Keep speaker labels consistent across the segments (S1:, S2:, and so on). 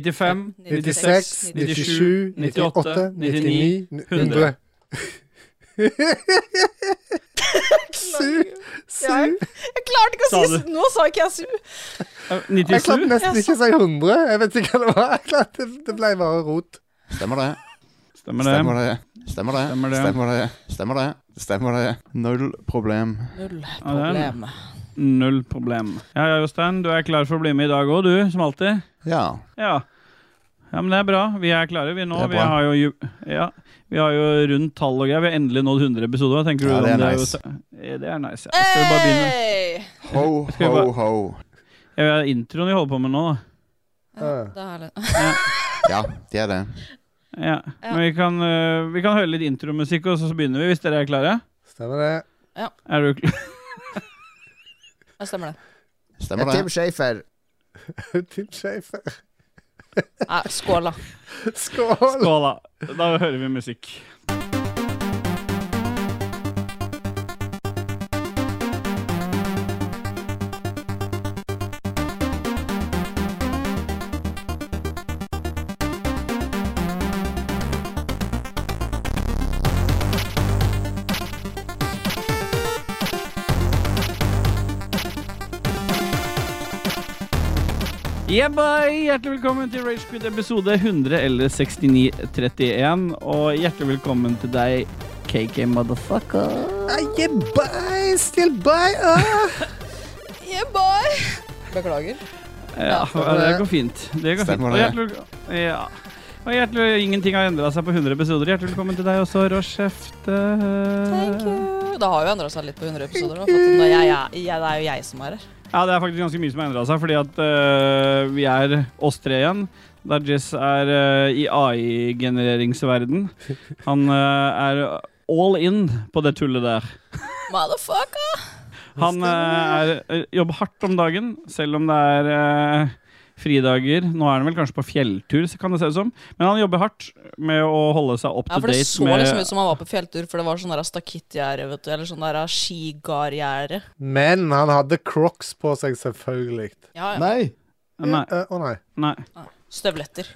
S1: 95,
S2: 96, 97, 98, 99, 100. Su, su.
S3: Jeg klarte ikke å
S1: Sa
S3: si
S1: du?
S3: Nå sa ikke jeg su.
S1: eh,
S2: Jeg klarte
S1: 97.
S2: nesten ikke å si 100. Jeg vet ikke hva det var. Jeg klarte, det ble bare rot.
S4: Stemmer det.
S1: Stemmer det.
S4: Stemmer det. Stemmer det.
S1: Stemmer det.
S4: Stemmer det. Stemmer det. Stemmer det. Null problem.
S3: Null
S1: Ja, det er
S3: problem.
S1: Null problem. Ja, ja, Jostein, du er klar for å bli med i dag òg, du, som alltid.
S4: Ja.
S1: Ja. ja, men det er bra. Vi er klare, vi nå.
S4: Det er
S1: Vi
S4: bra.
S1: har, jo, ju- ja, vi har jo rundt tall og greier. Vi har endelig nådd 100 episoder. Hva tenker
S4: Ja,
S1: du
S4: det
S1: om
S4: er
S1: jo-
S4: nice.
S1: Ja, det er nice. Ja. Skal vi bare begynne?
S3: Hey!
S4: Ho,
S1: Skal vi
S4: ho,
S1: bare-
S4: ho.
S1: Ja, det er introen vi holder på med nå, da.
S3: Ja, det er litt-
S4: Ja, det er det.
S1: Ja.
S3: Ja.
S1: Men vi kan, øh, vi kan høre litt intromusikk, og så begynner vi, hvis dere er klare.
S2: Stemmer det.
S1: Er du klar?
S3: Ja, stemmer det.
S4: Stemmer det.
S5: Schafer.
S2: Tim Schafer.
S3: Ja, skål, da.
S2: Skål!
S1: Skål, da. Da hører vi musikk. Yeah, boy! Hjertelig velkommen til Rage Quit episode 100 eller 6931. Og hjertelig velkommen til deg, KK Motherfucker.
S2: Aye, bye, still bye. Ah.
S3: Yeah, boy! Beklager.
S1: Ja,
S2: stemmer
S1: det
S2: det.
S1: går fint. Det går fint.
S4: Stemmer
S1: Og
S4: det.
S1: hjertelig, velko- ja. og hjertelig ingenting har endra seg på 100 episoder. Hjertelig velkommen til deg også, Rochefte.
S3: Thank you. Det har jo endra seg litt på 100 episoder. da, for at nå er jeg, jeg, jeg, det er jo jeg som er her.
S1: Ja, det er faktisk ganske mye som har endra seg, fordi at øh, vi er oss tre igjen. Der Jess er øh, i AI-genereringsverden. Han øh, er all in på det tullet der.
S3: Motherfucker!
S1: Han eh, er, eh, jobber hardt om dagen, selv om det er eh, fridager. Nå er han vel kanskje på fjelltur, så kan det se ut som. Men han jobber hardt med å holde seg up
S3: Ja,
S1: to
S3: for det
S1: date.
S3: så
S1: med,
S3: liksom ut som han var på fjelltur, for det var sånn der stakittgjerde, vet du. Eller sånn der skigardgjerde.
S2: Men han hadde crocs på seg, selvfølgelig.
S3: Ja, ja.
S5: Nei.
S1: Nei.
S2: Eh, Å nei.
S1: nei.
S3: Støvletter.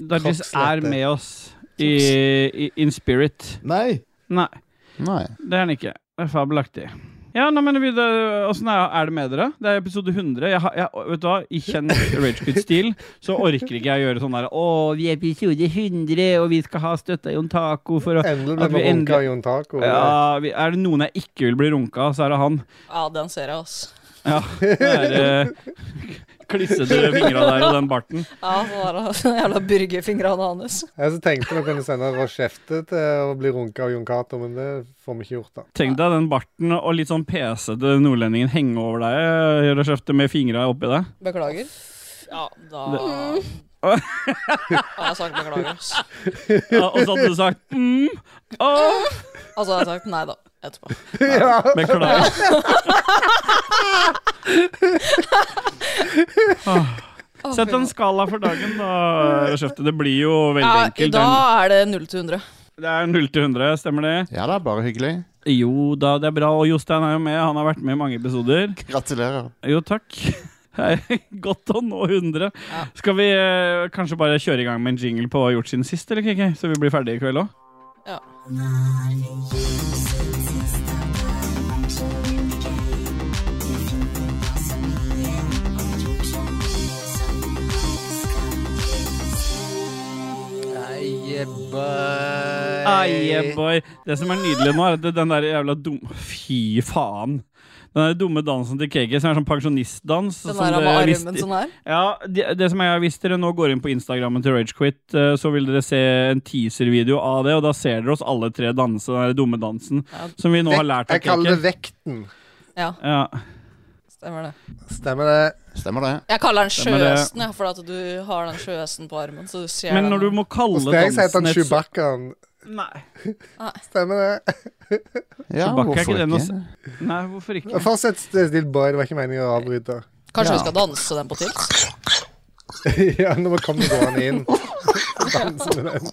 S1: Dajis
S2: Kroppslette.
S1: er med oss i, i, in spirit.
S5: Nei.
S1: Nei,
S4: Nei.
S1: det er han ikke. Det er fabelaktig. Ja, nei, men vi, det, åssen er, er det med dere? Det er episode 100. Jeg, har- jeg, vet du hva? I kjent Ragequit-stil så orker ikke jeg å gjøre sånn der Å, vi er episode 100, og vi skal ha støtta Jon Taco for å
S2: Endelig
S1: At
S2: ble
S1: vi
S2: vi runka
S1: endelig-
S2: Jon Taco.
S1: Ja, vi, er det noen jeg ikke vil bli runka, av, så er det han.
S3: Ja, den ser jeg, altså.
S1: Ja, det er eh, klissete fingra der og den barten.
S3: Ja, så der, jævla burgerfingrene hans.
S2: Jeg så tenkte vi kunne sende Rochefte til å bli runka av Jon Cato, men det får vi ikke gjort, da.
S1: Tenk deg den barten og litt sånn pesete nordlendingen henge over deg gjør det skjefte med fingra oppi deg.
S3: Beklager. Ja, da
S1: Åh.
S3: Ja, jeg har sagt beklager. ass.
S1: Ja, og så hadde du sagt mm, åh,
S3: Altså, jeg har sagt nei da, etterpå.
S2: Ja,
S1: beklager. Åh. Ah, Sett en skala for dagen, da. Skjefte. Det blir jo veldig
S3: Ja, i
S1: enkelt.
S3: dag er det 0 til 100.
S1: Det er 0 til 100, stemmer det?
S4: Ja, det er bare hyggelig.
S1: Jo da, det er bra. Og Jostein er jo med. Han har vært med i mange episoder.
S4: Gratulerer.
S1: Jo, takk. Hei, Godt å nå 100.
S3: Ja.
S1: Skal vi eh, kanskje bare kjøre i gang med en jingle på hva vi har gjort siden sist, eller KK? Så vi blir ferdige i kveld òg?
S3: Ja. Eh.
S1: boy. Det som er nydelig nå, er at den der jævla dum... Fy faen. Den der dumme dansen til KK som er sånn pensjonistdans.
S3: Den
S1: som
S3: der
S1: dere
S3: med
S1: visste-
S3: armen sånn her.
S1: Ja, det, det som jeg Hvis dere nå går inn på Instagrammen til Ragequit, eh, så vil dere se en teaser-video av det, og da ser dere oss alle tre danse den der dumme dansen
S3: Ja.
S1: som vi nå har
S2: Vekt,
S1: lært av
S2: jeg kaller det
S1: KK.
S2: vekten.
S3: Ja,
S1: Ja.
S3: stemmer det.
S2: Stemmer det.
S4: Stemmer det.
S3: Jeg kaller den
S1: Stemmer det.
S3: sjøhesten, ja, for at du har den sjøhesten på armen. Så du ser
S1: Men når du
S3: den.
S1: må kalle
S2: Hos deg så heter
S1: dansen
S2: han
S1: et så-
S2: Chewbaccaen.
S1: Nei.
S2: Ah. Stemmer det.
S4: Ja,
S1: Chewbacca er
S4: hvorfor
S1: ikke det
S4: ikke?
S1: noe Nei, hvorfor ikke?
S2: Fortsett still boy, det var ikke meningen å avbryte.
S3: Kanskje
S4: Ja.
S3: vi skal danse den på Tils?
S2: ja, nå kom det gående inn. Danser med den.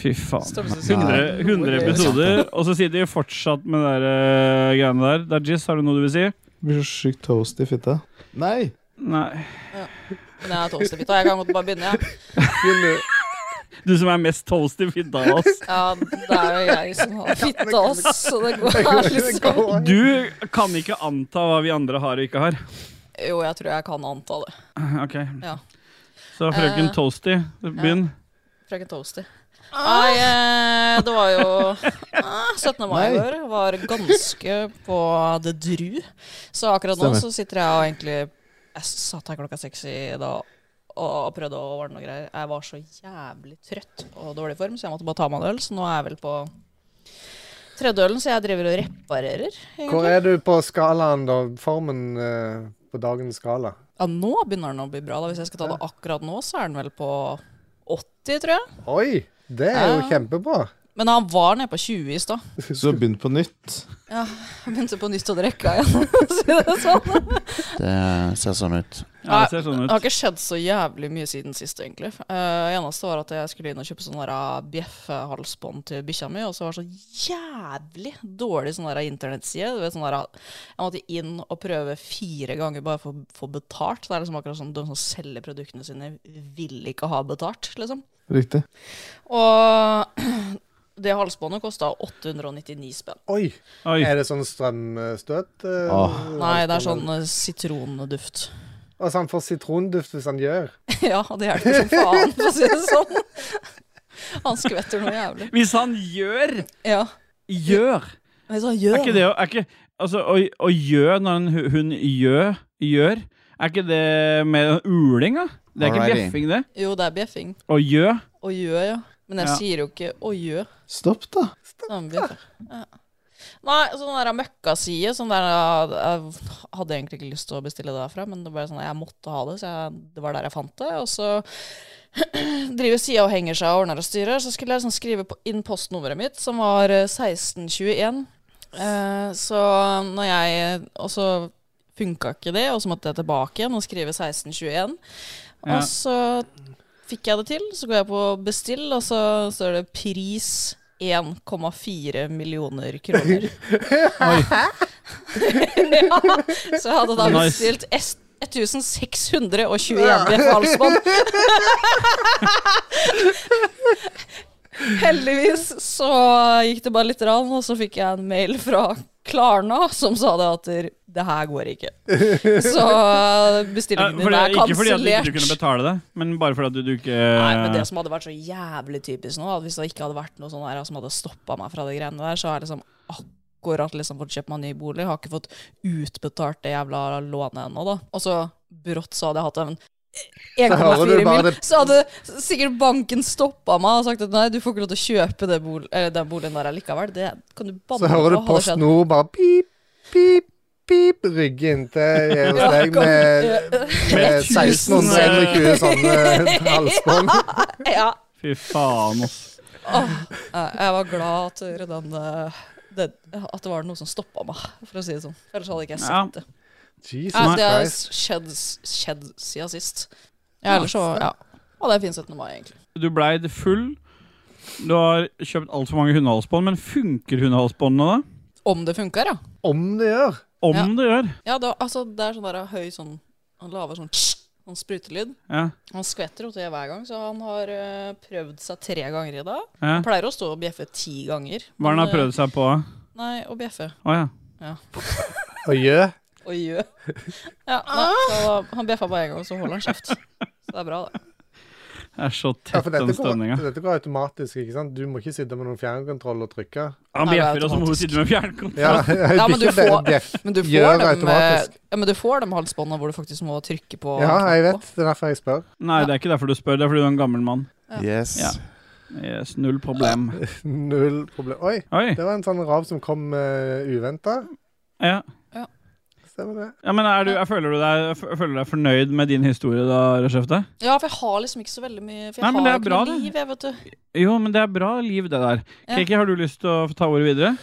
S1: Fy faen. 100,
S3: Størrelsesorden.
S1: 100 episoder, og så sitter vi fortsatt med de der, eh, greiene der. Dajis, har du noe du vil si?
S5: Blir så sjukt toast i fitta. Nei!
S1: Nei.
S3: Men jeg er toastefit, og jeg kan godt bare begynne, jeg.
S2: Begynner-
S1: Du som er mest toast i fitta av oss.
S3: Ja. det er jo jeg som har fitte oss, så det går liksom
S1: Du kan ikke anta hva vi andre har og ikke har.
S3: Jo, jeg tror jeg kan anta det.
S1: Ok.
S3: Ja.
S1: Så frøken
S3: Eh,
S1: Toasty, begynn.
S3: Frøken Toasty. Nei, eh, det var jo eh, 17. mai i
S5: Nei.
S3: år. Var ganske på det dru. Så akkurat nå
S5: Stemmer.
S3: så sitter jeg og egentlig Jeg satt her klokka seks i dag og prøvde å ordne noe greier. Jeg var så jævlig trøtt og dårlig i form, så jeg måtte bare ta meg en øl. Så nå er jeg vel på tredje ølen, så jeg driver og reparerer.
S2: Hvor
S3: egentlig.
S2: er du på skalaen, da? Formen eh, på dagens skala?
S3: Ja, nå begynner den å bli bra. da Hvis jeg skal ta det akkurat nå, så er den vel på 80, tror jeg.
S2: Oi! Det er jo
S3: Ja.
S2: kjempebra.
S3: Men han var nede på 20 i stad.
S5: Så begynn på nytt.
S3: Ja, jeg begynte på nytt å drikke igjen. for å si det sånn.
S4: Det ser sånn ut.
S1: Ja, det ser sånn
S3: Det
S1: ut.
S3: har ikke skjedd så jævlig mye siden sist, egentlig. Eh, Det eneste var at jeg skulle inn og kjøpe sånne der bjeffehalsbånd til bikkja mi, og så var det så jævlig dårlig sånn der internettside. Du vet, sånn der, jeg måtte inn og prøve fire ganger bare for å få betalt. Det er liksom akkurat sånn de som selger produktene sine, vil ikke ha betalt, liksom.
S5: Riktig.
S3: Og det halsbåndet kosta 899 spenn.
S2: Oi!
S1: Oi.
S2: Er det sånn strømstøt? eh,
S5: Åh.
S3: Nei, det er sånn eh, sitronduft.
S2: Og så Altså, han får sitronduft hvis han gjør.
S3: Ja, og det hjelper som faen, for å si det sånn. Han skvetter noe jævlig.
S1: Hvis han gjør
S3: Ja.
S1: Gjør!
S3: Men så
S1: Er
S3: gjør
S1: ikke det å er ikke, Altså, å, å gjø når en hu- hund gjø, gjør, er ikke det med uling, da? Det er ikke
S4: Alrighty.
S1: bjeffing, det.
S3: Jo, det er bjeffing.
S1: Å gjø.
S3: Og gjør, ja. Men jeg
S1: Ja.
S3: sier jo ikke 'å gjø'.
S5: Stopp, da.
S3: Han bjeffer. Ja. Nei, sånn der møkkaside sånn der, Jeg hadde egentlig ikke lyst til å bestille det derfra, men det var sånn, jeg måtte ha det, så jeg, det var der jeg fant det. Og så driver sida og henger seg og ordner og styrer. Så skulle jeg liksom skrive på, inn postnummeret mitt, som var eh, 1621. Eh, så når jeg Og så funka ikke det, og så måtte jeg tilbake igjen og skrive 1621. Og
S1: Ja.
S3: så fikk jeg det til. Så går jeg på bestill, og så står det pris 1,4 millioner kroner. ja, så jeg hadde da
S1: Nice.
S3: bestilt S 1621 bjeffehalsbånd. Heldigvis så gikk det bare litt, rann, og så fikk jeg en mail fra Klarna som sa det at det her går ikke. Så
S1: Ja,
S3: bestillingen
S1: for
S3: din
S1: det,
S3: er
S1: ikke fordi at du ikke kunne
S3: kansellert.
S1: betale det, men bare fordi at du, du ikke
S3: Nei, men Det som hadde vært så jævlig typisk nå, at hvis det ikke hadde vært noe sånn der som hadde stoppa meg fra de greiene der, så har jeg liksom akkurat liksom fått kjøpt meg ny bolig, har ikke fått utbetalt det jævla lånet ennå, da. Og så brått så hadde jeg hatt en
S2: hører du
S3: 1,4
S2: bare
S3: mil.
S2: det-
S3: Så hadde sikkert banken stoppa meg og sagt at nei, du får ikke lov til å kjøpe det bol eller den boligen der likevel. Det kan du banne
S2: Så hører du
S3: på, hadde
S2: Post
S3: skjedd.
S2: Nord bare pip, pip, pip, rygge inntil hos
S3: Ja,
S2: deg
S3: kom-
S2: med, med
S1: Med tusen,
S2: 1621 sånne sånn, eh, halsbånd.
S3: eh, ja.
S1: Fy faen, ass.
S3: Åh, jeg jeg var glad at den, eh, den At det var noe som stoppa meg, for å si det sånn. Ellers hadde ikke jeg
S1: Ja.
S3: sett det.
S2: Jesus
S3: Ja, det har
S2: Christ.
S3: skjedd, skjedd siden sist. Ja, ellers så Ja. Og det er fin 17. mai, egentlig.
S1: Du blei full. Du har kjøpt altfor mange hundehalsbånd, men funker hundehalsbåndene da?
S3: Om det funker, ja.
S2: Om det gjør.
S1: Om
S3: Ja.
S1: det gjør.
S3: Ja, det, altså, det er sånn der høy sånn Han lager sånn tss, sånn sprutelyd.
S1: Ja.
S3: Han skvetter jo til hver gang, så han har eh, prøvd seg tre ganger i dag.
S1: Ja.
S3: Han pleier å stå og bjeffe ti ganger.
S1: Hva er det han
S3: men,
S1: har prøvd seg på? da?
S3: eh, Nei, å bjeffe.
S1: Å ja.
S2: Og gjør.
S3: Og gjø. Ja,
S2: Ah.
S3: nei, så da, han bjeffa bare én gang, og så holder han kjeft. Så det er bra, det.
S1: Det er så
S2: Ja,
S1: tett,
S2: for
S1: den
S2: dette går,
S1: stønninga.
S2: dette går automatisk, ikke sant? Du må ikke sitte med noen fjernkontroll og trykke.
S1: Han
S3: Nei, det er
S1: bjeffer, og så må hun
S3: automatisk.
S1: sitte med fjernkontroll.
S2: Ja,
S3: Ja, men du
S2: ikke det,
S3: får-
S2: bjeff.
S3: Men du får,
S2: Gjør
S3: dem, eh,
S2: automatisk.
S3: ja, men du får dem halsbåndene hvor du faktisk må trykke på.
S2: Ja, jeg vet. Det er derfor jeg spør.
S1: Nei, det er ikke derfor du spør. Det er fordi du er en gammel mann.
S3: Ja.
S4: Yes.
S1: Ja. Yes, null problem.
S2: Null problem. Oi,
S1: Oi.
S2: det var en sånn rav som kom uh, uventa.
S1: Ja.
S2: Stemmer det?
S1: ja, men er du, jeg føler du deg, jeg føler du deg fornøyd med din historie da, Røsjefte?
S3: Ja, for jeg har liksom ikke så veldig mye For jeg
S1: Nei, men det
S3: har
S1: er
S3: ikke
S1: bra,
S3: noe
S1: det.
S3: liv, jeg, vet du.
S1: Jo, men det er bra liv, det der.
S3: Ja.
S1: Kiki, har du lyst til å få ta ordet videre?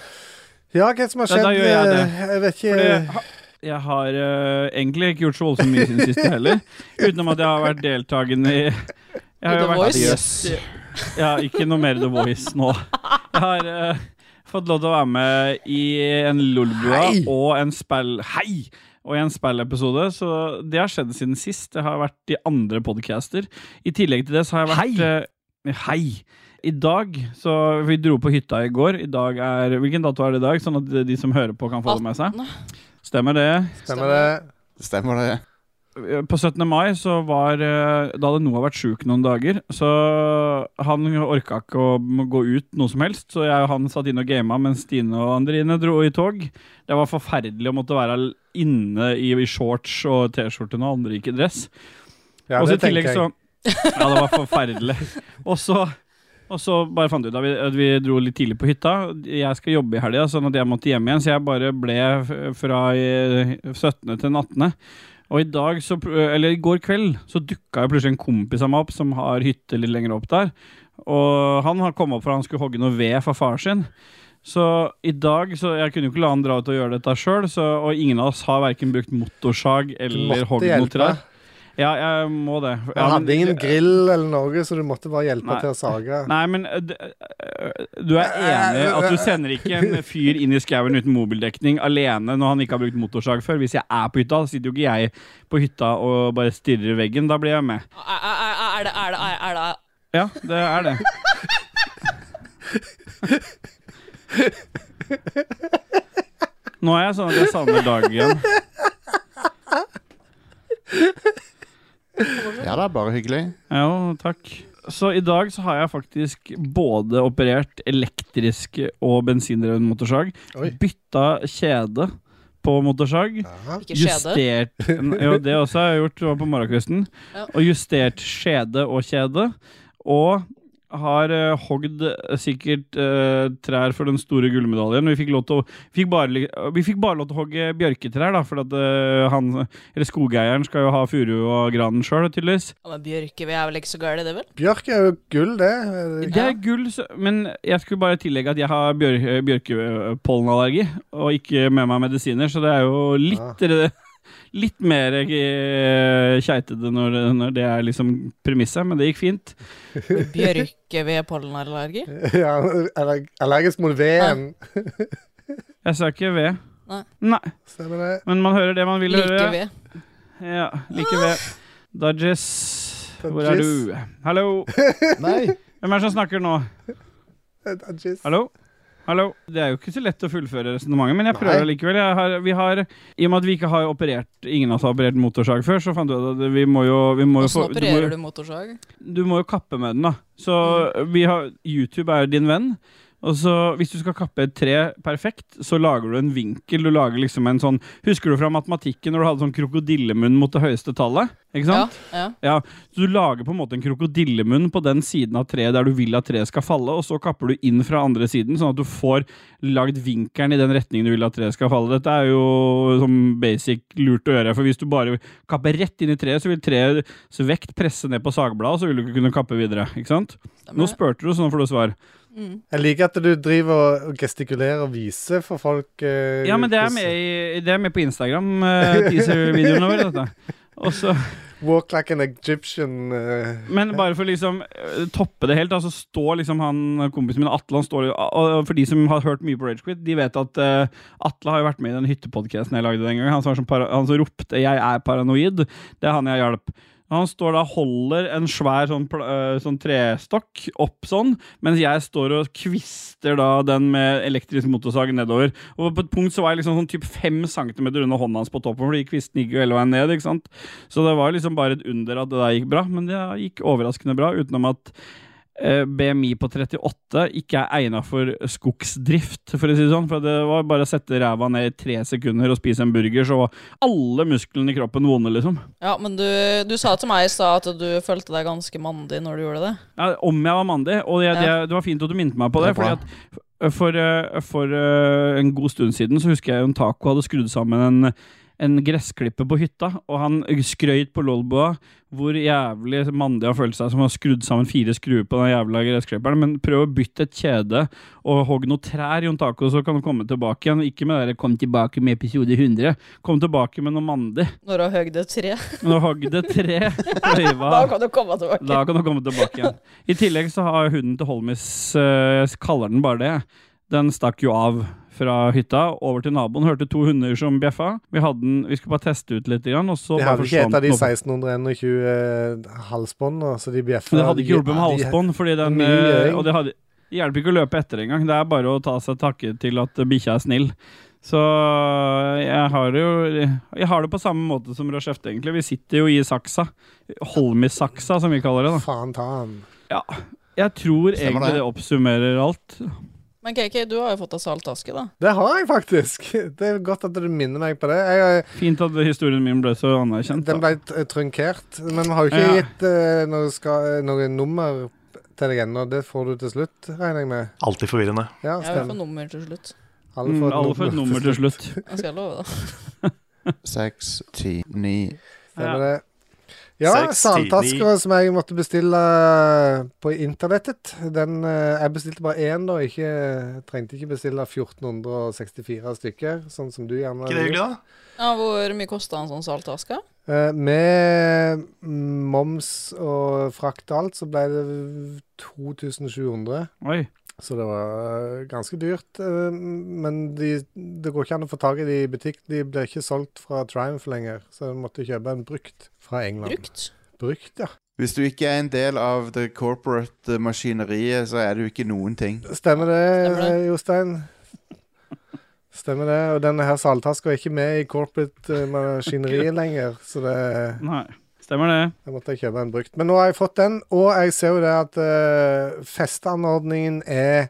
S2: Ja, hva som har
S1: Ja, da
S2: skjedd?
S1: gjør jeg det.
S2: eh, jeg vet ikke
S1: Fordi jeg ha- jeg har eh, egentlig ikke gjort så voldsomt mye siden sist heller. Utenom at jeg har vært deltakende i Jeg har
S3: The
S1: jo vært
S3: Voice.
S1: gjest i- Jeg har ikke noe mer The Voice nå. Jeg har eh, fått lov til å være med i en Lolbua
S5: Hei!
S1: og en spill... Hei! Og i en spillepisode, så det har skjedd siden sist. Det har vært i andre podcaster. I tillegg til det så har jeg vært eh, Hei! I dag, så Vi dro på hytta i går. I dag er, Hvilken dato er det i dag, sånn at de som hører på, kan få det med seg?
S3: Attende.
S1: Stemmer det.
S2: Stemmer det?
S4: Stemmer det?
S1: Eh, på 17. mai så var eh, Da hadde Noah vært sjuk noen dager, så han orka ikke å m- gå ut noe som helst, så jeg og han satt inne og gama mens Stine og Andrine dro i tog. Det var forferdelig å måtte være l- inne i, i shorts og T-skjorte når andre gikk i dress.
S2: Ja,
S1: og så
S2: det
S1: i tillegg så
S2: tenker jeg.
S1: Ja, det var forferdelig. Og så og så bare fant vi ut at vi, at vi dro litt tidlig på hytta. Jeg skal jobbe i helga, sånn at jeg måtte hjem igjen. Så jeg bare ble f- fra eh, 17. til 18. Og i dag, så, pr- eller i går kveld, så dukka jo plutselig en kompis av meg opp som har hytte litt lenger opp der. Og han har kommet opp for han skulle hogge noe ved for far sin. Så i dag, så jeg kunne jo ikke la han dra ut og gjøre dette sjøl, og ingen av oss har verken brukt motorsag
S2: Du
S1: eller
S2: måtte
S1: hogd noe
S2: hjelpe.
S1: trær. Ja, jeg må det.
S2: Han
S1: Ja, men-
S2: hadde ingen grill eller noe, så du måtte bare hjelpe
S1: Nei.
S2: til å sage.
S1: Nei, men ø, d- ø, du er enig at du sender ikke en fyr inn i skauen uten mobildekning alene når han ikke har brukt motorsag før. Hvis jeg er på hytta, sitter jo ikke jeg på hytta og bare stirrer i veggen. Da blir jeg med.
S3: Er, er, er, er det, er, det, er, er det
S1: Ja, det er det. Nå er jeg sånn at jeg savner dagen.
S4: Ja, det er bare hyggelig.
S1: Jo, takk. Så i dag så har jeg faktisk både operert elektrisk og bensindreven motorsag.
S2: Oi.
S1: Bytta kjede på motorsag.
S2: Ja.
S3: Ikke skjede.
S1: Justert Jo, det også har jeg gjort det var på morgenkvisten.
S3: Ja.
S1: Og justert skjede og kjede. Og har eh, hogd eh, sikkert eh, trær for den store gullmedaljen. Vi fikk, lov til å, fikk, bare, li- vi fikk bare lov til å hogge bjørketrær, da, for at eh, han Eller skogeieren skal jo ha furu og granen sjøl, tydeligvis.
S3: Ja, men Bjørke, vi er vel ikke så gærne, det vel?
S2: Bjørk er jo gull, det.
S1: Det er gull, så- men jeg skulle bare tillegge at jeg har bjør, eh, bjørkepollenallergi, og ikke med meg medisiner, så det er jo
S3: Ah.
S1: litt Litt mer eh, keitete når, når det er liksom premisset, men det gikk fint.
S3: Bjørke ved pollenallergi?
S2: Ja, aller- allergisk mot veden.
S1: Jeg sa ikke ved.
S3: Nei.
S2: Stemmer det?
S1: Men man hører det man vil
S3: Like
S1: høre.
S3: ved. Ah.
S1: Ja, like ved. Dodges, hvor er du? Hallo.
S5: Nei.
S1: Hvem er det som snakker nå?
S2: Eh, jizz.
S1: Hallo? Hallo? Det er jo ikke så lett å fullføre resonnementet, men jeg
S2: Nei.
S1: prøver likevel. Jeg har, vi har, I og med at vi ikke har operert, ingen av oss har operert motorsag før, så fant vi ut at vi må jo, vi må jo få-
S3: Åssen
S1: du må,
S3: opererer
S1: jo-
S3: du Mm. motorsag?
S1: Du må jo kappe med den, da. Så vi har, YouTube er din venn. Og så Hvis du skal kappe et tre perfekt, så lager du en vinkel. Du lager liksom en sånn Husker du fra matematikken når du hadde sånn krokodillemunn mot det høyeste tallet? Ikke sant?
S3: Ja, ja.
S1: Så du lager på en måte en krokodillemunn på den siden av treet der du vil at treet skal falle, og så kapper du inn fra andre siden, sånn at du får lagd vinkelen i den retningen du vil at treet skal falle. Dette er jo som basic lurt å gjøre, for hvis du bare kapper rett inn i treet, så vil treets vekt presse ned på sagbladet, og så vil du ikke kunne kappe videre. ikke sant? Nå
S3: Stemmer det.
S1: spurte du, så nå får du svar.
S3: Mm.
S2: Jeg liker at du driver og- og gestikulerer og viser for folk eh,
S1: Ja, men det er
S2: hvordan-
S1: med, i- det er med på Instagram, eh, teaser-videoen vår, dette. Og så
S2: Walk like an Egyptian eh,
S1: Men bare for liksom eh, toppe det helt, da, så står liksom han kompisen min Atle han står, og og For de som har hørt mye på Ragequit, de vet at eh, Atle har jo vært med i den hyttepodkasten jeg lagde den gangen. Han som, var sånn para, han som ropte 'Jeg er paranoid'. Det er han jeg hjalp. Han står da og holder en svær sånn, pla- eh, sånn trestokk opp sånn, mens jeg står og kvister da den med elektrisk motorsag nedover. Og på et punkt så var jeg liksom sånn typ fem centimeter under hånda hans på toppen, fordi kvisten gikk jo hele veien ned. ikke sant? Så det var liksom bare et under at det der gikk bra, men det gikk overraskende bra, utenom at eh, BMI på 38 ikke er egnet for skogsdrift, for å si det sånn. For det var bare å sette ræva ned i tre sekunder og spise en burger, så var alle musklene i kroppen vonde, liksom.
S3: Ja, men du, du sa til meg i stad at du følte deg ganske mandig når du gjorde det.
S1: Ja, om jeg var mandig, og det, det, det var fint at du minte meg på det.
S4: Det er
S1: fordi
S4: bra.
S1: at for, eh, for eh, en god stund siden så husker jeg jo en taco hadde skrudd sammen en en gressklipper på hytta, og han skrøyt på Lolboa hvor jævlig mandig han følte seg som har skrudd sammen fire skruer på den jævla gressklipperen. Men prøv å bytte et kjede og hogg noen trær, Jon Taco, så kan du komme tilbake igjen. Ikke med det der 'kom tilbake med episode 100'. Kom tilbake med noe mandig.
S3: Når du har høgd et tre.
S1: Nå hogg det tre på
S3: Da
S1: øyva.
S3: kan du komme tilbake.
S1: Da kan du komme tilbake igjen. I tillegg så har hunden til Holmis eh, Jeg kaller den bare det. Den stakk jo av fra hytta over til naboen. Hørte to hunder som bjeffa. Vi, hadde den, vi skulle bare teste ut litt, grann, og så bare
S2: De
S1: sånn-
S2: hadde ikke et
S1: forsvant
S2: av de
S1: den opp.
S2: 1621 eh, halsbåndene, så de bjeffa.
S1: Men det hadde ikke hjulpet med
S2: Ja, de-
S1: halsbånd, fordi den
S2: Mye
S1: eh,
S2: gjøring.
S1: Og det hadde, det hjelper ikke å løpe etter engang. Det er bare å ta seg takke til at bikkja er snill. Så eh, jeg har det jo Jeg har det på samme måte som Rochefte, egentlig. Vi sitter jo i saksa. Holmis-saksa, som vi kaller det. da
S2: Faen ta han.
S1: Jeg tror
S4: Stemmer
S1: egentlig
S4: det.
S1: det oppsummerer alt.
S3: Men KK, du har jo fått deg salt aske, da.
S2: Det har jeg faktisk. Det er godt at du minner meg på det. Jeg,
S1: Fint at historien min ble så
S2: jeg,
S1: anerkjent.
S2: den
S1: Da.
S2: ble t- trunkert, men vi har jo ikke
S1: Ja.
S2: gitt eh, noe, ska- noe nummer til deg ennå. Det får du til slutt, regner jeg med.
S6: Alltid forvirrende.
S2: Ja,
S3: Jeg vil få
S2: stemmer.
S3: nummer til slutt.
S2: Alle
S1: Mm,
S2: får et
S1: alle får et nummer til slutt.
S3: Jeg skal love det.
S4: Seks, ti, ni
S2: Stemmer
S1: Ja.
S2: det. Ja,
S6: Seks, ti, ni.
S2: saltaska som jeg måtte bestille eh, på internettet den, eh, Jeg bestilte bare én, da. Ikke, trengte ikke bestille 1464 stykker, sånn som du gjerne
S6: Ikke det hyggelig, da?
S3: Ja, hvor mye kosta en sånn salt aske?
S2: Eh, Med moms og frakt og alt, så ble det 2700.
S1: Oi.
S2: Så det var eh, ganske dyrt. eh, Men de, det går ikke an å få tak i de i butikk. De blir ikke solgt fra Triumph lenger, så jeg måtte kjøpe en brukt fra England.
S3: Brukt?
S2: Brukt, ja.
S4: Hvis du ikke er en del av det corporate maskineriet, så er du ikke noen ting.
S2: Stemmer det,
S3: Stemmer det.
S2: eh, Jostein. Stemmer det. Og denne her saltaska er ikke med i corporate eh, maskineriet lenger, så det,
S1: Nei. Stemmer det.
S2: jeg måtte kjøpe en brukt. Men nå har jeg fått den, og jeg ser jo det at eh, festeanordningen er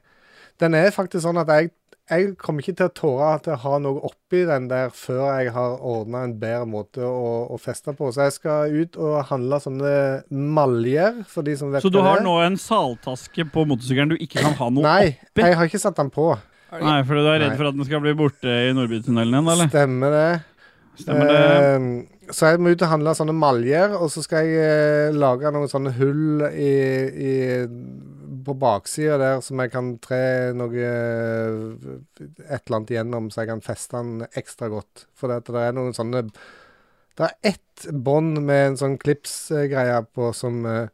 S2: Den er faktisk sånn at jeg, jeg kommer ikke til å tåre at jeg har noe oppi den der før jeg har ordna en bedre måte å, å feste på. Så jeg skal ut og handle sånne maljer, for de som vet
S1: Så du
S2: hva
S1: har
S2: det er.
S1: nå en saltaske på motorsykkelen du ikke kan ha noe
S2: Nei,
S1: oppi?
S2: jeg har ikke satt den på.
S3: Har du
S1: Nei, fordi du er redd
S2: Nei.
S1: for at den skal bli borte i Nordbytunnelen igjen, da, Sånn, eller?
S2: Stemmer det.
S1: Stemmer det.
S2: Eh, så jeg må ut og handle sånne maljer, og så skal jeg eh, lage noen sånne hull i, i, på baksida der som jeg kan tre noe eh, Et eller annet gjennom, så jeg kan feste den ekstra godt. For det, at det er noen sånne Det er ett bånd med en sånn klipsgreie på som eh,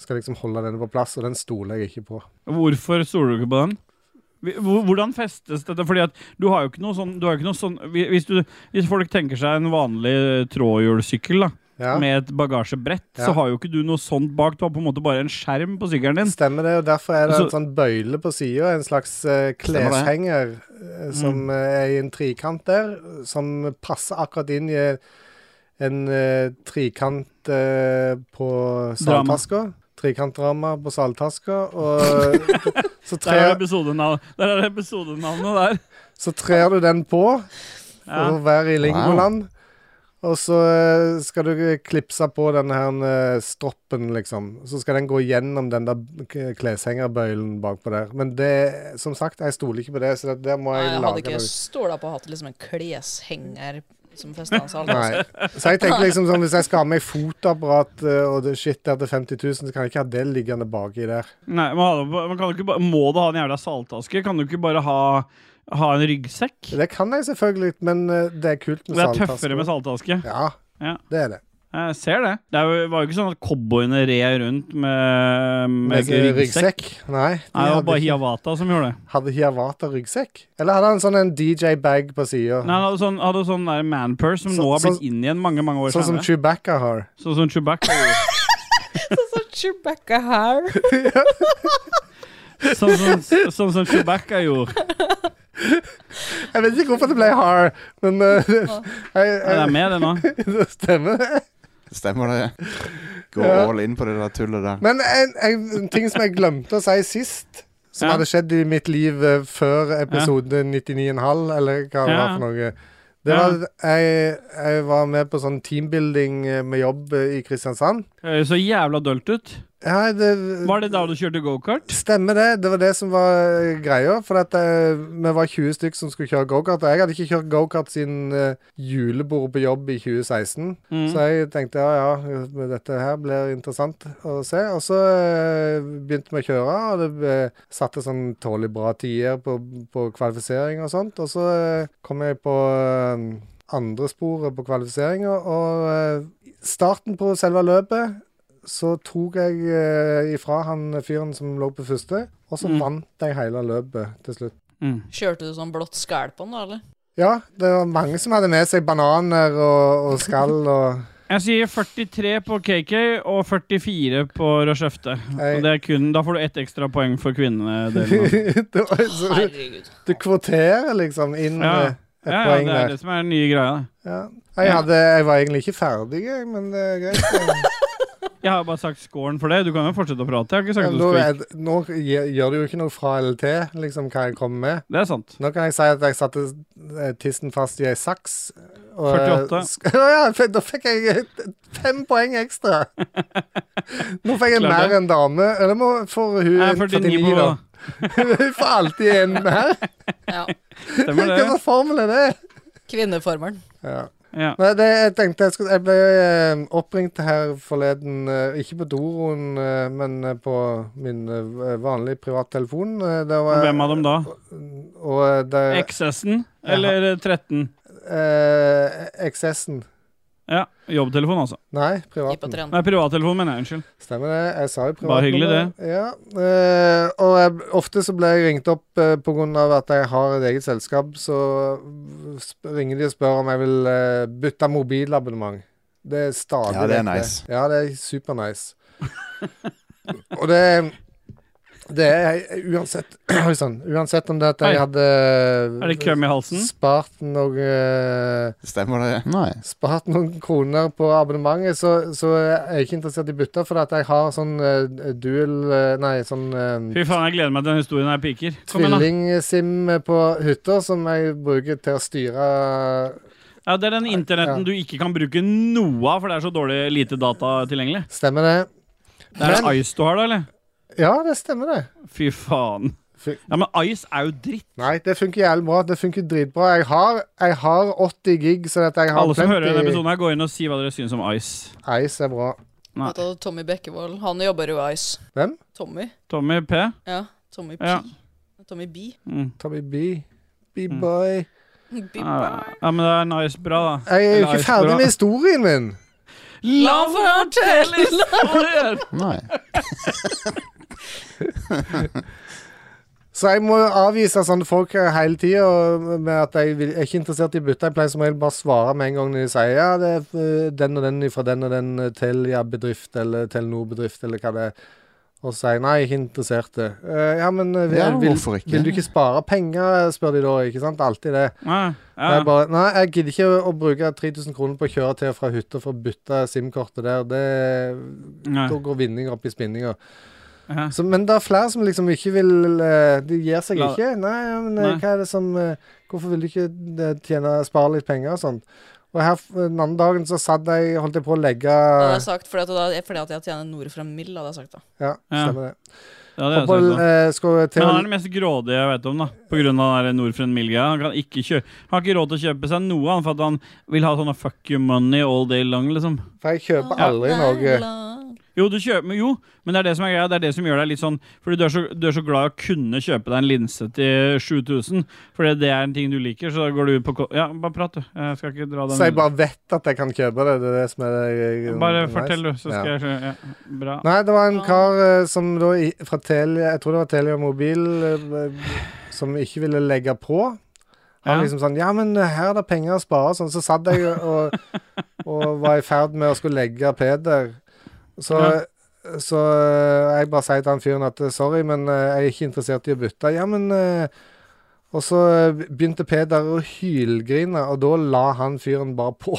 S2: skal liksom holde denne på plass, og den stoler jeg ikke på.
S1: Hvorfor stoler du ikke på den? Vi- hvor- Hvordan festes dette? Fordi at du har jo ikke noe sånn, du har jo ikke noe sånn hvi- hvis, du, hvis folk tenker seg en vanlig trådhjulsykkel da,
S2: Ja.
S1: med et bagasjebrett,
S2: Ja.
S1: så har jo ikke du noe sånt bak. Du har på en måte bare en skjerm på sykkelen din.
S2: Stemmer det, og derfor er det en
S1: Altså-
S2: sånn bøyle på sida, en slags eh,
S4: Stemmer det.
S2: kleshenger eh, som
S1: Mm.
S2: eh, er i en trikant der, som passer akkurat inn i eh, en eh, trikant eh, på
S1: Drama.
S2: saltaska. Trikantdrama på saltaska, og så,
S1: Der er
S2: trer,
S1: episodenavn- der er episodenavnet der.
S2: så trer du den på for
S1: Ja.
S2: å være i lingoland. Og så eh, skal du klipse på denne her eh, stroppen, liksom. Så skal den gå gjennom den der k- kleshengerbøylen bakpå der. Men det, som sagt, jeg stoler ikke på det, så det, der må
S3: Nei,
S2: jeg,
S3: jeg hadde
S2: lage
S3: ikke
S2: noe.
S3: stola på å ha hatt liksom en kleshenger som festa en salt aske.
S2: Nei. Så jeg tenker liksom sånn, hvis jeg skal ha med fotoapparat eh, og det shit der til 50 000, så kan jeg ikke ha det liggende baki der.
S1: Nei, man, har- man kan jo ikke bare, Må du ha en jævla saltaske? Kan du ikke bare ha, ha en ryggsekk?
S2: Det kan jeg selvfølgelig, men eh, det er kult
S1: Det
S2: med
S1: er
S2: saltaske.
S1: tøffere med saltaske.
S2: Ja,
S1: Ja.
S2: det er det.
S1: Jeg ser det. Det er jo- var jo ikke sånn at cowboyene red rundt med, med
S2: Med eh,
S1: ryggsekk.
S2: Nei,
S1: Nei,
S2: de
S1: det var
S2: hadde
S1: bare
S2: ikke-
S1: Hiawatha som gjorde det.
S2: Hadde Hiawata ryggsekk? Eller hadde han sånn en DJ-bag på sida?
S1: Nei, han hadde sånn, hadde sånn der manpurse som
S2: Så-
S1: nå har blitt
S2: sånn-
S1: inn igjen mange mange år
S2: Sånn som
S1: senere.
S2: Chewbacca har.
S1: Sånn som Chewbacca.
S3: Så Chewbacca her.
S1: sånn, som, sånn som Chewbacca gjorde.
S2: Jeg vet ikke hvorfor det ble har, men eh, jeg,
S1: Er det med det nå?
S2: jeg, det stemmer.
S4: Stemmer det? Gå
S2: Ja.
S4: all in på det der tullet der.
S2: Men en, en, en ting som jeg glemte å si sist, som
S1: Ja.
S2: hadde skjedd i mitt liv eh, før episode 99,5, eller hva det var
S1: Ja.
S2: for noe Det
S1: Ja.
S2: var at jeg, jeg var med på sånn teambuilding eh, med jobb eh, i Kristiansand.
S1: Høres så jævla dølt ut.
S2: Ja, det,
S1: Var det da du kjørte gokart?
S2: Stemmer det. Det var det som var eh, greia. For at eh, vi var 20 stykk som skulle kjøre gokart. Og jeg hadde ikke kjørt gokart siden eh, julebordet på jobb i 2016.
S1: Mm.
S2: Så jeg tenkte ja, ja, dette her blir interessant å se. Og så eh, begynte vi å kjøre, og det ble, satte sånn tålelig bra tider på, på kvalifisering og sånt. Og så eh, kom jeg på eh, andre sporet på kvalifiseringa, og eh, starten på selve løpet så tok jeg eh, ifra han fyren som lå på første, og så
S1: Mm.
S2: vant jeg hele løpet til slutt.
S1: Mm.
S3: Kjørte du sånn blått skæl på den, da, eller?
S2: Ja, det var mange som hadde med seg bananer og, og skall og
S1: Jeg sier 43 på KK og 44 på Rochefte.
S2: Nei.
S1: Og det er kun, da får du ett ekstra poeng for kvinnene.
S2: det var, så, du-
S3: Herregud.
S2: Du kvoterer liksom inn
S1: Ja.
S2: eh, et
S1: Ja, ja,
S2: poeng
S1: det er
S2: der.
S1: det som er den nye greia.
S2: Ja. Jeg,
S1: Ja.
S2: hadde, jeg var egentlig ikke ferdig, jeg, men det er greit.
S1: Jeg har bare sagt scoren for det. Du kan jo fortsette å prate. Jeg har ikke sagt at du
S2: nå,
S1: skal
S2: er, nå gjør gjør det jo ikke noe fra eller til, liksom, hva jeg kommer med.
S1: Det er sant.
S2: Nå kan jeg si at jeg satte eh, tissen fast i ei saks. Og,
S1: 48.
S2: sk- ja, f- da fikk jeg eh, fem poeng ekstra. Nå fikk jeg
S1: Klart det.
S2: mer enn dame. Eller må, får hun
S1: Jeg er
S2: 49,
S1: 49 på
S2: da? hun får alltid en mer.
S3: Ja.
S1: Stemmer
S2: Hva
S1: det?
S2: slags formel er det?
S3: Kvinneformelen.
S2: Ja.
S1: Ja.
S2: Nei, det, jeg tenkte jeg skulle Jeg ble eh, oppringt her forleden, eh, ikke på doroen, eh, men eh, på min eh, vanlige privattelefon. eh, der var-
S1: Og hvem av dem da?
S2: Og eh, der
S1: XS-en eller 13?
S2: eh, XS-en.
S1: Ja. Jobbtelefon, altså.
S2: Nei,
S3: Gi på
S2: privaten.
S3: trend.
S1: Nei, privattelefon, mener jeg. Unnskyld.
S2: Stemmer det. Jeg sa jo privat.
S1: Bare hyggelig, det.
S2: Ja. eh, og jeg, ofte så blir jeg ringt opp eh, på grunn av at jeg har et eget selskap, så sp- ringer de og spør om jeg vil eh, bytte mobilabonnement. Det er stadig
S4: Ja, det
S2: vekk
S4: er nice.
S2: Ja, det er super nice. og det det er uansett Oi sann. Uansett om det at jeg
S1: Oi.
S2: hadde
S1: Er det køm i halsen?
S2: spart eh, noe
S4: Stemmer det? Nei.
S2: spart noen kroner på abonnementet, så, så er jeg ikke interessert i bytte, for at jeg har sånn eh, dual eh, Nei, sånn eh,
S1: Fy faen, jeg gleder meg til den historien her piker. Kom igjen, da.
S2: tvilling-SIM på hytta som jeg bruker til å styre
S1: Ja, det er den internetten du ikke kan bruke noe av, for det er så dårlig lite data tilgjengelig.
S2: Stemmer det?
S1: Det er
S2: Men-
S1: Ice du har, da, eller?
S2: Ja, det stemmer, det.
S1: Fy faen.
S2: Fy-
S1: Ja, men Ice er jo dritt.
S2: Nei, det funker jævlig bra. Det funker dritbra. Jeg har, jeg har 80 gig, så at jeg har
S1: Alle som hører denne
S2: plenty
S1: episoden, her går inn og sier hva dere syns om Ice.
S2: Ice er bra.
S1: Nei.
S3: Vet du, Tommy Bekkevold, han jobber jo i Ice.
S2: Hvem?
S3: Tommy.
S1: Tommy P.
S3: Ja. Tommy P.
S1: Ja.
S3: Tommy B.
S1: Mm.
S2: Tommy B. B-boy.
S3: B.
S1: Ja, men det er nice bra, da.
S2: Jeg er jo
S1: Eller
S2: ikke
S1: Ice
S2: ferdig
S1: bra.
S2: med historien min.
S3: La meg fortelle!
S4: Nei.
S2: Så jeg må avvise sånne folk hele tida med at jeg vil, er ikke interessert i bytte. Jeg pleier som regel bare å svare med en gang når de sier ja, det er eh, den og den fra den og den eh, Telia-bedrift eller Telenor-bedrift eller hva det er. Og så sier jeg nei, jeg er ikke interessert. Eh, ja, men eh, vil,
S4: Ja,
S2: vil,
S4: hvorfor ikke?
S2: vil du ikke spare penger, eh, spør de da. ikke sant? Alltid det.
S1: Ja,
S2: Og
S1: ja.
S2: Jeg bare, nei, jeg gidder ikke å, å bruke 3000 kroner på å kjøre til og fra hytta for å bytte SIM-kortet der. Det,
S1: Nei.
S2: da går vinninga opp i spinninga.
S1: Ja.
S2: Så, men det er flere som liksom ikke vil eh, De gir seg
S1: La-
S2: ikke. Nei, ja, men eh,
S1: Nei.
S2: hva er det som eh, Hvorfor vil du ikke eh, tjene, spare litt penger og sånn? Og her f- den andre dagen så satt jeg holdt jeg på å legge
S3: Det hadde
S2: Ja,
S3: jeg sagt, fordi at, da- fordi at jeg tjener nord for en mill, hadde jeg sagt da.
S1: Ja.
S2: stemmer det.
S1: Ja, det er
S2: Og på,
S1: sant, da.
S2: eh, skulle
S1: Men
S2: til
S1: han er den mest grådige jeg vet om, da. På grunn av den der Nordfriend Milga. Han kan ikke kjø han har ikke råd til å kjøpe seg noe, han, for at han vil ha sånne fuck you money all day long, liksom.
S2: For jeg kjøper aldri noe.
S1: Jo, du kjøper, men jo, men det er det som er greia. Det er det som gjør deg litt sånn Fordi du er så, du er så glad i å kunne kjøpe deg en linse til 7000, fordi det er en ting du liker, så da går du ut på ko- Ja, bare prat, du. Jeg skal ikke dra den
S2: Så jeg bare vet at jeg kan kjøpe det. Det er det som er det
S1: Bare
S2: nice.
S1: fortell, du, så
S2: Ja.
S1: skal jeg skjø- ja. Bra.
S2: Nei, det var en
S3: Ja.
S2: kar eh, som da i, fra Telia Jeg tror det var Telia Mobil eh, som ikke ville legge på. Han
S1: Ja.
S2: liksom sånn Ja, men her er det penger å spare. og Sånn, så satt jeg og, og var i ferd med å skulle legge Peder. Så, så eh, jeg bare sier til han fyren at sorry, men eh, jeg er ikke interessert i å bytte. Ja, men eh, Og så eh, begynte Peder å hylgrine, og da la han fyren bare på.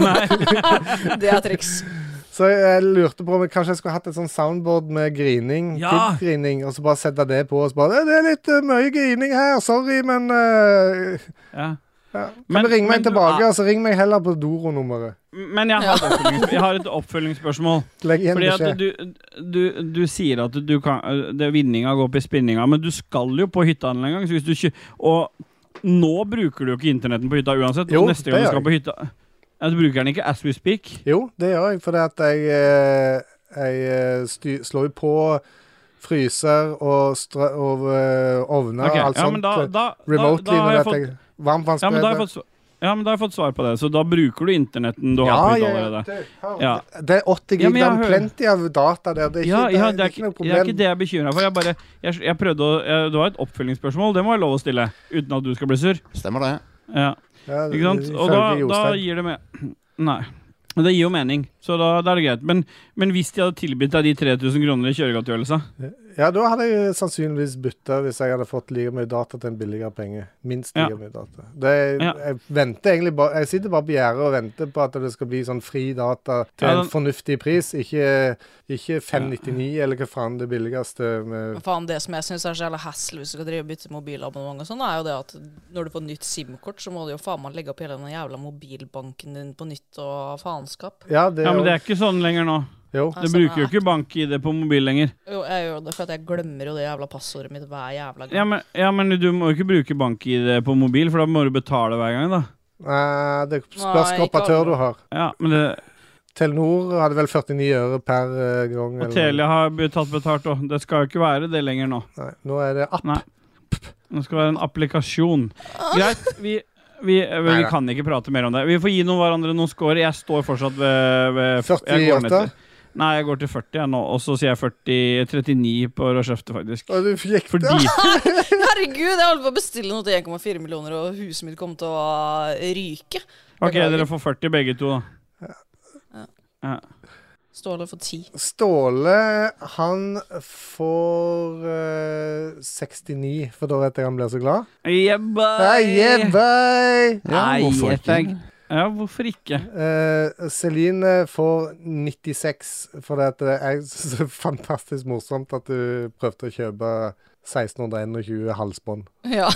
S1: Nei,
S3: Det er triks.
S2: Så jeg lurte på om jeg kanskje jeg skulle hatt et sånn soundboard med grining,
S1: Ja!
S2: kid-grining, og så bare sette det på og så bare Det er litt eh, mye grining her, sorry, men eh,
S1: ja.
S2: Ja. Kan
S1: Men-
S2: du ringe meg
S1: men du ah.
S2: tilbake,
S1: er-
S2: altså ring meg heller på Doro-nummeret.
S1: Men jeg har, et oppfølgings- jeg har et oppfølgingsspørsmål.
S2: Legg igjen
S1: Fordi at
S2: beskjed.
S1: du, du, du sier at du kan det, Vinninga går opp i spinninga, men du skal jo på hytta en gang. Så hvis du ikke, og nå bruker du jo ikke internetten på hytta uansett.
S2: Jo,
S1: og neste gang du
S2: det gjør
S1: skal på hytta ja, Du bruker den ikke as we speak.
S2: Jo, det gjør jeg, fordi at jeg, eh, jeg eh, sty slår jo på fryser og, strø og eh, ovner
S1: Ok,
S2: og alt
S1: ja, men
S2: sånt.
S1: da, da,
S2: eh,
S1: da, da
S2: remotely
S1: har
S2: når
S1: jeg
S2: at
S1: fått
S2: jeg
S1: ja, men da har jeg
S2: Varmtvannsbereder.
S1: fått, s- ja, men da har jeg fått svar på det. Så da bruker du internetten du har på hytta allerede. Ja.
S2: Det er 80
S1: Ja,
S2: gig,
S1: men
S2: det
S1: jeg
S2: er
S1: hører-
S2: plenty av data der. Det er ikke,
S1: Ja, ja, det, er
S2: noe
S1: ikke, det er
S2: problem.
S1: ikke det jeg er bekymra for. Jeg bare, jeg, jeg prøvde å, jeg, det var et oppfølgingsspørsmål, det må jeg love å stille. Uten at du skal bli sur.
S4: Stemmer det?
S1: Ja.
S2: Ja,
S1: Ikke sant? Og da,
S2: ifølge
S1: da
S2: Jostein.
S1: gir det med Nei. Men Det gir jo mening, så da, da er det greit. Men, men hvis de hadde tilbudt deg de 3000 kroner i kjøregodtgjørelse
S2: Ja, da hadde jeg sannsynligvis bytta hvis jeg hadde fått like mye data til en billigere penge. Minst like
S1: Ja.
S2: mye data. Det,
S1: Ja.
S2: jeg venter egentlig bare Jeg sitter bare på gjerdet og venter på at det skal bli sånn fri data til
S1: Ja, den-
S2: en fornuftig pris, ikke, ikke 599 eller hva faen det billigste med
S3: Men faen, Det som jeg syns er så jævla hassle hvis du skal drive og bytte mobilabonnement, og sånn, er jo det at når du får nytt SIM-kort, så må du jo faen meg legge opp hele den jævla mobilbanken din på nytt og faenskap. Altså,
S2: Ja, det,
S1: Ja, men det
S2: er
S1: er ikke sånn lenger nå.
S2: jo.
S1: Du bruker jo ikke bank-ID på mobil lenger.
S3: Jo, jeg gjør det for at jeg glemmer jo det jævla passordet mitt hver jævla gang.
S1: Ja, men, ja, men du må jo ikke bruke bank-ID på mobil, for da må du betale hver gang, da.
S2: Nei, Eh, det spørs
S3: Nei,
S2: hvilken
S3: ikke alle.
S2: operatør du har.
S1: Ja, men det,
S2: Telenor hadde vel 49 øre per eh, gang.
S1: og
S2: eller-
S1: Telia har be- tatt betalt òg. Det skal jo ikke være det lenger nå.
S2: Nei, nå er det app.
S1: Nei. Det skal være en applikasjon.
S3: Ah,
S1: Greit, vi, vi, vi,
S2: Neida.
S1: kan ikke prate mer om det. Vi får gi noen hverandre noen score. Jeg står fortsatt ved, ved jeg går ned
S2: 48?
S1: til- Nei, jeg går til 40 jeg nå, og så sier jeg 40, 39 på Rashefte, faktisk.
S2: Og du gikk
S1: Fordi
S3: Ah! Herregud, jeg holdt på å bestille noe til 1,4 millioner, og huset mitt kom til å ryke.
S1: OK, dere får 40 begge to, da.
S3: Ståle for 10.
S2: Ståle, han får eh, 69, for da vet jeg han blir så glad.
S1: Yeah,
S2: Hei, yeah, bye!
S1: Nei,
S4: hvorfor
S1: jeg
S4: ikke?
S1: tenk- Ja, hvorfor ikke?
S2: Eh, Celine får 96, for det, at det er så fantastisk morsomt at du prøvde å kjøpe 1621 halsbånd.
S3: Ja.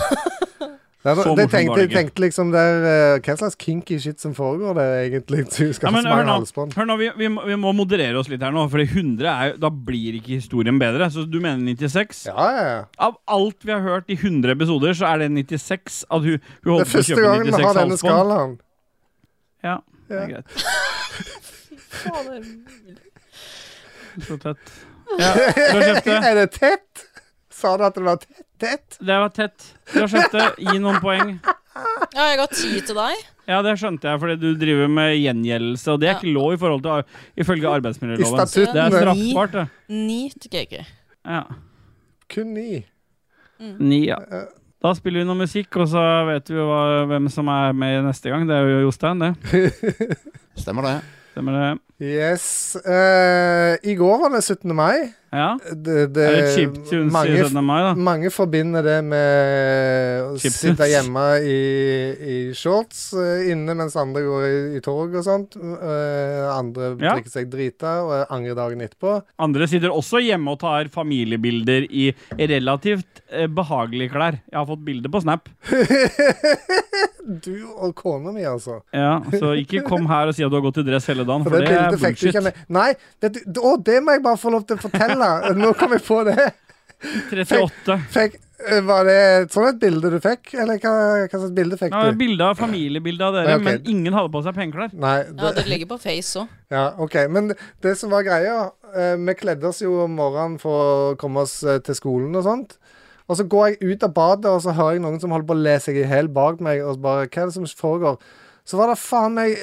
S2: Det,
S1: Så
S2: er- det
S1: morsomt var
S2: tenkte,
S1: det
S2: jeg
S1: ikke.
S2: tenkte liksom der, eh, Hva slags kinky shit som foregår der, egentlig? Du skal
S1: Ja,
S2: ha
S1: men
S2: så mange
S1: hør nå.
S2: halsbånd.
S1: Hør nå, vi, vi, må- vi må moderere oss litt her nå, for 100 er jo Da blir ikke historien bedre. Så du mener 96?
S2: Ja, ja, ja.
S1: Av alt vi har hørt i 100 episoder, så er det 96 at hun, hun
S2: Det er
S1: holder på å
S2: første
S1: kjøpe
S2: gangen vi
S1: 96
S2: har denne
S1: halsbånd.
S2: skalaen.
S1: Ja, det
S2: Ja.
S1: er greit.
S3: Fader.
S1: Så tett. Ja, Rashefte.
S2: er det tett? Sa du at det var tett? tett?
S1: Det var tett. Rashefte, gi noen poeng.
S3: Ja, jeg ga 10 til deg.
S1: Ja, det skjønte jeg, fordi du driver med gjengjeldelse, og det er ikke lov i forhold til, ifølge
S2: I
S1: arbeidsmiljøloven.
S2: statutten
S1: Det er
S2: er
S3: straff.
S1: straffbart, det.
S3: 9 til KK. Mm.
S1: Ja.
S2: kun ni.
S1: Ni, ja. Da spiller vi noe musikk, og så vet vi jo hva, hvem som er med neste gang. Det er jo Jostein, det.
S4: Stemmer det?
S1: Stemmer det?
S2: Yes. eh, I går var det 17. mai.
S1: Ja?
S2: Det, det,
S1: Er det Chip Tunes i
S2: Eh, mange,
S1: 17. mai, da?
S2: mange forbinder det med å
S1: Chiptunes.
S2: sitte hjemme i, i shorts eh, inne mens andre går i, i tog og sånt. Eh, andre
S1: Ja.
S2: drikker seg drita og angrer dagen etterpå.
S1: Andre sitter også hjemme og tar familiebilder i relativt eh, behagelige klær. Jeg har fått bilde på Snap.
S2: Du og kona mi, altså.
S1: Ja, Så ikke kom her og si at du har gått i dress hele dagen,
S2: For
S1: for
S2: det,
S1: det er
S2: bildet fikk du ikke
S1: bullshit.
S2: med. Nei, det, å, det må jeg bare få lov til å fortelle. Nå kom jeg på det.
S1: 38.
S2: Fikk, eh, var det et sånt et bilde du fikk, eller hva, hva slags bilde fikk
S1: Ja,
S2: du?
S1: bilde av familiebilde av dere,
S2: Ja, ok.
S1: men ingen hadde på seg pengeklær.
S2: Nei,
S3: Ja,
S2: det,
S3: det ligger på Face òg.
S2: ja, OK. Men det som var greia eh, Vi kledde oss jo om morgenen for å komme oss eh, til skolen og sånt. Og så går jeg ut av badet, og så hører jeg noen som holder på å le seg i hjel bak meg, og så bare Hva er det som foregår? Så var det faen meg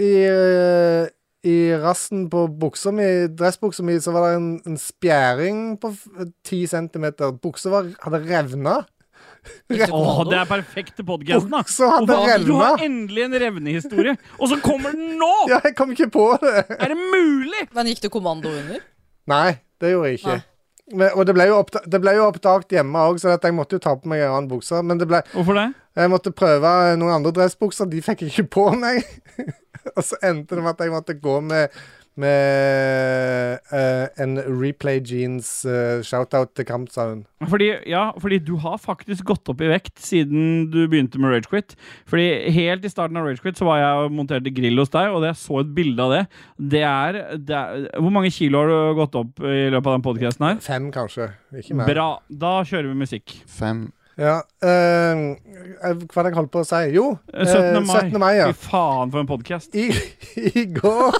S2: i, eh, i rassen på buksa mi, dressbuksa mi, så var det en, en spjæring på f- 10 centimeter. Buksa var, hadde revna.
S1: Åh, det er perfekt til podcasten, da.
S2: Buksa hadde
S1: Åh, faen, Du har
S2: revna.
S1: endelig en revnehistorie, og så kommer den nå!
S2: Ja, jeg kom ikke på det.
S1: Er det mulig?!
S3: Men gikk det kommando under?
S2: Nei, det gjorde jeg ikke. Men, og det ble jo, oppda det ble jo oppdaget hjemme òg, så at jeg måtte jo ta på meg en annen bukse. Men det ble,
S1: Hvorfor det?
S2: jeg måtte prøve noen andre dressbukser, de fikk jeg ikke på meg. og så endte det med at jeg måtte gå med, med eh, en Replay Jeans eh, shoutout til Kampsauen.
S1: Fordi, ja, fordi du har faktisk gått opp i vekt siden du begynte med Ragequit. Fordi helt i starten av Ragequit så var jeg og monterte grill hos deg, og da jeg så et bilde av det Det er, det er Hvor mange kilo har du gått opp i løpet av den podkasten her?
S2: Fem, kanskje. Ikke mer.
S1: Bra. Da kjører vi musikk.
S4: Fem.
S2: Ja, eh, hva var det jeg holdt på å si? Jo, eh,
S1: 17. mai.
S2: 17. mai ja.
S1: Fy faen, for en podkast.
S2: I, I går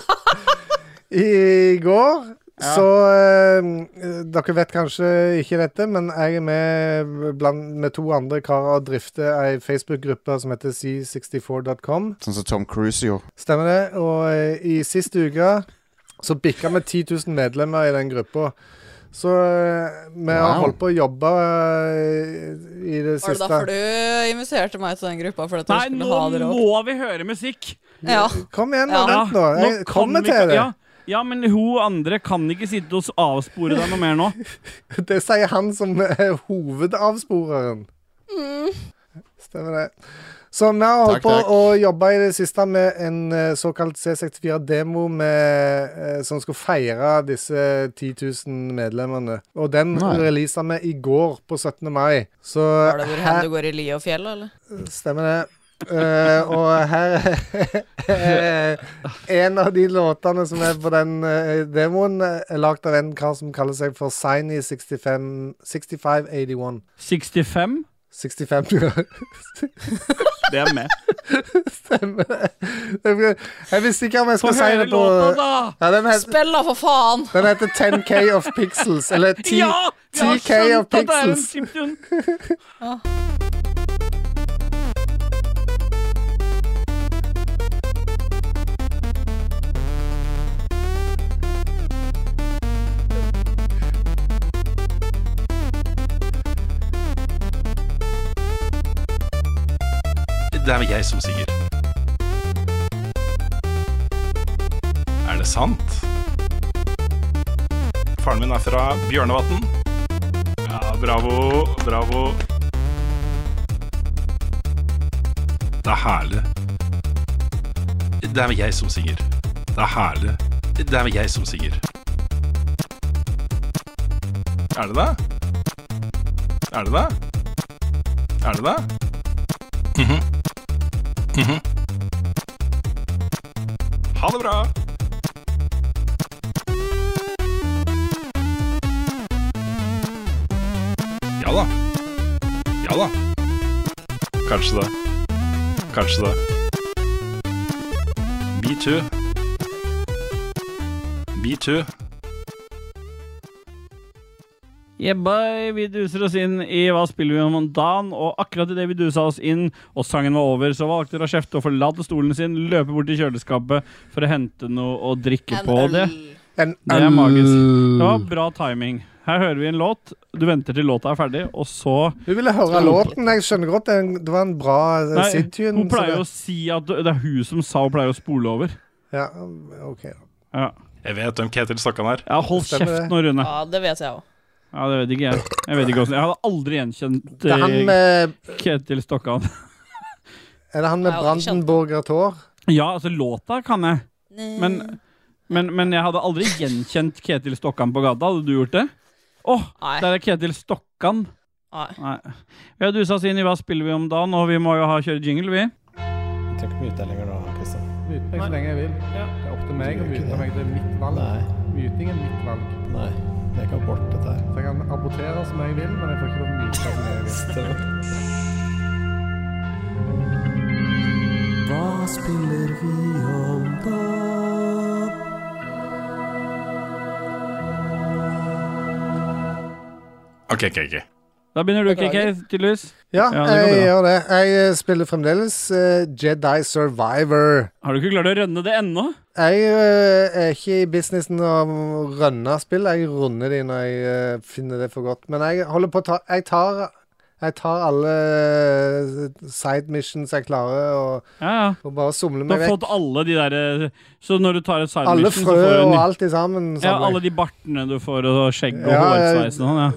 S2: I går
S1: Ja.
S2: så eh, Dere vet kanskje ikke dette, men jeg er med blant, med to andre karer og drifter ei Facebook-gruppe som heter c64.com.
S4: Sånn som Tom Cruise gjorde.
S2: Stemmer det. Og eh, i sist uke så bikka vi 10 000 medlemmer i den gruppa. Så eh, vi har
S4: Wow.
S2: holdt på å jobbe eh, i det
S3: Var det
S2: siste.
S3: derfor du inviterte meg til den gruppa? For at
S1: Nei,
S3: jeg
S1: nå
S3: skulle ha dere opp?
S1: må vi høre musikk!
S3: Ja.
S2: Kom igjen, nå,
S3: Ja.
S2: vent nå.
S1: Nå
S2: Jeg
S1: kan
S2: kommer
S1: vi
S2: til
S1: ikke-
S2: det.
S1: Ja, ja, men hun andre kan ikke sitte og avspore deg noe mer nå.
S2: Det sier han som er hovedavsporeren. Stemmer det. Så vi har holdt
S4: Takk,
S2: på
S4: takk.
S2: å jobbe i det siste med en eh, såkalt C64-demo eh, som skal feire disse 10 000 medlemmene. Og den
S4: Nei.
S2: releasa vi i går, på 17. mai. Så eh,
S3: Var det hvor hen
S2: her
S3: du går i li og fjell, eller?
S2: Stemmer det. Eh, og her er eh, en av de låtene som er på den eh, demoen, eh, er lagd av en kar som kaller seg for Signy 65 6581.
S1: 65?
S2: 65 ja.
S1: Det er med.
S2: Stemmer det. Jeg- Jeg visste ikke om jeg
S1: Få
S2: skulle si
S1: høre
S2: det på
S1: låta, da!
S2: ja, den, het,
S3: Spill da, for faen!
S2: den heter 10K of Pixels, eller 10
S1: Ja! Jeg har
S2: 10K av
S1: skjønt at det er en
S2: pixels.
S1: chiptune.
S6: Det er jeg som sier. Er det sant? Faren min er fra Bjørnevatn. Ja, bravo, bravo. Det er herlig. Det er jeg som synger. Det er herlig. Det er jeg som synger. Er det det? Er det det? Er det det? Mhm. Mhm. Ha det bra! Ja da. Ja da. Kanskje det. Kanskje det. Me too. Me too.
S1: Yeah, boy, vi duser oss inn i Hva spiller vi om dagen? Og akkurat idet vi dusa oss inn og sangen var over, så valgte Rashefte å forlate stolen sin, løpe bort til kjøleskapet for å hente noe å drikke på. Det
S2: En
S1: Det er magisk. Det var bra timing. Her hører vi en låt. Du venter til låta er ferdig, og så
S2: Du ville høre låten. Jeg skjønner godt det. er en- Det var en bra eh,
S1: Nei,
S2: SID-tune.
S1: Hun
S2: så
S1: pleier
S2: det-
S1: å si at det er hun som sa hun pleier å spole over.
S2: Ja, OK.
S1: Ja,
S6: Jeg vet hvem Ketil Stokkan er.
S1: ja hold
S2: Stemmer
S1: kjeft
S2: det.
S1: nå, Rune.
S3: Ja, det vet jeg òg.
S1: Ja, det vet ikke jeg. Jeg vet ikke hvordan. Jeg hadde aldri gjenkjent
S2: Det er han
S1: eh,
S2: med
S1: Ketil Stokkan.
S2: Er det han med
S3: Nei, jeg hadde ikke skjønt.
S2: Brandenburger tår?
S1: Ja, altså, låta kan jeg. Men, men, men jeg hadde aldri gjenkjent Ketil Stokkan på gata. Hadde du gjort det? Åh,
S3: Nei.
S1: der er Ketil Stokkan.
S3: Nei.
S1: Nei. Vi har dusa oss inn i Hva spiller vi om dagen, og vi må jo ha kjøre jingle, vi.
S5: Jeg trenger ikke mute deg lenger nå, Kristian.
S2: Myte meg så lenge jeg vil. Det er opp til meg å myte meg. Det er mitt valg.
S5: Nei,
S2: Myting er mitt valg.
S5: nei. Jeg kan borte dette her.
S2: Så jeg kan abortere som jeg vil, men jeg får ikke lov å myte som jeg vil.
S7: Hva spiller vi om da?
S6: Ok, ok, ok.
S1: Da begynner du,
S3: Beklager.
S1: KK, tydeligvis.
S2: Ja,
S1: Ja, det går
S2: jeg
S1: bra.
S2: gjør det. Jeg eh, spiller fremdeles eh, Jedi Survivor.
S1: Har du ikke klart å rønne det ennå?
S2: Jeg eh, er ikke i businessen av å rønne spill. Jeg runder de når jeg eh, finner det for godt. Men jeg holder på å ta Jeg tar, jeg tar alle eh, side missions jeg klarer, og,
S1: Ja, ja.
S2: og bare somler
S1: Du
S2: meg
S1: har
S2: vekk.
S1: fått alle de derre Så når du tar et side
S2: Alle
S1: mission,
S2: frø
S1: så får du en
S2: og
S1: ny-
S2: alt i sammen.
S1: Ja,
S2: samler jeg.
S1: alle de bartene du får, og skjegg og
S2: Ja,
S1: hårsveis og sånn. Ja.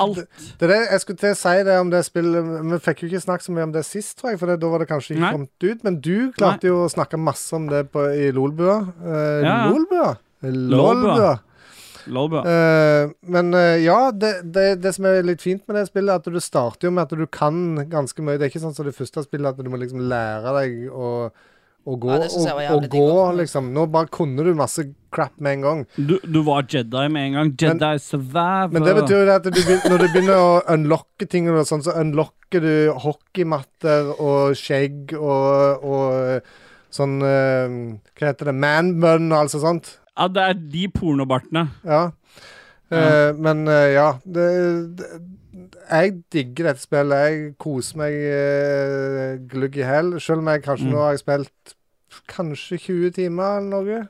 S1: Alt.
S2: Det er det, jeg skulle til å si det om det spillet Vi fikk jo ikke snakket så mye om det sist, tror jeg, for det, da var det kanskje ikke
S1: Nei.
S2: kommet ut. Men du klarte jo å snakke masse om det på, i Lolbua.
S1: Ja,
S2: Eh,
S1: ja.
S2: Lolbua? Lolbua.
S1: Lolbua.
S2: Eh, men eh, ja, det, det, det som er litt fint med det spillet, er at du starter jo med at du kan ganske mye. Det er ikke sånn som det første spillet, at du må liksom lære deg å, å gå.
S3: Ja, det synes jeg var
S2: og, og
S3: jævlig digg
S2: gå,
S3: også.
S2: liksom. Nå bare kunne du masse crap med en gang.
S1: Du, du var Jedi med en gang. Jedi svæver.
S2: Men det betyr jo det at du, begyn- når du begynner å unlocke ting, og sånn, så unlocker du hockeymatter og skjegg og, og sånn eh, Hva heter det? Manbun og alt sånt. sånt.
S1: Ja, det er de pornobartene.
S2: Ja.
S1: Ja.
S2: Eh, men eh, ja det, det, Jeg digger dette spillet. Jeg koser meg eh, glugg i hæl. Selv om jeg kanskje
S1: Mm.
S2: nå har jeg spilt kanskje 20 timer eller noe.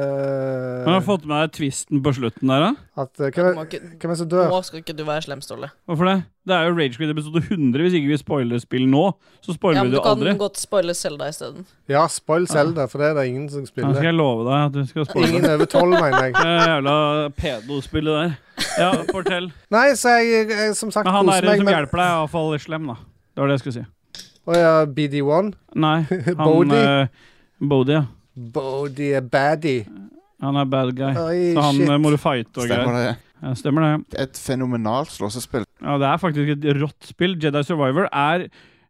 S2: Eh,
S1: Men har du fått med deg tvisten på slutten der, da?
S2: at, eh, hvem,
S3: Må
S2: er,
S3: ikke,
S2: hvem er det som dør?
S3: nå skal ikke du være slem, Ståle.
S1: Hvorfor det? Det er jo Ragequid episode 100. Hvis ikke vi spoiler spill nå, så spoiler
S3: Ja,
S1: vi
S3: men du
S1: det
S3: kan
S1: aldri.
S3: godt spoile Selda isteden.
S2: Ja, spoil Zelda, for det er det ingen som
S1: Ja, skal
S2: spiller.
S1: jeg love deg at du skal spoile.
S2: Ingen over tolv, mener jeg.
S1: Det jævla pedospillet der. Ja, fortell.
S2: Nei, så jeg, jeg som sagt
S1: Men han
S2: koser
S1: er
S2: meg
S1: som
S2: med
S1: hjelper deg, er iallfall slem, da. Det var det jeg skulle si.
S2: Å ja, BD1.
S1: Nei, han
S2: Bodhi.
S1: eh, Bodhi, ja.
S2: Bodie er baddie.
S1: Han er bad guy.
S2: Oi,
S1: Så han
S2: shit.
S1: eh, må du fighte og
S4: Stemmer
S1: greier.
S4: det?
S1: Ja, stemmer det.
S4: Et fenomenalt slåssespill.
S1: Ja, det er faktisk et rått spill. Jedi Survivor er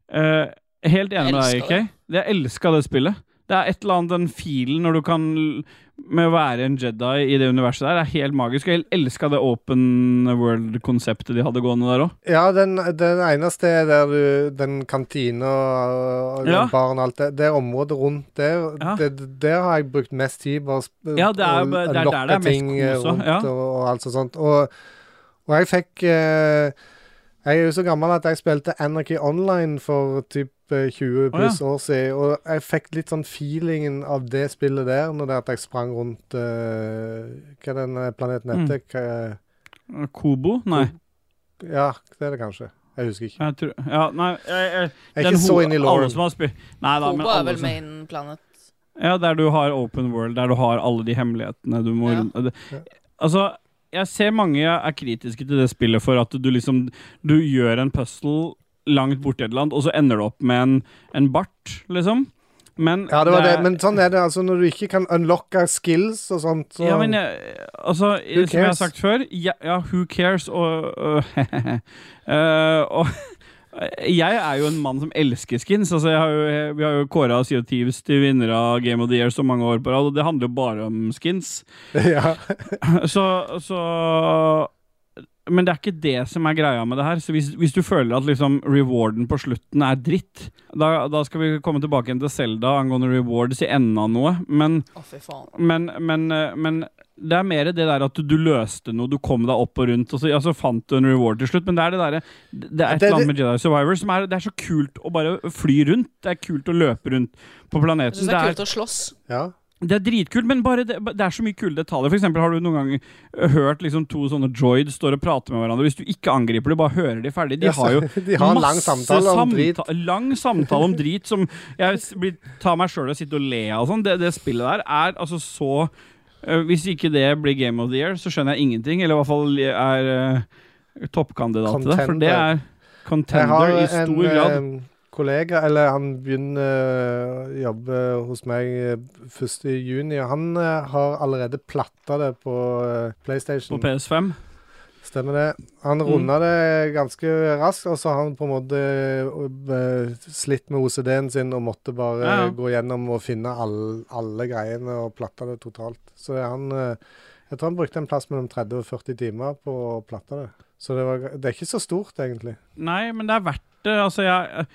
S1: eh, Helt enig med deg,
S3: Elsker det.
S1: IK. Jeg elska det spillet. Det er et eller annet den filen når du kan l- med å være en Jedi i det universet der, er helt magisk. Jeg elska det open world-konseptet de hadde gående der òg.
S2: Ja, den, den eneste er der du Den kantina og, og
S1: Ja.
S2: den baren og alt det. Det området rundt der,
S1: Ja.
S2: det, der har jeg brukt mest tid på å sp-
S1: Ja, det er jo
S2: å
S1: bare- det er der
S2: lokke
S1: det er mest
S2: ting eh,
S1: kos også,
S2: rundt
S1: ja.
S2: og, og alt sånt. sånt. Og, og jeg fikk eh, Jeg er jo så gammel at jeg spilte Anarchy Online for typ eh, 20 pluss år siden, og jeg fikk litt sånn feelingen av det spillet der, når det er at jeg sprang rundt eh, Hva er den eh, planeten
S1: Mm.
S2: heter? Hva-
S1: Kobo? Nei.
S2: Ja, det er det kanskje. Jeg husker ikke.
S1: Jeg tror, ja, nei jeg, jeg,
S2: Jeg er
S1: den
S2: ikke så
S1: ho-
S2: inne i
S1: Alle
S2: lauren.
S1: som har spilt Nei da, men
S3: Kobo er
S1: alle
S3: vel
S1: som,
S3: main planet.
S1: Ja, der du har open world, der du har alle de hemmelighetene du må
S3: Ja.
S1: rundt- det- Altså, jeg ser mange er kritiske til det spillet for at du liksom Du gjør en puzzle langt borti et eller annet, og så ender du opp med en, en bart, liksom. Men
S2: Ja, det var det.
S1: er-
S2: Men sånn er det altså når du ikke kan unlocke skills og sånt. Så,
S1: ja, men jeg, altså,
S2: Who
S1: som jeg har
S2: cares?
S1: sagt før Ja, ja who cares? Og, og, Eh, og jeg er jo en mann som elsker skins. Altså, jeg har jo, jeg, vi har jo kåra Sea of Thieves til vinnere av Game of the Year så mange år på rad, og det handler jo bare om skins.
S2: ja.
S1: Så, så Men det er ikke det som er greia med det her. Så hvis, hvis du føler at liksom rewarden på slutten er dritt, da, da skal vi komme tilbake igjen til Selda angående rewards i enden av noe, men
S3: Å, fy faen.
S1: men, men, eh, men det er mer det der at du, du løste noe, du kom deg opp og rundt, og så, ja, så fant du en reward til slutt. Men det er det derre Det er et
S2: Det-
S1: eller annet med Jedi Survivor som er Det er så kult å bare fly rundt. Det er kult å løpe rundt på
S3: Jeg
S1: planeten.
S3: syns det er kult å slåss.
S2: ja.
S1: Det er dritkult, men bare det, det er så mye kule detaljer. For eksempel, har du noen gang eh, hørt liksom to sånne droids står og prater med hverandre? Hvis du ikke angriper, du bare hører de ferdig. De har jo
S2: De har en lang
S1: masse
S2: samtale om drit.
S1: samta- Lang samtale om drit som jeg s- blir, tar meg sjøl og sitter og ler av. og Sånn. Det, det spillet der er altså så øh, Hvis ikke det blir Game of the Year, så skjønner jeg ingenting. Eller i hvert fall er øh, toppkandidat til det. For det er
S2: Jeg har
S1: contender i
S2: en
S1: stor grad.
S2: eh, kollega, eller han begynner å jobbe hos meg eh, 1. juni, og han eh, har allerede platta det på eh,
S1: På
S2: PlayStation.
S1: PS5.
S2: Stemmer det. Han
S1: Mm.
S2: runda det ganske raskt, og så har han på en måte eh, slitt med OCD-en sin og måtte bare
S1: Ja, ja.
S2: gå gjennom og finne all, alle greiene og platta det totalt. Så han eh, Jeg tror han brukte en plass mellom 30 og 40 timer på å platte det. Så det, var, det er ikke så stort, egentlig.
S1: Nei, men det er verdt det. Altså, jeg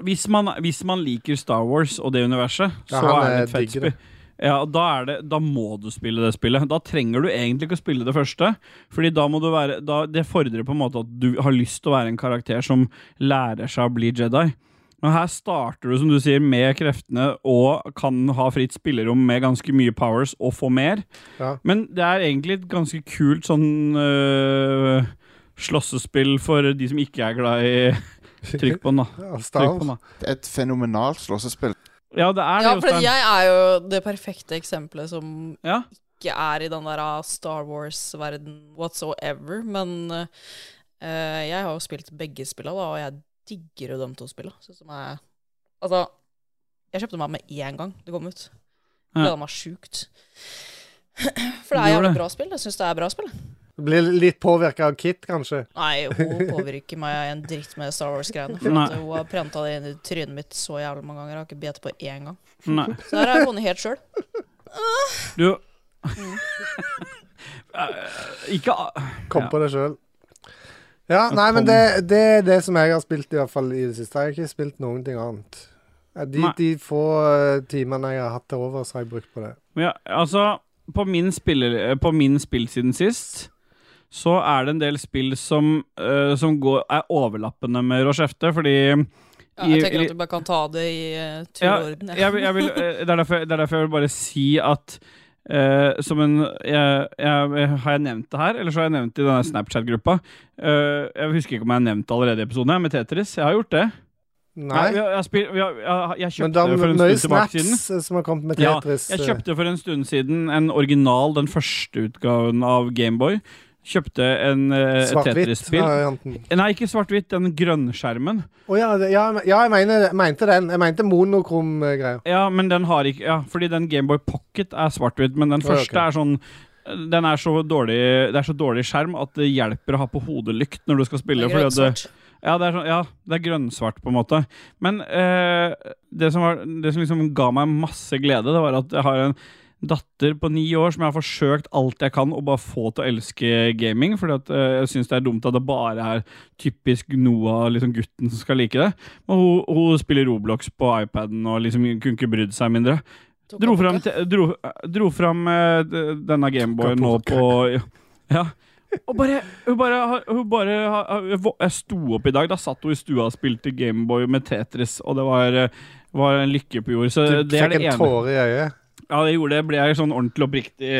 S1: hvis man, hvis man liker Star Wars og det universet, så
S2: Ja, han
S1: er det et
S2: er
S1: fett
S2: digger det.
S1: spill. Ja, og da, er det, da må du spille det spillet. Da trenger du egentlig ikke å spille det første. Fordi da må du være da, Det fordrer på en måte at du har lyst til å være en karakter som lærer seg å bli Jedi. Men her starter du, som du sier, med kreftene og kan ha fritt spillerom med ganske mye powers og få mer.
S2: Ja.
S1: Men det er egentlig et ganske kult sånn øh, slåssespill for de som ikke er glad i Trykk på den, da.
S2: Ja, Star
S1: Trykk på
S2: Wars.
S1: den, da.
S4: Et fenomenalt slåssespill.
S1: Ja, det er det,
S3: Ja, for
S1: Jostein.
S3: jeg er jo det perfekte eksempelet som
S1: Ja.
S3: ikke er i den der ah, Star Wars-verden whatsoever, men eh, eh, jeg har jo spilt begge spilla, da, og jeg digger jo de to spilla. Synes de er Altså, jeg kjøpte meg med én gang det kom ut.
S1: Ja.
S3: Gleda meg sjukt. For det er
S1: Gjør
S3: jævlig
S1: det.
S3: bra spill. Jeg syns det er bra spill.
S2: Du Blir litt påvirka av Kit, kanskje.
S3: Nei, hun påvirker meg en dritt med Star Wars-greiene. For
S1: Nei.
S3: at hun har prenta det inn i trynet mitt så jævlig mange ganger. Jeg har ikke bitt på én gang.
S1: Nei.
S3: Så her har jeg funnet helt sjøl.
S1: Du Eh, Ikke a-
S2: Kom
S1: Ja.
S2: på det sjøl. Ja, nei, men det, det er det som jeg har spilt i hvert fall i det siste. Jeg har ikke spilt noen ting annet. Eh, De,
S1: Nei.
S2: de få eh, timene jeg har hatt til overs, har jeg brukt på det.
S1: Men Ja, altså, på min, spiller, på min spill siden sist, så er det en del spill som, eh, som går, er overlappende med Rochefte, fordi
S3: Ja, jeg
S1: i-
S3: tenker
S1: i-
S3: at du bare kan ta det i uh, tur
S1: ja,
S3: og orden.
S1: jeg, vil- jeg vil, eh, det, er derfor, det er derfor jeg vil bare si at eh, som en jeg, jeg, Har jeg nevnt det her, eller så har jeg nevnt det i denne Snapchat-gruppa? Eh, jeg husker ikke om jeg har nevnt det allerede i episoden, jeg, med Tetris. Jeg har gjort det.
S2: Nei,
S1: Jeg, jeg, spill- jeg, jeg, jeg
S2: men
S1: kjøpte
S2: det
S1: det for
S2: er
S1: en
S2: mye
S1: stund tilbake siden.
S2: snaps eh, som har kommet med
S1: Ja,
S2: Tetris.
S1: Jeg
S2: eh,
S1: kjøpte for en stund siden en original, den første utgaven av Gameboy. Kjøpte en, eh, et
S2: Svart-hvitt.
S1: Tetris-spill.
S2: varianten.
S1: Nei, ikke svart-hvitt, den grønnskjermen.
S2: Å ja, det- ja, men- ja, jeg mener, jeg mente den. Jeg mente monokrom-greia.
S1: Ja, men den har ikke Ja, fordi den Gameboy Pocket er svart-hvitt, men den
S2: Ja,
S1: første
S2: ok.
S1: er sånn den er så dårlig Det er så dårlig skjerm at det hjelper å ha på hodelykt når du skal spille.
S3: Det er
S1: fordi at det,
S3: grønt-svart.
S1: Ja, det er, sånn, ja, det er grønnsvart, på en måte. Men eh, det, som var, det som liksom ga meg masse glede, det var at jeg har en datter på ni år som jeg har forsøkt alt jeg kan å bare få til å elske gaming. Fordi at eh, jeg syns det er dumt at det bare er typisk Noah, liksom gutten, som skal like det. Men hun, hun spiller Roblox på iPaden og liksom kunne ikke brydd seg mindre.
S3: Tok
S1: Dro
S3: opp
S1: fram,
S3: det.
S1: te- dro, dro fram eh, d- denne Gameboyen nå på Ja. Og bare, hun bare, har- hun bare har- hun vå- Jeg sto opp i dag. Da satt hun i stua og spilte Gameboy med Tetris, og det var, eh, var en lykke på jord.
S2: Du
S1: Så Eh, det er
S2: fikk
S1: det
S2: en
S1: ene.
S2: tåre i øyet.
S1: Ja, det gjorde det. Ble jeg sånn ordentlig oppriktig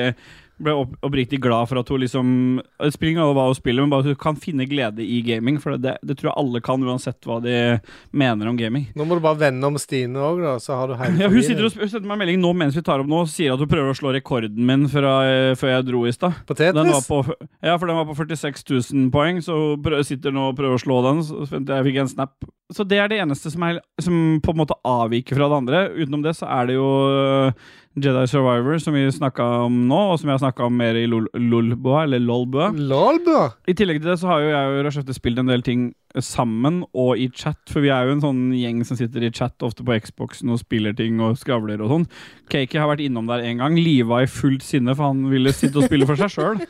S1: ble opp, oppriktig glad for at hun liksom Det spiller ingen rolle hva hun spiller, men bare at hun kan finne glede i gaming. For det, det tror jeg alle kan, uansett hva de mener om gaming.
S2: Nå må du bare vende om Stine òg, da, så har du hele
S1: Ja, hun
S2: familien.
S1: sitter og sp- hun sender meg en melding nå mens vi tar opp nå og sier at hun prøver å slå rekorden min fra, eh, før jeg dro i stad.
S2: På
S1: Den var
S2: Tetris?
S1: på, f- ja, for den var på 46 000 poeng, så hun prø- sitter nå og prøver å slå den. Så fant jeg jeg fikk en snap. Så det er det eneste som, er, som på en måte avviker fra det andre. Utenom det så er det jo eh, Jedi Survivor, som vi snakka om nå, og som jeg har snakka om mer i Lol- Lolbua, eller Lolbua.
S2: Lolbua!
S1: I tillegg til det så har jo jeg og Rashefte spilt en del ting sammen og i chat, for vi er jo en sånn gjeng som sitter i chat ofte på Xboxen og spiller ting og skravler og sånn. Cakey har vært innom der en gang, liva i fullt sinne, for han ville sitte og spille for seg sjøl.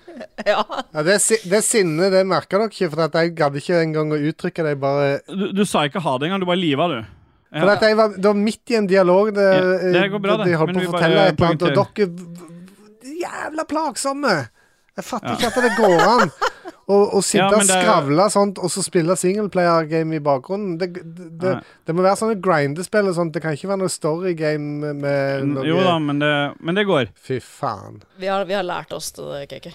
S3: Ja.
S2: Ja, det, si- det sinnet, det merka dere ikke, for at jeg gadd ikke engang å uttrykke det. jeg bare
S1: Du, du sa ikke ha det engang, du bare liva, du. Ja.
S2: For at jeg var, det var midt i en dialog. Det,
S1: Ja, det går bra, det.
S2: De holdt
S1: Men
S2: på
S1: vi
S2: å
S1: bare
S2: fortelle et eller annet, og
S1: poengterer.
S2: dere v- Jævla plagsomme! Jeg fatter
S1: Ja.
S2: ikke at det går an å, å sitte
S1: Ja,
S2: og
S1: men det er-
S2: skravle sånt, og så spille singleplayer-game i bakgrunnen. Det, det, det,
S1: Nei.
S2: det må være sånne grindespill og sånt. Det kan ikke være noe storygame med noe
S1: Mm, Jo da, men det, men det går.
S2: Fy faen.
S3: Vi har, vi har lært oss det, Kiki.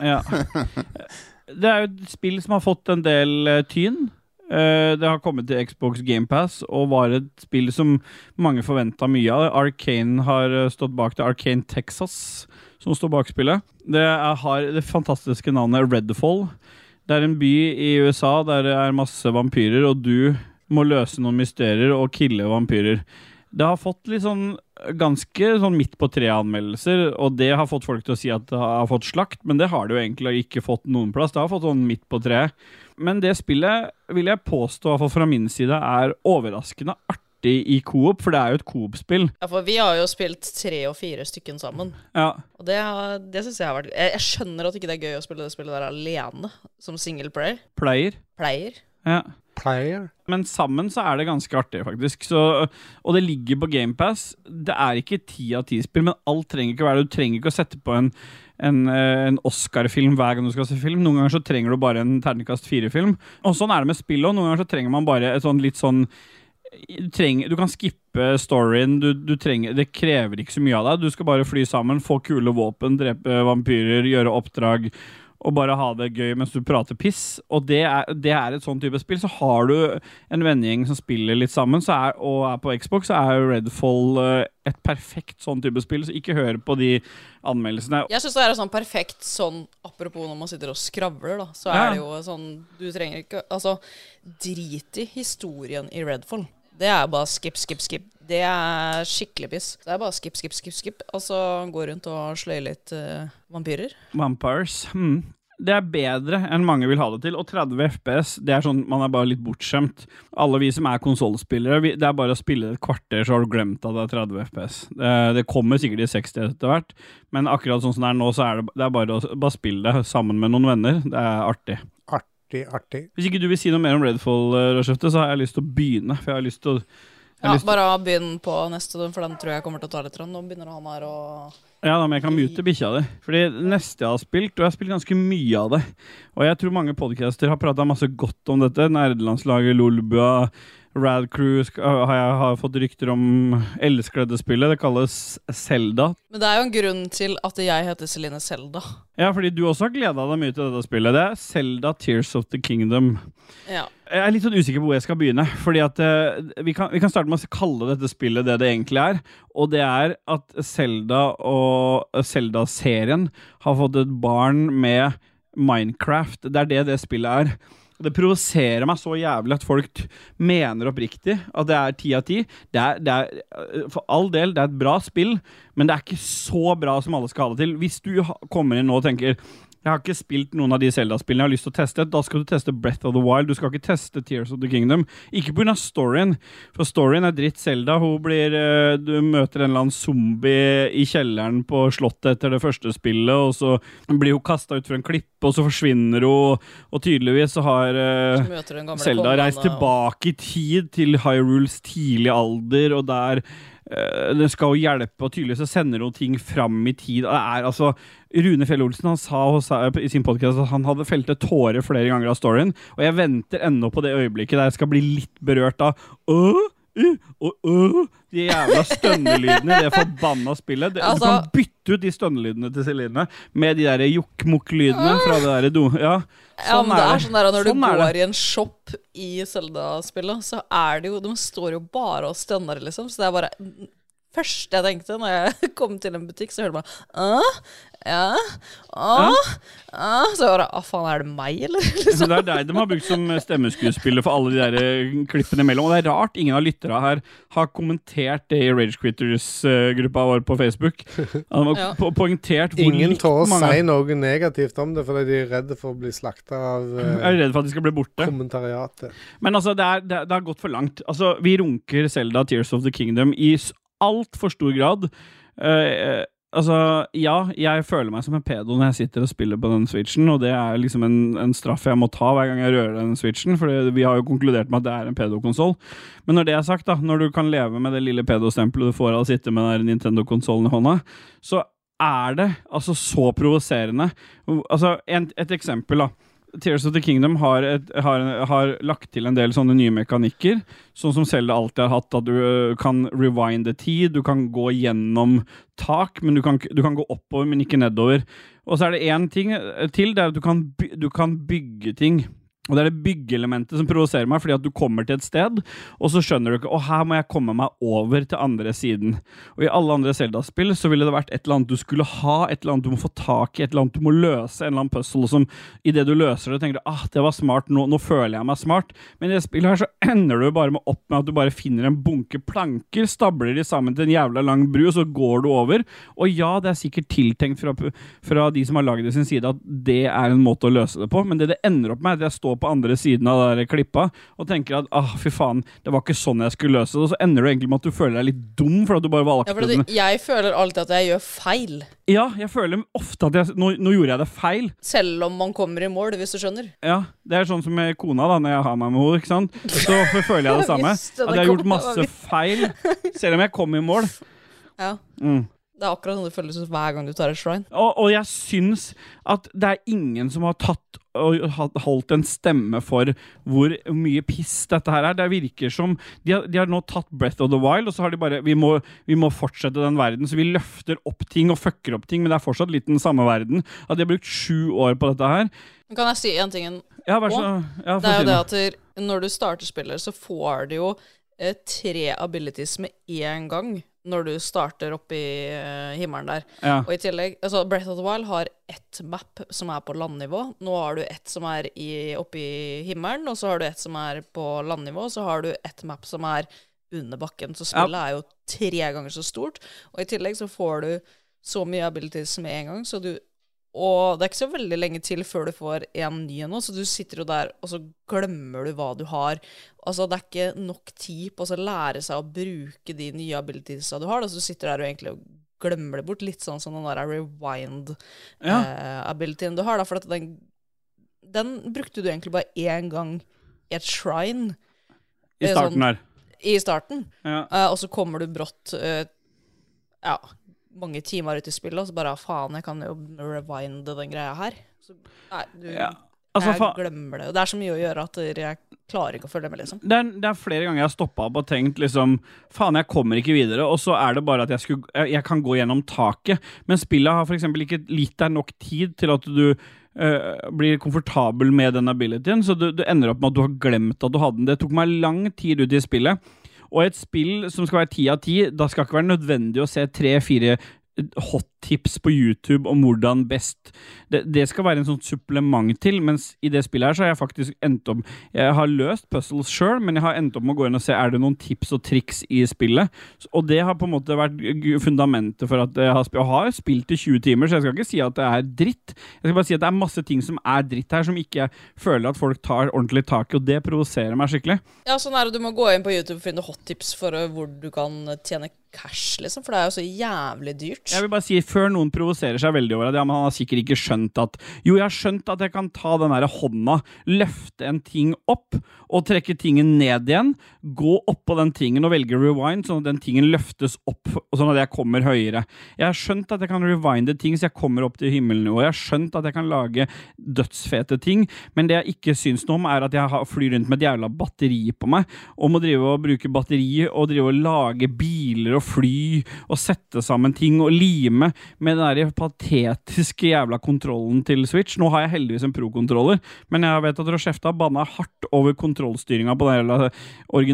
S1: Ja. Det er jo et spill som har fått en del eh, tyn. Eh, det har kommet til Xbox GamePass og var et spill som mange forventa mye av. Arcane har eh, stått bak det. Arcane Texas som står bak spillet. Det er, har det fantastiske navnet Redfall. Det er en by i USA der det er masse vampyrer, og du må løse noen mysterier og kille vampyrer. Det har fått litt sånn ganske sånn midt på tre-anmeldelser, og det har fått folk til å si at det har fått slakt, men det har det jo egentlig ikke fått noen plass. Det har fått sånn midt på treet. Men det spillet vil jeg påstå, i hvert fall fra min side, er overraskende artig i coop, for det er jo et coop-spill.
S3: Ja, for vi har jo spilt tre og fire stykken sammen.
S1: Ja.
S3: Og det, har- det syns jeg har vært jeg, jeg skjønner at ikke det er gøy å spille det spillet der alene, som single player.
S1: Player.
S3: Player.
S1: Ja.
S2: Player?
S1: Men sammen så er det ganske artig, faktisk. Så, og det ligger på GamePass. Det er ikke ti av ti-spill, men alt trenger ikke å være det. Du trenger ikke å sette på en, en, eh, en Oscar-film hver gang du skal se film. Noen ganger så trenger du bare en terningkast fire-film. Og sånn er det med spill òg. Noen ganger så trenger man bare et sånn litt sånn du, trenger, du kan skippe storyen. Du, du trenger, det krever ikke så mye av deg. Du skal bare fly sammen, få kule våpen, drepe vampyrer, gjøre oppdrag og bare ha det gøy mens du prater piss. Og det er, det er et sånn type spill. Så har du en vennegjeng som spiller litt sammen, så er, og er på Xbox, så er Redfall eh, et perfekt sånn type spill. Så ikke hør på de anmeldelsene.
S3: Jeg syns det er sånn perfekt sånn Apropos når man sitter og skravler, da, så
S1: Ja.
S3: er det jo sånn Du trenger ikke Altså, drit i historien i Redfall. Det er bare skip, skip, skip. Det er skikkelig piss. Det er bare skip, skip, skip, skip. Og så gå rundt og sløye litt eh, vampyrer.
S1: Vampires. Hmm. Det er bedre enn mange vil ha det til. Og 30 FPS, det er sånn man er bare litt bortskjemt. Alle vi som er konsollspillere, vi- det er bare å spille et kvarter, så har du glemt at det er 30 FPS. Det, det kommer sikkert i 60 etter hvert, men akkurat sånn som det er nå, så er det, det er bare å bare spille det sammen med noen venner. Det er artig.
S2: Artig, artig.
S1: Hvis ikke du vil si noe mer om Redfall, eh, Rashefte, så har jeg lyst til å begynne. For jeg har lyst til å jeg har
S3: Ja,
S1: lyst til-
S3: bare begynn på neste, for den tror jeg kommer til å ta litt. Nå begynner han her å
S1: Ja, da, men jeg kan mute bikkja di. Fordi det neste jeg har spilt, og jeg har spilt ganske mye av det Og jeg tror mange podcaster har prata masse godt om dette. Nerdelandslaget, Lolbua, Rad Crew sk- har jeg har fått rykter om elskledespillet. Det kalles Selda.
S3: Men det er jo en grunn til at jeg heter Celine Selda.
S1: Ja, fordi du også har gleda deg mye til dette spillet. Det er Selda Tears of the Kingdom.
S3: Ja.
S1: Jeg er litt sånn usikker på hvor jeg skal begynne. Fordi at eh, vi, kan, vi kan starte med å kalle dette spillet det det egentlig er. Og det er at Selda og Selda-serien har fått et barn med Minecraft. Det er det det spillet er. Og Det provoserer meg så jævlig at folk t- mener oppriktig at det er ti av ti. Det er, det er, eh, for all del, det er et bra spill, men det er ikke så bra som alle skal ha det til. Hvis du ha- kommer inn nå og tenker jeg har ikke spilt noen av de Zelda-spillene jeg har lyst til å teste. Da skal du teste Breath of the Wild. Du skal ikke teste Tears of the Kingdom. Ikke pga. storyen, for storyen er dritt Zelda. Hun blir, eh, du møter en eller annen zombie i kjelleren på slottet etter det første spillet, og så blir hun kasta utfor en klippe, og så forsvinner hun, og tydeligvis så har eh,
S3: Så møter du den gamle
S1: Selda
S3: kongen, eh,
S1: reist
S3: og-
S1: tilbake i tid til Hyrules tidlige alder, og der eh, det skal jo hjelpe, og tydeligvis så sender hun ting fram i tid. Og det er altså Rune Fjell Olsen han sa hos, eh, i sin podkast at han hadde felt et tåre flere ganger av storyen, og jeg venter ennå på det øyeblikket der jeg skal bli litt berørt av Åh, uh, og øh, de jævla stønnelydene i det forbanna spillet. Det, du
S3: Altså-
S1: kan bytte ut de stønnelydene til Celine med de der jokk-mokk-lydene fra det derre do... Ja.
S3: Ja, men det er sånn der, Når
S1: Sånn
S3: du
S1: er det.
S3: går i en shop i Selda-spillet, så er det jo De står jo bare og stønner, liksom. Så det er bare Første jeg tenkte når jeg kom til en butikk, så hørte man Åh, ja, åh, åh. Så jeg bare Å, faen, er det meg, eller?
S1: Så det er deg de har brukt som stemmeskuespiller for alle de der eh, klippene imellom. Og det er rart ingen av lytterne her har kommentert det i Rage Quitters-gruppa vår på Facebook. Han har
S3: Ja.
S1: po poengtert hvor
S2: Ingen
S1: likt
S2: tør å
S1: mange
S2: si noe negativt om det, fordi de er redde for å bli slakta av
S1: Jeg er
S2: eh,
S1: redd for at de skal bli borte.
S2: kommentariatet.
S1: Men altså, det, er, det, det har gått for langt. Altså, vi runker Selda Tears of the Kingdom i altfor stor grad. Eh, eh, altså, ja, jeg føler meg som en pedo når jeg sitter og spiller på den switchen, og det er liksom en, en straff jeg må ta hver gang jeg rører den switchen, for vi har jo konkludert med at det er en pedokonsoll. Men når det er sagt, da, når du kan leve med det lille pedostempelet du får av å sitte med den der Nintendo-konsollen i hånda, så er det altså så provoserende. Altså, en, et eksempel, da. Tears of the Kingdom har, et, har, har lagt til en del sånne nye mekanikker, sånn som Zelda alltid har hatt, at du ø, kan rewinde tid, du kan gå gjennom tak, men du kan, k- du kan gå oppover, men ikke nedover. Og så er det én ting ø, til, det er at du kan, by, du kan bygge ting. Og det er det byggeelementet som provoserer meg, fordi at du kommer til et sted, og så skjønner du ikke Å, her må jeg komme meg over til andre siden. Og i alle andre Zelda-spill så ville det vært et eller annet du skulle ha, et eller annet du må få tak i, et eller annet du må løse, en eller annen puzzle som idet du løser det, tenker du ah, det var smart, nå, nå føler jeg meg smart. Men i det spillet her så ender du bare med opp med at du bare finner en bunke planker, stabler de sammen til en jævla lang bru, og så går du over. Og ja, det er sikkert tiltenkt fra, fra de som har lagd det sin side, at det er en måte å løse det på, men det det ender opp med, er at jeg står på andre siden av det der klippa og tenker at ah, fy faen, det var ikke sånn jeg skulle løse det, og så ender du egentlig med at du føler deg litt dum for at du bare valgte
S3: Ja, for
S1: den.
S3: det- jeg føler alltid at jeg gjør feil,
S1: Ja, jeg føler ofte at jeg, nå, nå gjorde jeg det feil.
S3: selv om man kommer i mål, hvis du skjønner.
S1: Ja, det er sånn som med kona da, når jeg har meg med henne, ikke sant? Så føler jeg det samme.
S3: Visste
S1: At
S3: det
S1: jeg har gjort
S3: kom,
S1: masse feil, selv om jeg kom i mål.
S3: Ja.
S1: Mm.
S3: Det er akkurat sånn det føles ut hver gang du tar et shrine.
S1: Og, og jeg syns at det er ingen som har tatt og hatt- holdt en stemme for hvor mye piss dette her er. Det virker som De har, de har nå tatt Breath of the Wild, og så har de bare vi må, vi må fortsette den verden. Så vi løfter opp ting og fucker opp ting, men det er fortsatt litt den samme verden. At de har brukt sju år på dette her.
S3: Men kan jeg si en ting? En
S1: Ja, vær så
S3: Og
S1: ja, få
S3: Det er
S1: si
S3: jo det
S1: noe.
S3: at der- når du starter spillet, så får du jo eh, tre abilities med én gang når du starter oppe i eh, himmelen der.
S1: ja.
S3: Og i tillegg, altså Breath of the Wild har ett map som er på landnivå. Nå har du ett som er i, oppe i himmelen, og så har du ett som er på landnivå, og så har du ett map som er under bakken. Så spillet er jo tre ganger så stort. Og i tillegg så får du så mye abilities med en gang, så du og det er ikke så veldig lenge til før du får en ny en nå, så du sitter jo der, og så glemmer du hva du har. Altså, det er ikke nok tid på å så lære seg å bruke de nye abilitiesa du har, da, så du sitter der og egentlig og glemmer det bort. Litt sånn som den der
S1: Ja.
S3: eh, rewind-abilityen du har, da, for at den, den brukte du egentlig bare én gang i et shrine
S1: I
S3: det er
S1: starten
S3: sånn-
S1: her.
S3: i starten.
S1: Ja.
S3: Eh, og så kommer du brått eh, ja, mange timer ut i spillet, og så bare faen, jeg kan jo rewinde den greia her. Så, nei, du,
S1: Ja. Altså, fa
S3: jeg glemmer det. Og det er så mye å gjøre at jeg klarer ikke å følge med, liksom.
S1: det er, det er flere ganger jeg har stoppa opp og tenkt liksom Faen, jeg kommer ikke videre. Og så er det bare at jeg, skulle, jeg, jeg kan gå gjennom taket. Men spillet har f.eks. ikke gitt deg nok tid til at du øh, blir komfortabel med den abilityen, så du, du ender opp med at du har glemt at du hadde den. Det tok meg lang tid ut i spillet. Og et spill som skal være ti av ti, da skal ikke være nødvendig å se tre-fire hot tips på YouTube om hvordan best det, det skal være en sånn supplement til, mens i det spillet her så har jeg faktisk endt opp Jeg har løst puzzles sjøl, men jeg har endt opp med å gå inn og se er det noen tips og triks i spillet. S- Og det har på en måte vært g- fundamentet for at jeg har, sp jeg har spilt i 20 timer, så jeg skal ikke si at det er dritt. Jeg skal bare si at det er masse ting som er dritt her, som ikke jeg føler at folk tar ordentlig tak i, og det provoserer meg skikkelig.
S3: Ja, sånn er det. Du må gå inn på YouTube og finne hottips for eh, hvor du kan tjene cash, liksom. For det er jo så jævlig dyrt.
S1: Jeg vil bare si, før noen provoserer seg veldig over at ja, men han har sikkert ikke skjønt at Jo, jeg har skjønt at jeg kan ta den der hånda, løfte en ting opp og trekke tingen ned igjen, gå oppå den tingen og velge rewind, sånn at den tingen løftes opp, og sånn at jeg kommer høyere. Jeg har skjønt at jeg kan rewinde ting så jeg kommer opp til himmelnivå. Jeg har skjønt at jeg kan lage dødsfete ting, men det jeg ikke syns noe om, er at jeg har- flyr rundt med et jævla batteri på meg, og må drive og bruke batteri og drive og lage biler og fly og sette sammen ting og lime med den der patetiske jævla kontrollen til Switch. Nå har jeg heldigvis en pro-kontroller, men jeg vet at Rochefta banna hardt over kontrollstyringa på den jævla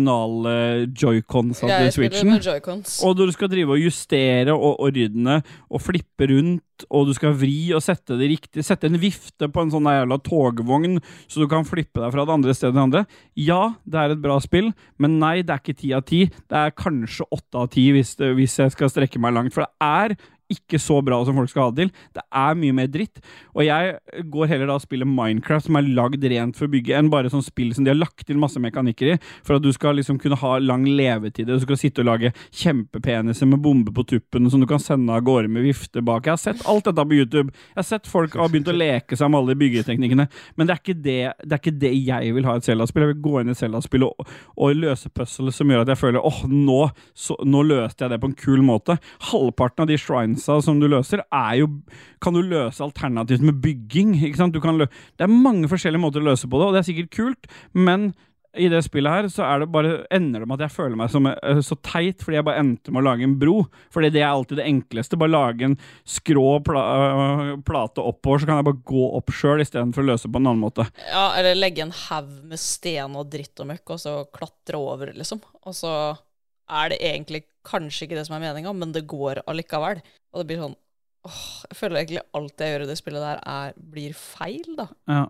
S1: originale joycons til
S3: Jeg spiller
S1: Switchen.
S3: med joycons.
S1: Og når du skal drive og justere og ordne og flippe rundt, og du skal vri og sette det riktig, sette en vifte på en sånn jævla togvogn, så du kan flippe deg fra det andre stedet til det andre Ja, det er et bra spill, men nei, det er ikke ti av ti. Det er kanskje åtte av ti hvis, det- hvis jeg skal strekke meg langt, for det er ikke så bra som folk skal ha det til. Det er mye mer dritt. Og jeg går heller da og spiller Minecraft, som er lagd rent for å bygge, enn bare sånn spill som de har lagt til masse mekanikker i, for at du skal liksom kunne ha lang levetid. Du skal sitte og lage kjempepeniser med bombe på tuppen som du kan sende av gårde med vifte bak. Jeg har sett alt dette på YouTube. Jeg har sett folk har begynt å leke seg med alle de byggeteknikkene, men det er ikke det, det, er ikke det jeg vil ha i et Zelda-spill. Jeg vil gå inn i et Zelda-spill og, og løse puzzle som gjør at jeg føler åh, nå, så, nå løste jeg det på en kul måte. Halvparten av de shrinesa som du løser, er jo kan du løse alternativt med bygging. Ikke sant? Du kan lø det er mange forskjellige måter å løse på det, og det er sikkert kult, men i det spillet her så er det bare, ender det med at jeg føler meg som, eh, så teit fordi jeg bare endte med å lage en bro. Fordi det er alltid det enkleste. Bare lage en skrå pla øh, plate oppover, så kan jeg bare gå opp sjøl istedenfor å løse på en annen måte.
S3: Ja, eller legge en haug med sten og dritt og møkk, og så klatre over, liksom. Og så er det egentlig kanskje ikke det som er meninga, men det går allikevel. Og det blir sånn åh, Jeg føler egentlig alt jeg gjør i det spillet der, er, blir feil, da.
S1: Ja.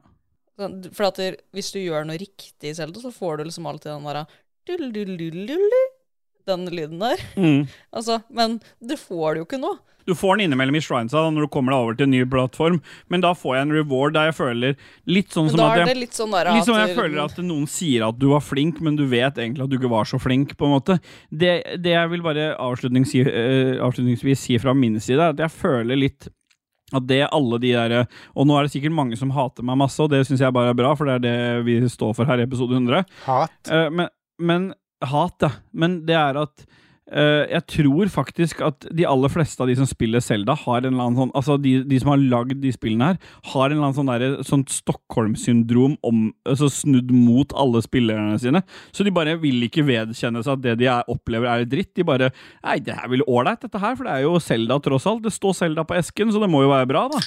S3: Sånn, For at det- hvis du gjør noe riktig i Zelda, så får du liksom alltid den derre dull-dull-dull-dull-dull, Den lyden der.
S1: Mm.
S3: Altså, men det får du jo ikke nå.
S1: Du får den innimellom i shrinesa da, når du kommer deg over til en ny plattform, men da får jeg en reward der jeg føler litt sånn
S3: Men
S1: som
S3: da
S1: at
S3: er
S1: jeg
S3: det litt sånn der
S1: Litt som
S3: at
S1: jeg føler at noen sier at du var flink, men du vet egentlig at du ikke var så flink. på en måte. Det, det jeg vil bare avslutnings, eh, avslutningsvis si fra min side, er at jeg føler litt at det alle de der Og nå er det sikkert mange som hater meg masse, og det syns jeg bare er bra, for det er det vi står for her i episode 100.
S2: Hat.
S1: Eh, men, men hat, ja. Men det er at eh, jeg tror faktisk at de aller fleste av de som spiller Selda, har en eller annen sånn Altså de, de som har lagd de spillene her, har en eller annen sånn derre- sånt Stockholm-syndrom om- altså snudd mot alle spillerne sine. Så de bare vil ikke vedkjenne seg at det de er, opplever, er dritt. De bare Nei, det er vel ålreit, dette her, for det er jo Selda, tross alt. Det står Selda på esken, så det må jo være bra, da.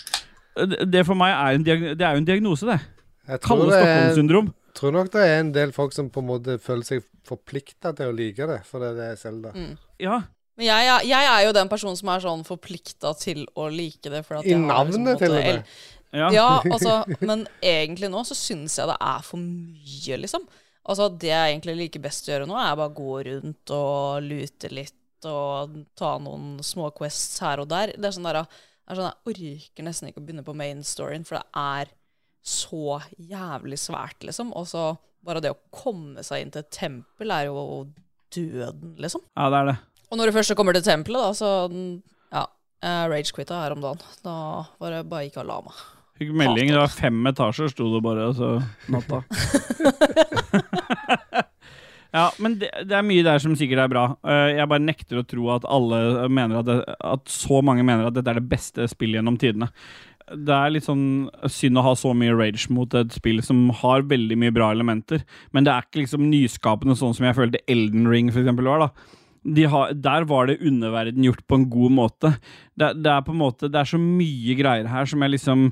S1: Det, det for meg er, en diag- det er jo en diagnose, det.
S2: Jeg tror,
S1: Kalle
S2: det er,
S1: Stockholm-syndrom.
S2: tror nok det er en del folk som på en måte føler seg forplikta til å like det, for det er Selda.
S1: Ja.
S3: Men jeg, er- jeg er jo den personen som er sånn forplikta til å like det. For at
S2: I
S3: jeg har liksom
S2: navnet
S3: på en
S2: til og
S3: måte el-
S2: med.
S1: ja.
S3: Ja, altså, men egentlig nå så syns jeg det er for mye, liksom. Altså, det jeg egentlig liker best å gjøre nå, er bare gå rundt og lute litt og ta noen små quests her og der. Det er sånn der, det er sånn Jeg orker nesten ikke å begynne på main storyen, for det er så jævlig svært, liksom. Og så bare det å komme seg inn til et tempel er jo døden, liksom.
S1: Ja, det er det.
S3: Og når du først kommer til tempelet, da, så Ja. Jeg ragequitta her om dagen. Da var det bare gikk og la meg.
S1: Fikk melding, det var fem etasjer, sto det bare, altså, natta. ja, men det, det er mye der som sikkert er bra. Eh, Jeg bare nekter å tro at alle mener at, det, at så mange mener at dette er det beste spillet gjennom tidene. Det er litt sånn synd å ha så mye rage mot et spill som har veldig mye bra elementer, men det er ikke liksom nyskapende sånn som jeg følte Elden Ring for eksempel var, da. De har, der var det underverden gjort på en god måte. Det, det er på en måte, det er så mye greier her som jeg liksom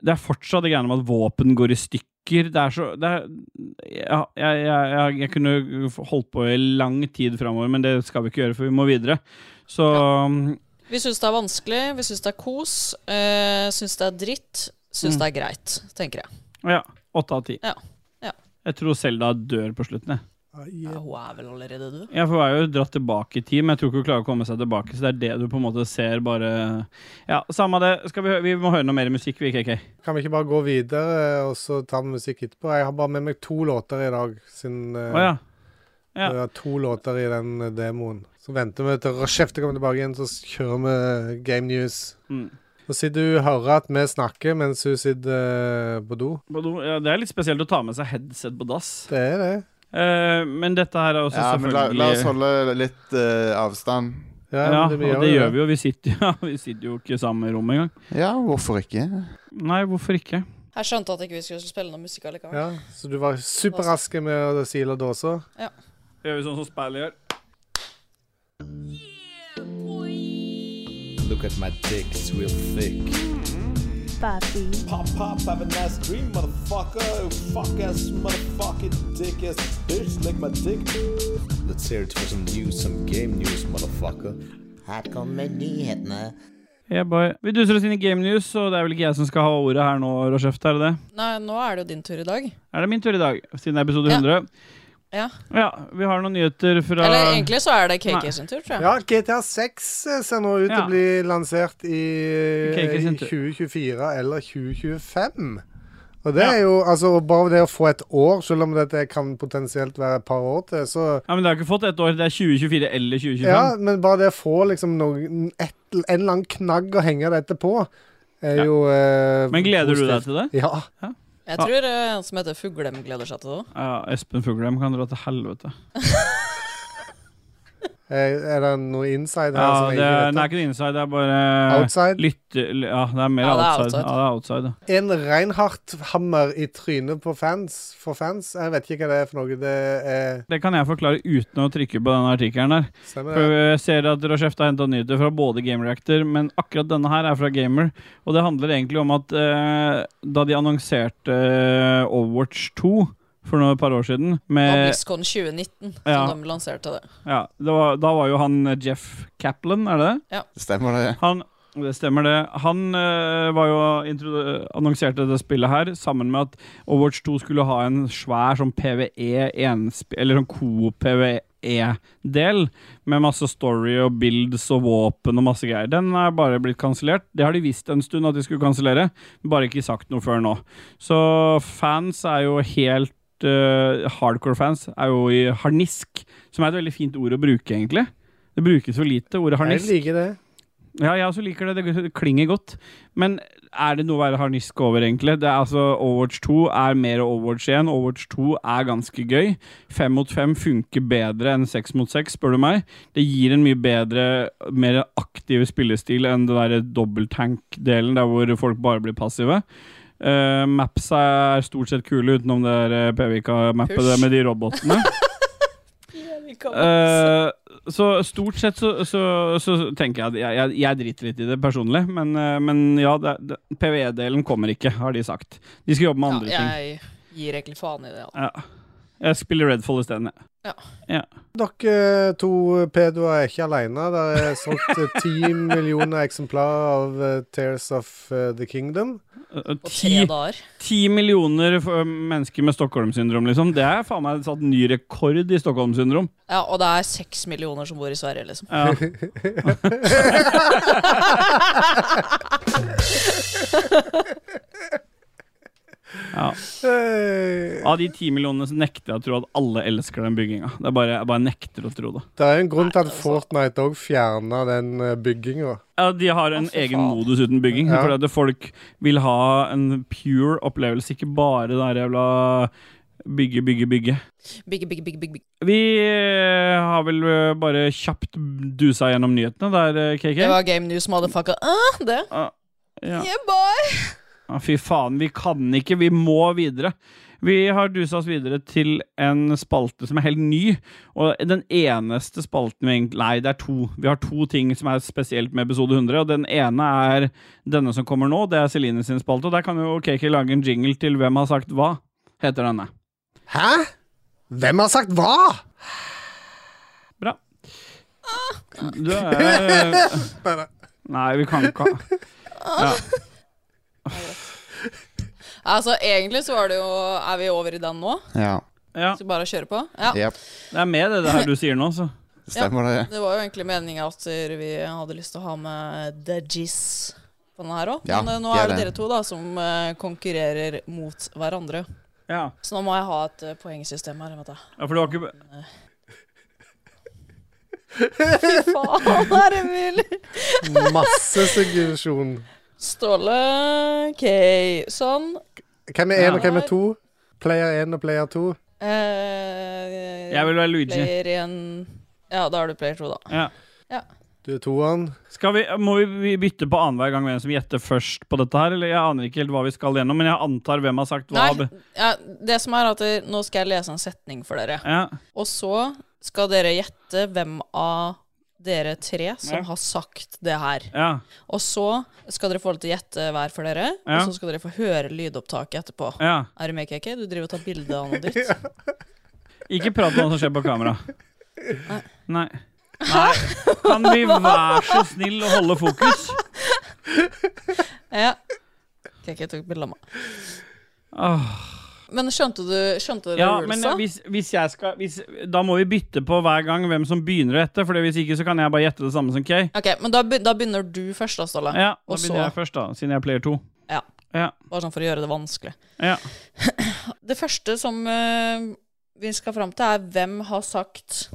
S1: det er fortsatt det greiene med at våpen går i stykker. Det er så det er, ja, jeg, jeg, jeg, jeg kunne holdt på i lang tid framover, men det skal vi ikke gjøre, for vi må videre. Så um,
S3: Vi syns det er vanskelig, vi syns det er kos, eh, syns det er dritt, syns det er greit, tenker jeg.
S1: ja, åtte av ti.
S3: Ja, ja.
S1: Jeg tror Selda dør på slutten. jeg.
S3: Ja, hun er vel allerede død?
S1: Ja, for Hun er jo dratt tilbake i tid, men jeg tror ikke hun klarer å komme seg tilbake. Så det er det du på en måte ser, bare Ja, samme det. Skal vi, hø- vi må høre noe mer musikk, vi, KK.
S2: Kan vi ikke bare gå videre og så ta med musikk etterpå? Jeg har bare med meg to låter i dag, siden eh,
S1: Å ja. ja.
S2: det var to låter i den eh, demoen. Så venter vi til Rashefte kommer tilbake igjen, så kjører vi eh, Game News.
S1: Mm.
S2: Så sitter hun og hører at vi snakker mens hun sitter eh, på do.
S1: På do- ja. Det er litt spesielt å ta med seg headset på dass.
S2: Det er det.
S1: Eh, men dette her er også
S4: Ja, men la,
S1: selvfølgelig
S4: la oss holde litt eh, avstand.
S2: Ja,
S1: Ja,
S2: men
S1: og det gjør vi jo. Vi sitter, ja, vi sitter jo ikke i samme rom engang.
S4: Ja, hvorfor ikke?
S1: Nei, hvorfor ikke?
S3: Jeg skjønte at ikke vi skulle spille noe musikk allikevel.
S2: Ja, så du var superraske med å sile dåser?
S1: Gjør vi sånn som Spally gjør?
S5: Look at my dick, it's real thick. Pop, pop, have a nice dream, motherfucker. Fuck ass, motherfucking dick ass bitch, lick my dick. Let's hear it for some news, some game news, motherfucker.
S8: Her kommer nyhetene.
S1: Yeah, boy. Vi duser oss inn i Game News, og det er vel ikke jeg som skal ha ordet her nå, Rochefte, er det det?
S3: Nei, nå er det jo din tur i dag.
S1: Er det min tur i dag, siden det er episode
S3: Ja.
S1: 100?
S3: Ja.
S1: Ja, vi har noen nyheter fra
S3: Eller egentlig så er det KK
S1: Nei.
S3: sin tur, tror jeg.
S2: Ja, GTA 6 eh, ser nå ut til
S1: Ja.
S2: å bli lansert i,
S1: Ok, ikke
S2: i
S1: sin tur.
S2: 2024 eller 2025. Og det
S1: Ja.
S2: er jo altså bare det å få et år, selv om dette kan potensielt være et par år til, så
S1: Ja, men det har ikke fått ett år. Det er 2024 eller 2025.
S2: Ja, men bare det å få liksom noen, et, en eller annen knagg å henge dette på, er
S1: Ja.
S2: jo eh,
S1: men gleder du deg
S2: positivt.
S1: til det?
S2: Ja.
S3: Jeg tror eh, en som heter Fuglem gleder seg til det òg.
S1: Ja, Espen Fuglem kan dra til helvete.
S2: Er, er det noe inside her
S1: Ja,
S2: som jeg
S1: det er, eh,
S2: ikke
S1: nei,
S2: vet
S1: ikke
S2: om?
S1: det inside, det er bare
S2: Outside?
S1: Lytte, ja, det er mer
S3: Ja, det er
S1: outside. Ja,
S3: outside.
S1: det er outside. ja.
S2: En Reinhardt-hammer i trynet på fans, for fans? Jeg vet ikke hva det er for noe. Det er
S1: Det kan jeg forklare uten å trykke på denne artikkelen her.
S2: Stemmer det?
S1: For jeg ser at Rochefte har henta nyheter fra både Game Reactor, men akkurat denne her er fra Gamer. Og det handler egentlig om at eh, da de annonserte eh, Overwatch 2 for noen et par år siden
S3: På
S1: med,
S3: BlizzCon 2019, som
S1: Eh, ja.
S3: de lanserte det.
S1: ja, det var, Da var jo han eh, Jeff Kaplan, er det det?
S4: Stemmer det?
S1: Han, det stemmer det. Han eh, var jo introdu- annonserte det spillet her sammen med at Overwatch 2 skulle ha en svær sånn PVE, ensp- eller sånn co-PVE-del, med masse story og builds og våpen og masse greier. Den er bare blitt kansellert. Det har de visst en stund at de skulle kansellere, bare ikke sagt noe før nå. Så fans er jo helt eh, hardcore fans er jo i harnisk, som er et veldig fint ord å bruke, egentlig. Det brukes for lite, ordet
S2: Jeg
S1: harnisk.
S2: liker det.
S1: Ja, jeg også liker det. Det klinger godt. Men er det noe å være harnisk over, egentlig? Det er altså Overwatch 2 er mer Overwatch 1. Overwatch 2 er ganske gøy. Fem mot fem funker bedre enn seks mot seks, spør du meg. Det gir en mye bedre, mer aktiv spillestil enn det derre dobbelttank-delen, der hvor folk bare blir passive. Uh, mapsa er stort sett kule, utenom det der eh, Pevika-mappet
S3: Push.
S1: der med de robotene. Eh, så stort sett så, så, så tenker jeg at jeg, jeg, jeg driter litt i det personlig, men, eh, men ja, det, det, PVE-delen kommer ikke, har de sagt. De skal jobbe med andre
S3: ja,
S1: ting.
S3: jeg gir egentlig faen i det. Ja.
S1: Ja. Jeg spiller Redfall isteden, jeg.
S2: Dere eh, to pedoer er ikke alene. Det er solgt ti millioner eksemplarer av eh, Tears of eh, the Kingdom.
S1: eh,
S3: På
S1: ti,
S3: tre dager.
S1: ti millioner f- mennesker med Stockholm-syndrom, liksom. Det er faen meg satt ny rekord i Stockholm-syndrom.
S3: Ja, og det er seks millioner som bor i Sverige, liksom.
S1: Ja. ja.
S2: Eh,
S1: Av de ti millionene så nekter jeg å tro at alle elsker den bygginga. Det er bare, jeg bare nekter å tro det.
S2: Det er jo en grunn til
S1: altså-
S2: at Fortnite òg fjerna den eh, bygginga.
S1: Ja, de har en
S3: Å, fy
S1: egen
S3: faen.
S1: modus uten bygging.
S2: Ja.
S1: Fordi at folk vil ha en pure opplevelse, ikke bare det der jævla bygge, bygge, bygge.
S3: Big, big, big, big, big.
S1: Vi eh, har vel eh, bare kjapt dusa gjennom nyhetene der, eh, KK.
S3: Det var Game News, motherfucker. Ah, det.
S1: ja.
S3: Yeah, boy!
S1: Ja, fy faen, vi kan ikke. Vi må videre. Vi har dusa oss videre til en spalte som er helt ny. Og den eneste spalten vi egentlig Nei, det er to. Vi har to ting som er spesielt med episode 100. Og den ene er denne som kommer nå. Det er Celine sin spalte. Og der kan jo KK lage en jingle til Hvem har sagt hva? Heter denne.
S2: Hæ? Hvem har sagt hva?
S1: Bra.
S3: Ah,
S1: Du er Nei, vi kan ikke ha
S3: ah. Altså, egentlig så var det jo Er vi over i den nå?
S4: Ja.
S1: Ja,
S3: Så bare kjøre på? Ja.
S4: Jep.
S1: det er med det der du sier nå, så.
S4: Stemmer det.
S3: Det var jo egentlig meninga at vi hadde lyst til å ha med The Jizz på denne her òg.
S4: Ja,
S3: Men eh, nå
S4: det er
S3: er det
S4: det.
S3: dere to da som eh, konkurrerer mot hverandre.
S1: Ja.
S3: Så nå må jeg ha et eh, poengsystem her. Vet du.
S1: ja, for du har ikke
S3: Fy faen, er det mulig?
S2: Masse suggesjon.
S3: Ståle, OK, sånn.
S2: Hvem er én, og hvem er to? Player én og player to.
S3: Eh,
S1: Jeg vil være Luigi.
S3: Player igjen Ja, da er du player to, da.
S1: Ja.
S2: Du er toeren.
S1: Skal vi, må vi- vi bytte på annenhver gang hvem som gjetter først på dette her? Eller jeg aner ikke helt hva vi skal gjennom, men jeg antar hvem har sagt hva.
S3: Nei, ja, det som er at eh, nå skal jeg lese en setning for dere.
S1: Ja.
S3: Og så skal dere gjette hvem av dere tre som
S1: Ja.
S3: har sagt det her.
S1: ja.
S3: Og så skal dere få lov til å gjette hver for dere,
S1: Ja.
S3: og så skal dere få høre lydopptaket etterpå.
S1: ja.
S3: Er du med, KK? Du driver og tar bilde av noe ditt.
S1: Ikke prat om hva som skjer på kamera. Nei. Nei. Kan vi være så snill å holde fokus?
S3: Ja. KK tok bilde av meg.
S1: Åh.
S3: Men skjønte du skjønte dere
S1: Ja, men
S3: rulesa?
S1: hvis, hvis jeg skal hvis, Da må vi bytte på hver gang hvem som begynner å gjette, for hvis ikke så kan jeg bare gjette det samme som Kay.
S3: Ok, men da, be- da begynner du først, da, Ståle.
S1: Ja, da
S3: Og så-
S1: begynner jeg først, da, siden jeg er player to.
S3: Ja.
S1: Ja.
S3: Bare sånn for å gjøre det vanskelig.
S1: Ja.
S3: Det første som eh, vi skal fram til, er hvem har sagt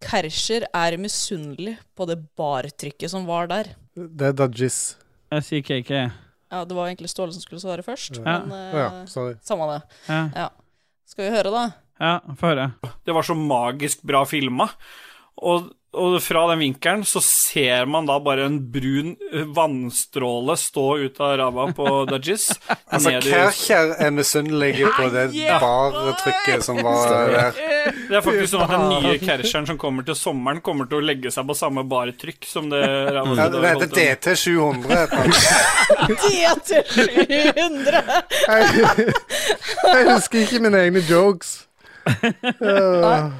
S3: Kercher er misunnelig på det bartrykket som var der.
S2: Det er Dudgies.
S1: Jeg sier KK.
S3: Ja, Det var egentlig Ståle som skulle svare først,
S1: Ja.
S3: men eh,
S2: Å ja, sorry.
S3: samme det.
S1: Ja.
S3: Skal vi høre, da?
S1: Ja, få høre. Det var så magisk bra filma. Og, og fra den vinkelen så ser man da bare en brun eh, vannstråle stå ut av ræva på Dudgies.
S5: Altså,
S1: ned i-
S5: Kercher er misunnelig på det
S1: Yeah.
S5: bartrykket som var der.
S1: Det er faktisk sånn at den nye Kersheren som kommer til sommeren, kommer til å legge seg på samme bartrykk som det ræva
S5: Ja, det heter DT 700.
S3: Det til 700!
S2: Jeg, jeg husker ikke mine egne jokes. Uh,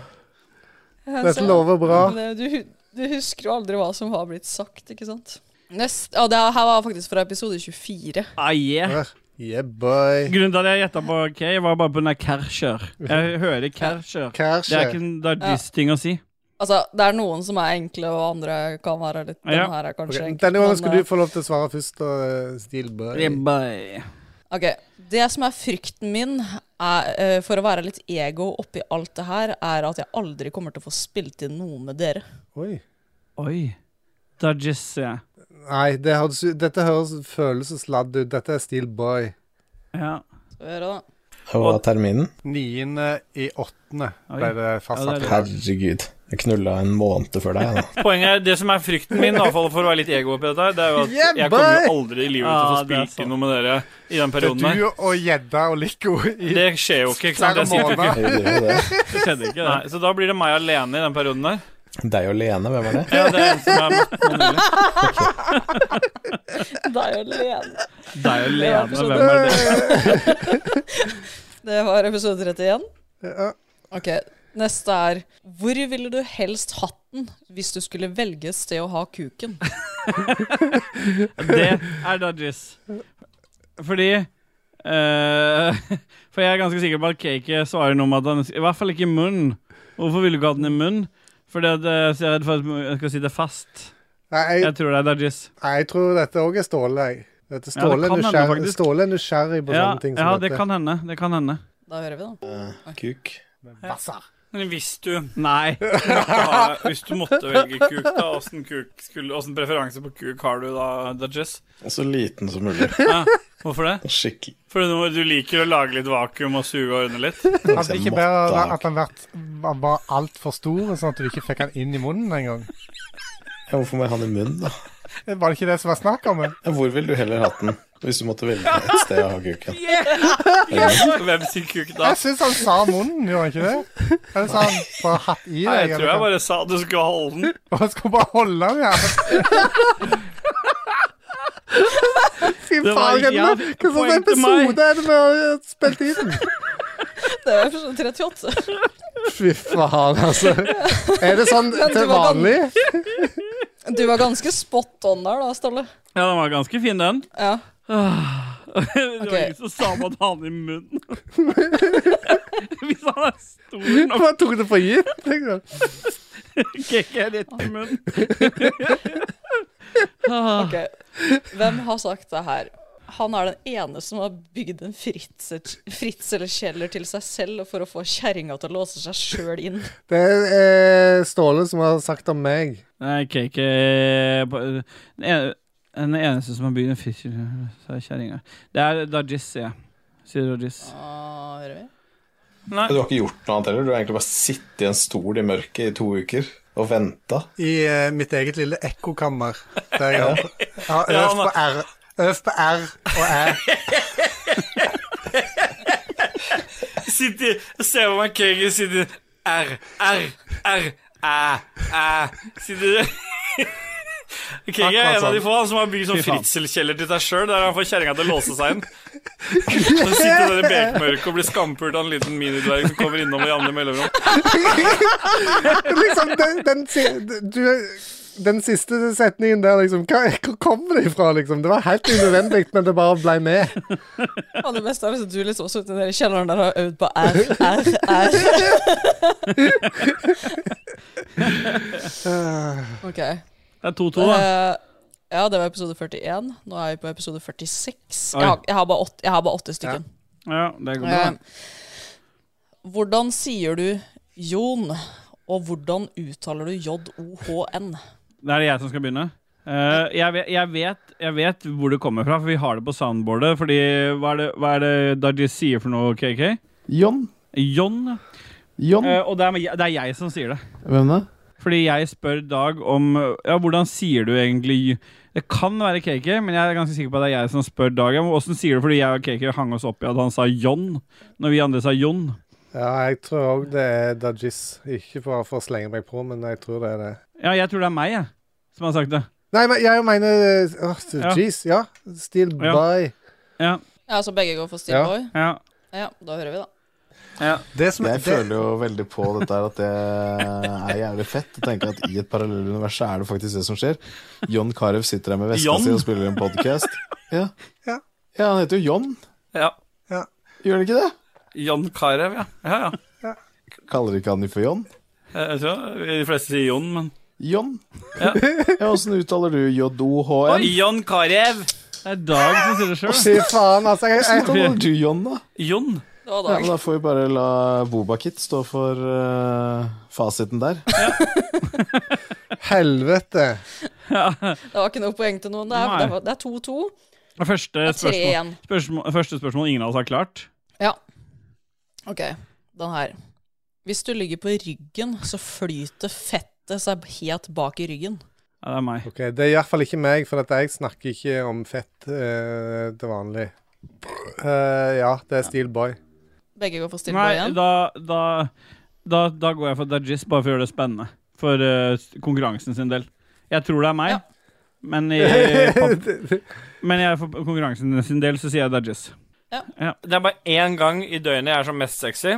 S2: dette lover bra.
S3: Altså,
S5: Mm.
S3: Men, eh, Du, du husker jo aldri hva som har blitt sagt, ikke sant? Nest, å, det her var faktisk fra episode 24.
S1: Ah, yeah.
S2: Her. Yeah, boy.
S1: Grunnen til at jeg gjetta på K, var bare på den der Kersher. Jeg hører Kersher. Det er ikke
S2: Cashet.
S1: en Dudgies-ting å si.
S3: Altså, det er noen som er enkle, og andre kan være litt Den
S1: Ja.
S3: her er kanskje enkel,
S2: Denne
S3: men,
S2: gangen skal
S3: eh,
S2: du få lov til å svare først. Uh, Steel boy.
S3: Ok, Det som er frykten min er, eh, for å være litt ego oppi alt det her, er at jeg aldri kommer til å få spilt inn noe med dere.
S2: Oi.
S1: Oi. Dudgies, sier jeg.
S2: Nei, det høres, ut- dette høres følelsesladd ut. Dette er Steel Boy.
S1: Ja.
S3: Skal vi gjøre det?
S9: Hva var terminen?
S5: Niende i åttende ble det
S1: Ja, det
S5: fastsatt.
S1: er
S9: Herregud. Jeg knulla en måned før deg, da.
S10: Poenget er, Det som er frykten min, i hvert fall for å være litt ego oppi dette, her, det er jo at
S2: Yeah,
S10: jeg kommer jo
S2: boy!
S10: aldri i livet til å få
S1: Ah, det er
S10: spilt inn noe med dere i den
S5: Det er
S10: perioden her.
S5: du og gjedda og Lico i
S10: Det skjer jo ikke. ikke sant?
S5: flere
S10: Jeg sitter jo ikke.
S5: måneder.
S9: Jeg gjorde jo det.
S10: Det skjedde ikke, Nei, så da blir det meg alene i den perioden der.
S9: Deg og Lene, hvem er det?
S10: Ja, det er en som er
S3: Deg alene.
S1: Det er jo
S3: Ja,
S1: Lene.
S3: episode-
S1: Hvem er det?
S3: Det var episode 31.
S2: Ja.
S3: Ok, Neste er Hvor ville du helst hatt den hvis du skulle velge et sted å ha kuken?
S1: Det er Dudgies. Fordi eh, For jeg er ganske sikker på at Cake svarer noe om at han I hvert fall ikke i munnen. Hvorfor ville du ikke hatt den i munnen? Fordi at, eh, så jeg er redd for at jeg skal si det fast.
S2: Nei,
S1: Jeg tror det er Dajis.
S2: Nei, jeg tror dette òg er Ståle. jeg. Dette
S1: Ja, det kan
S2: Ståle, er
S1: hende,
S2: nysgjerrig,
S1: faktisk.
S2: Ståle er nysgjerrig på
S1: Ja,
S2: sånne ting som
S1: ja
S2: dette.
S1: det kan hende. Det kan hende.
S3: Da hører vi, da.
S11: Kuk.
S12: Men hvis du
S1: Nei.
S12: måtte ha, Hvis du måtte velge kuk, da, åssen kuk skulle- åssen preferanse på kuk har du da, Dudges?
S11: Så liten som mulig.
S12: Ja, hvorfor det?
S11: Skikkelig.
S12: Fordi du, du liker å lage litt vakuum og suge og ordne litt?
S13: Hadde det ikke bedre at han, vært, han var altfor stor, sånn at du ikke fikk han inn i munnen engang?
S11: Ja, Hvorfor må jeg ha den i munnen, da?
S13: Var det ikke det som var snakk om?
S11: Ja, Hvor ville du heller hatt den, hvis du måtte velge et sted å ha kuken?
S12: Hvem sin kuk da?
S13: Jeg syns han sa munnen, gjorde han ikke det? Eller sa han bare hatt i
S12: Nei,
S13: deg?
S12: jeg tror jeg bare sa du skulle holde den.
S13: bare Han skulle bare holde den, ja.
S2: Fy
S12: Det var
S2: faen,
S12: ikke- ja,
S2: Renne, hva slags
S12: poeng til meg.
S2: episode er det vi har spilt inn?
S3: Det er jo 38.
S2: Fy faen, altså. Er det sånn
S3: Men du
S2: til
S3: var gan-
S2: vanlig?
S3: Du var ganske spot on der, da, Ståle.
S1: Ja, den var ganske fin, den.
S3: Ja.
S1: Det var
S3: Ok.
S1: ingen som sa om at han i munnen. Hvis han er stor nok,
S2: Hva tok det for gitt? liksom?
S1: Cake er rett i munnen.
S3: Ok. Hvem har sagt det her? Han er den ene som har bygd en fritselkjeller til seg selv for å få kjerringa til å låse seg sjøl inn.
S2: Det er eh, Ståle som har sagt om meg.
S1: Nei, Cake er på- Den ene- den eneste som har bygd en fisk, sa kjerringa. Det er Dajis, sier jeg. Sier Dajis.
S3: Ah, hører vi?
S12: Nei.
S11: Du har ikke gjort noe annet heller. Du har egentlig bare sittet i en stol i mørket i to uker og venta.
S13: I eh, mitt eget lille ekkokammer, der jeg har, jeg har
S12: Ja,
S13: øvd
S12: men-
S13: på R. Øvd på R og Æ.
S12: Sitt i Se på meg, Kegi sitter i R, R, R, æ, æ. Sitter Kegi er en av de få han som har bygd sånn
S1: Fy faen.
S12: fritselkjeller til seg sjøl, der han får kjerringa til å låse seg inn. Så sitter dere i bekmørket og blir skampult av en liten minidverg som kommer innom i andre mellomrom.
S2: Liksom, den, den, si- du, den siste setningen der, liksom hva, Hvor kommer det ifra, liksom? Det var helt unødvendig, men det bare ble med.
S3: Og det beste er hvis du liksom sitter nede i kjelleren der og har øvd på R, R, R. Ok.
S1: Det er 2-2, da.
S3: Eh, ja, det var episode 41. Nå er vi på episode 46.
S1: Oi.
S3: Jeg har, jeg har bare åtte, jeg har bare åtte stykken.
S1: Ja, det går bra.
S3: Eh, hvordan sier du Jon, og hvordan uttaler du J-O-H-N?
S1: Det er det jeg som skal begynne. Eh, jeg, vet, jeg, vet, jeg vet hvor det kommer fra, for vi har det på soundboardet. Fordi hva er det, hva er det Dajis sier for noe, KK?
S5: John?
S1: John. ja.
S5: John?
S1: Eh, og det er, det er jeg som sier det.
S5: Hvem da?
S1: Fordi jeg spør Dag om Ja, hvordan sier du egentlig Det kan være KK, men jeg er ganske sikker på at det er jeg som spør Dag. om Hvordan sier du fordi jeg og KK hang oss opp i at han sa John når vi andre sa Jon?
S2: Ja, jeg tror òg det er Dajis. Ikke bare for å slenge meg på, men jeg tror det er det.
S1: Ja, jeg tror det er meg, jeg, som har sagt det.
S2: Nei, men jeg mener åh,
S1: Ja.
S2: Jeez, ja. Still
S1: Ja.
S2: by.
S1: Ja.
S3: Ja, så begge går for
S2: Ja.
S3: Steelboy?
S1: ja.
S3: Ja. da hører vi, da.
S13: Det som
S5: Jeg
S13: det-
S5: føler jo veldig på dette her at det er jævlig fett. Og tenker at i et parallellunivers så er det faktisk det som skjer. John Carew sitter her med veska
S12: John?
S5: si og spiller en podkast. Ja.
S13: Ja.
S5: ja, han heter jo John.
S12: Ja.
S5: Gjør han ikke det?
S12: Jon Carew, ja. Ja, ja.
S5: Kaller ikke han de for John?
S12: Jeg tror de fleste sier Jon, men
S5: John?
S12: Ja.
S5: Ja, Åssen uttaler du
S12: Oi,
S5: JOHN?
S12: Jon Carew!
S1: Det er Dag som sier det sjøl.
S2: Fy faen, altså. Jeg,
S5: Åssen
S2: jeg,
S5: uttaler du John, da?
S12: Jon.
S3: Det var
S5: Ja,
S3: dag.
S5: men da får vi bare la Bobakit stå for eh, fasiten der.
S2: helvete.
S3: Det var ikke noe poeng til noen. Det er-
S1: Nei.
S3: det var- Det er 2-2.
S1: Første
S3: Det er
S1: spørsmål,
S3: 3-1.
S1: spørsmål, første spørsmål ingen av oss har klart.
S3: Ja. Ok, den her. Hvis du ligger på ryggen, så flyter fettet seg helt bak i ryggen.
S1: Ja, det er meg.
S2: Ok, Det er iallfall ikke meg, for at jeg snakker ikke om fett eh, til vanlig. Eh, ja, det er Steel Boy.
S3: Begge går for Steelboy
S1: Nei,
S3: igjen.
S1: da, da, da, da går jeg for Dajis, bare for å gjøre det spennende. For eh, konkurransen sin del. Jeg tror det er meg,
S3: Ja.
S1: men, i, men jeg, for konkurransen sin del så sier jeg Dajis.
S12: Det er bare én gang i døgnet jeg er som mest sexy,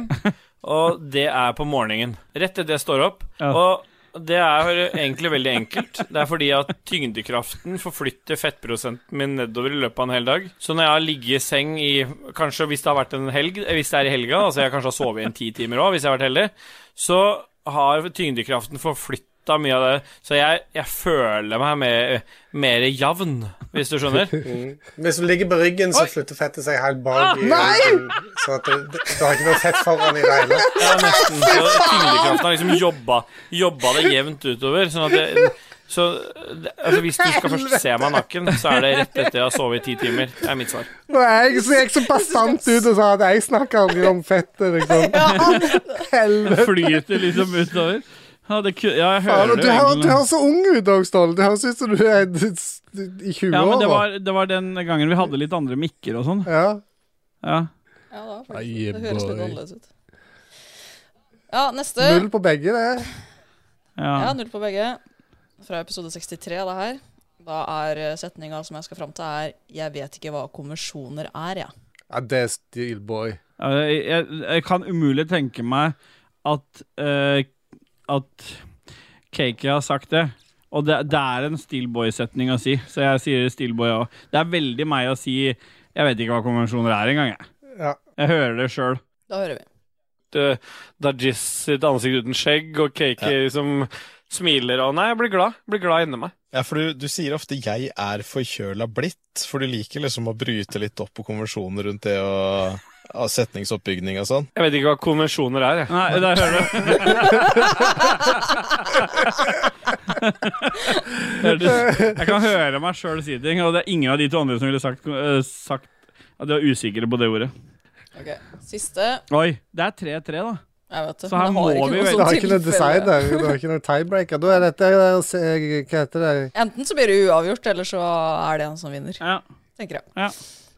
S12: og det er på morgenen. Rett etter det jeg står opp.
S1: Ja.
S12: Og
S10: Det er egentlig veldig enkelt. Det er fordi at tyngdekraften forflytter fettprosenten min nedover i løpet av en hel dag. Så når jeg har ligget i seng i Kanskje hvis det har vært en helg, hvis det er i helga, altså jeg kanskje har sovet inn ti timer òg, hvis jeg har vært heldig, så har tyngdekraften forflytta mye av det. Så jeg, jeg føler meg mer, mer jevn, hvis du skjønner.
S5: Hvis du ligger på ryggen, så flytter fettet seg helt bak. i-
S10: Ah,
S5: Så at du, du du har ikke noe fett foran i det hele.
S10: Ja, nesten. Så tyngdekraften har liksom jobba, jobba det jevnt utover. Sånn at det, så det, altså hvis du skal først se meg naken, så er det rett etter jeg har sovet i ti timer. Det er mitt svar.
S2: Nå er jeg, så jeg så bastant ut og sa at jeg snakker aldri om fettet, liksom.
S1: Det flyter liksom utover. Ja, det, ku- ja jeg hører
S2: Faen, og
S1: det
S2: du,
S1: jo
S2: hører,
S1: egentlig.
S2: du høres så ung ut òg, Ståle. Du høres ut som du er d- s- i 20
S1: Ja, men det
S2: år.
S1: var, det var den gangen vi hadde litt andre mikker og sånn.
S2: Ja.
S1: Ja.
S3: Ja, det, var
S1: Aye,
S3: faktisk, det høres litt
S1: boy.
S3: annerledes ut. Ja, neste.
S2: Null på begge, det.
S3: Ja, null på begge. Fra episode 63, det her. Da er eh, setninga som jeg skal fram til, er 'Jeg vet ikke hva konvensjoner er', jeg.
S2: Ja, det er Steelboy.
S1: Ja, Jeg, jeg, jeg kan umulig tenke meg at eh, At Cakey har sagt det. Og det, det er en Steelboy-setning å si, så jeg sier Steelboy òg. Det er veldig meg å si Jeg vet ikke hva konvensjoner er engang, jeg.
S2: Ja.
S1: Jeg hører det sjøl.
S3: Da hører vi.
S10: Det- Det er Jizz sitt ansikt uten skjegg, og Kaki liksom smiler og Nei, jeg blir glad. Jeg blir glad inni meg.
S11: Ja, for du, du sier ofte 'jeg er forkjøla blitt', for du liker liksom å bryte litt opp på konvensjoner rundt det og ja, setningsoppbygning og sånn.
S10: Jeg vet ikke hva konvensjoner er, jeg. Nei, der hører
S1: du. Jeg kan høre meg sjøl si ting, og det er ingen av de to andre som ville sagt, eh, sagt at de var usikre på det ordet.
S3: Ok, Siste.
S1: Oi, det er 3-3, da.
S3: Jeg vet det.
S1: Så her
S3: men det har
S1: må vi
S3: ikke noe
S1: vel-
S2: Det
S3: sånn
S2: var ikke noe
S3: tilfelle.
S2: decider. Det var ikke noe tiebreaker. Da er dette eh, se- Hva heter det?
S3: Enten så blir det uavgjort, eller så er det en som vinner. Tenker jeg. Eh,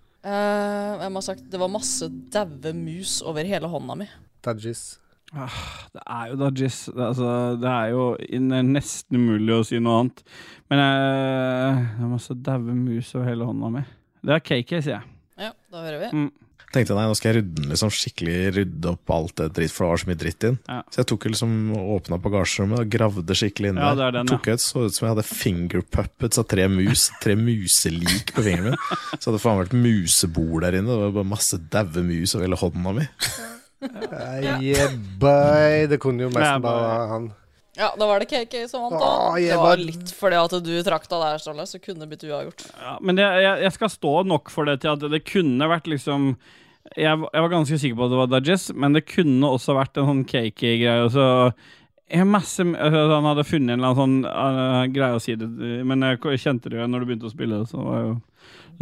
S3: hvem har sagt 'det var masse daue mus over hele hånda mi'?
S2: Dajis.
S1: Ah, Det er jo da jizz. Det, altså, det er jo det er nesten umulig å si noe annet. Men eh, jeg, det er masse daue mus over hele hånda mi. Det er cake, sier jeg.
S3: Ja, da hører vi.
S11: Tenkte jeg, nei, nå skal jeg rydde den liksom skikkelig rydde opp alt det dritt, for det var så mye dritt inn.
S1: Ja.
S11: Så jeg tok jo liksom åpna bagasjerommet og gravde skikkelig inn
S1: Ja,
S11: der.
S1: det er den,
S11: tok ut, så ut som jeg hadde finger puppets av tre mus, tre muselik på fingeren min. Så hadde faen vært musebord der inne, det var bare masse daue mus over hele hånda mi.
S2: Yeah, boy. Det kunne jo
S11: Yeah,
S2: nesten bare være han.
S3: Ja, da var det KK som vant, da.
S1: Ah,
S2: Åh, jeg
S3: Det var
S2: var-
S3: litt fordi at du trakk deg der, Ståle, så kunne det blitt uavgjort.
S1: Ja, men det, jeg, jeg skal stå nok for det til at det kunne vært liksom Jeg, var- jeg var ganske sikker på at det var Dajess, men det kunne også vært en sånn cakey-greie. og så- jeg har masse, altså, han hadde funnet en eller annen sånn eh, greie å si det Men jeg kjente det jo igjen når du begynte å spille. Så det var jo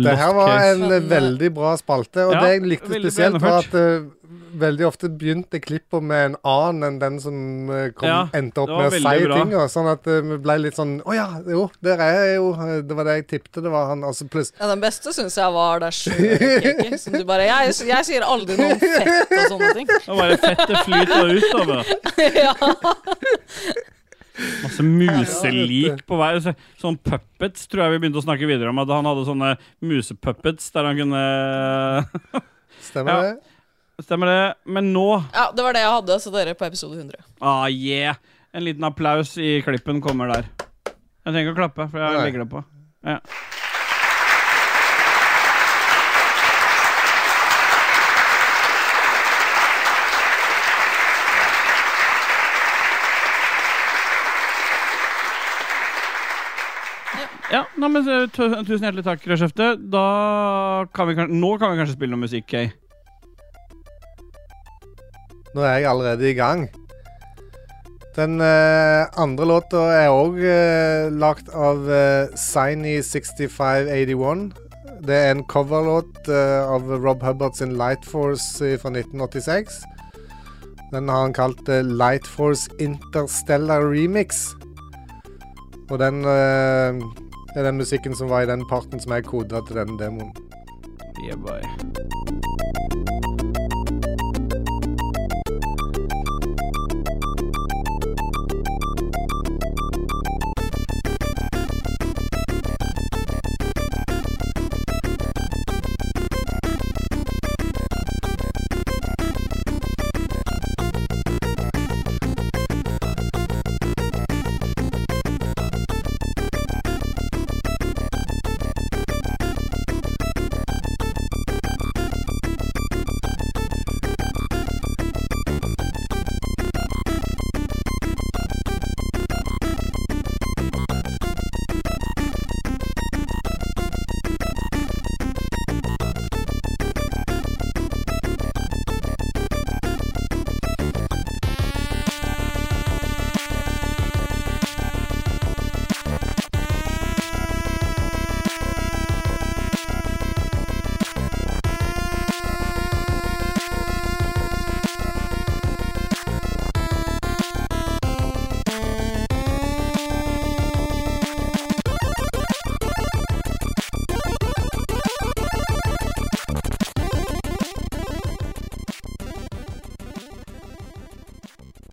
S2: Det her
S1: lost
S2: var
S1: case.
S2: en eh, veldig bra spalte, og
S1: Ja,
S2: det jeg likte
S1: veldig bra
S2: spesielt, var
S1: gjennomført.
S2: at eh, veldig ofte begynte klippene med en annen enn den som eh, kom,
S1: Ja,
S2: endte opp
S1: det var
S2: med å si
S1: veldig bra.
S2: tinga, sånn at eh, vi ble litt sånn Å ja, jo, der er jeg jo. eh, Det var det jeg tippte det var han. Og så plutselig
S3: Ja, den beste syns jeg var der sjøl, KK. Som du bare jeg, jeg sier aldri noe om fett og sånne ting.
S1: Det var det fettet flyter ut av det.
S3: ja.
S1: Masse muselik på vei. Så, sånn puppets tror jeg vi begynte å snakke videre om. At han hadde sånne musepuppets der han kunne
S2: Stemmer
S1: det. Stemmer det. Men nå
S3: ja, det var det jeg hadde, så dere på episode 100.
S1: Ah, yeah! En liten applaus i klippen kommer der. Jeg trenger ikke å klappe, for jeg
S3: Nei.
S1: legger det på. Ja. Ja, nei, men eh, tu- Tusen hjertelig takk, Rødskjefte. Da kan vi kan- Nå kan vi kanskje spille noe musikk, Kay.
S2: Nå er jeg allerede i gang. Den eh, andre låta er òg uh, lagd av uh, Siny6581. Det er en coverlåt eh, av Rob Hubbard sin Light Force eh, fra 1986. Den har han kalt eh, Light Force Interstellar Remix. Og den eh, er den musikken som var i den parten som er koda til den demoen.
S1: Yeah, boy.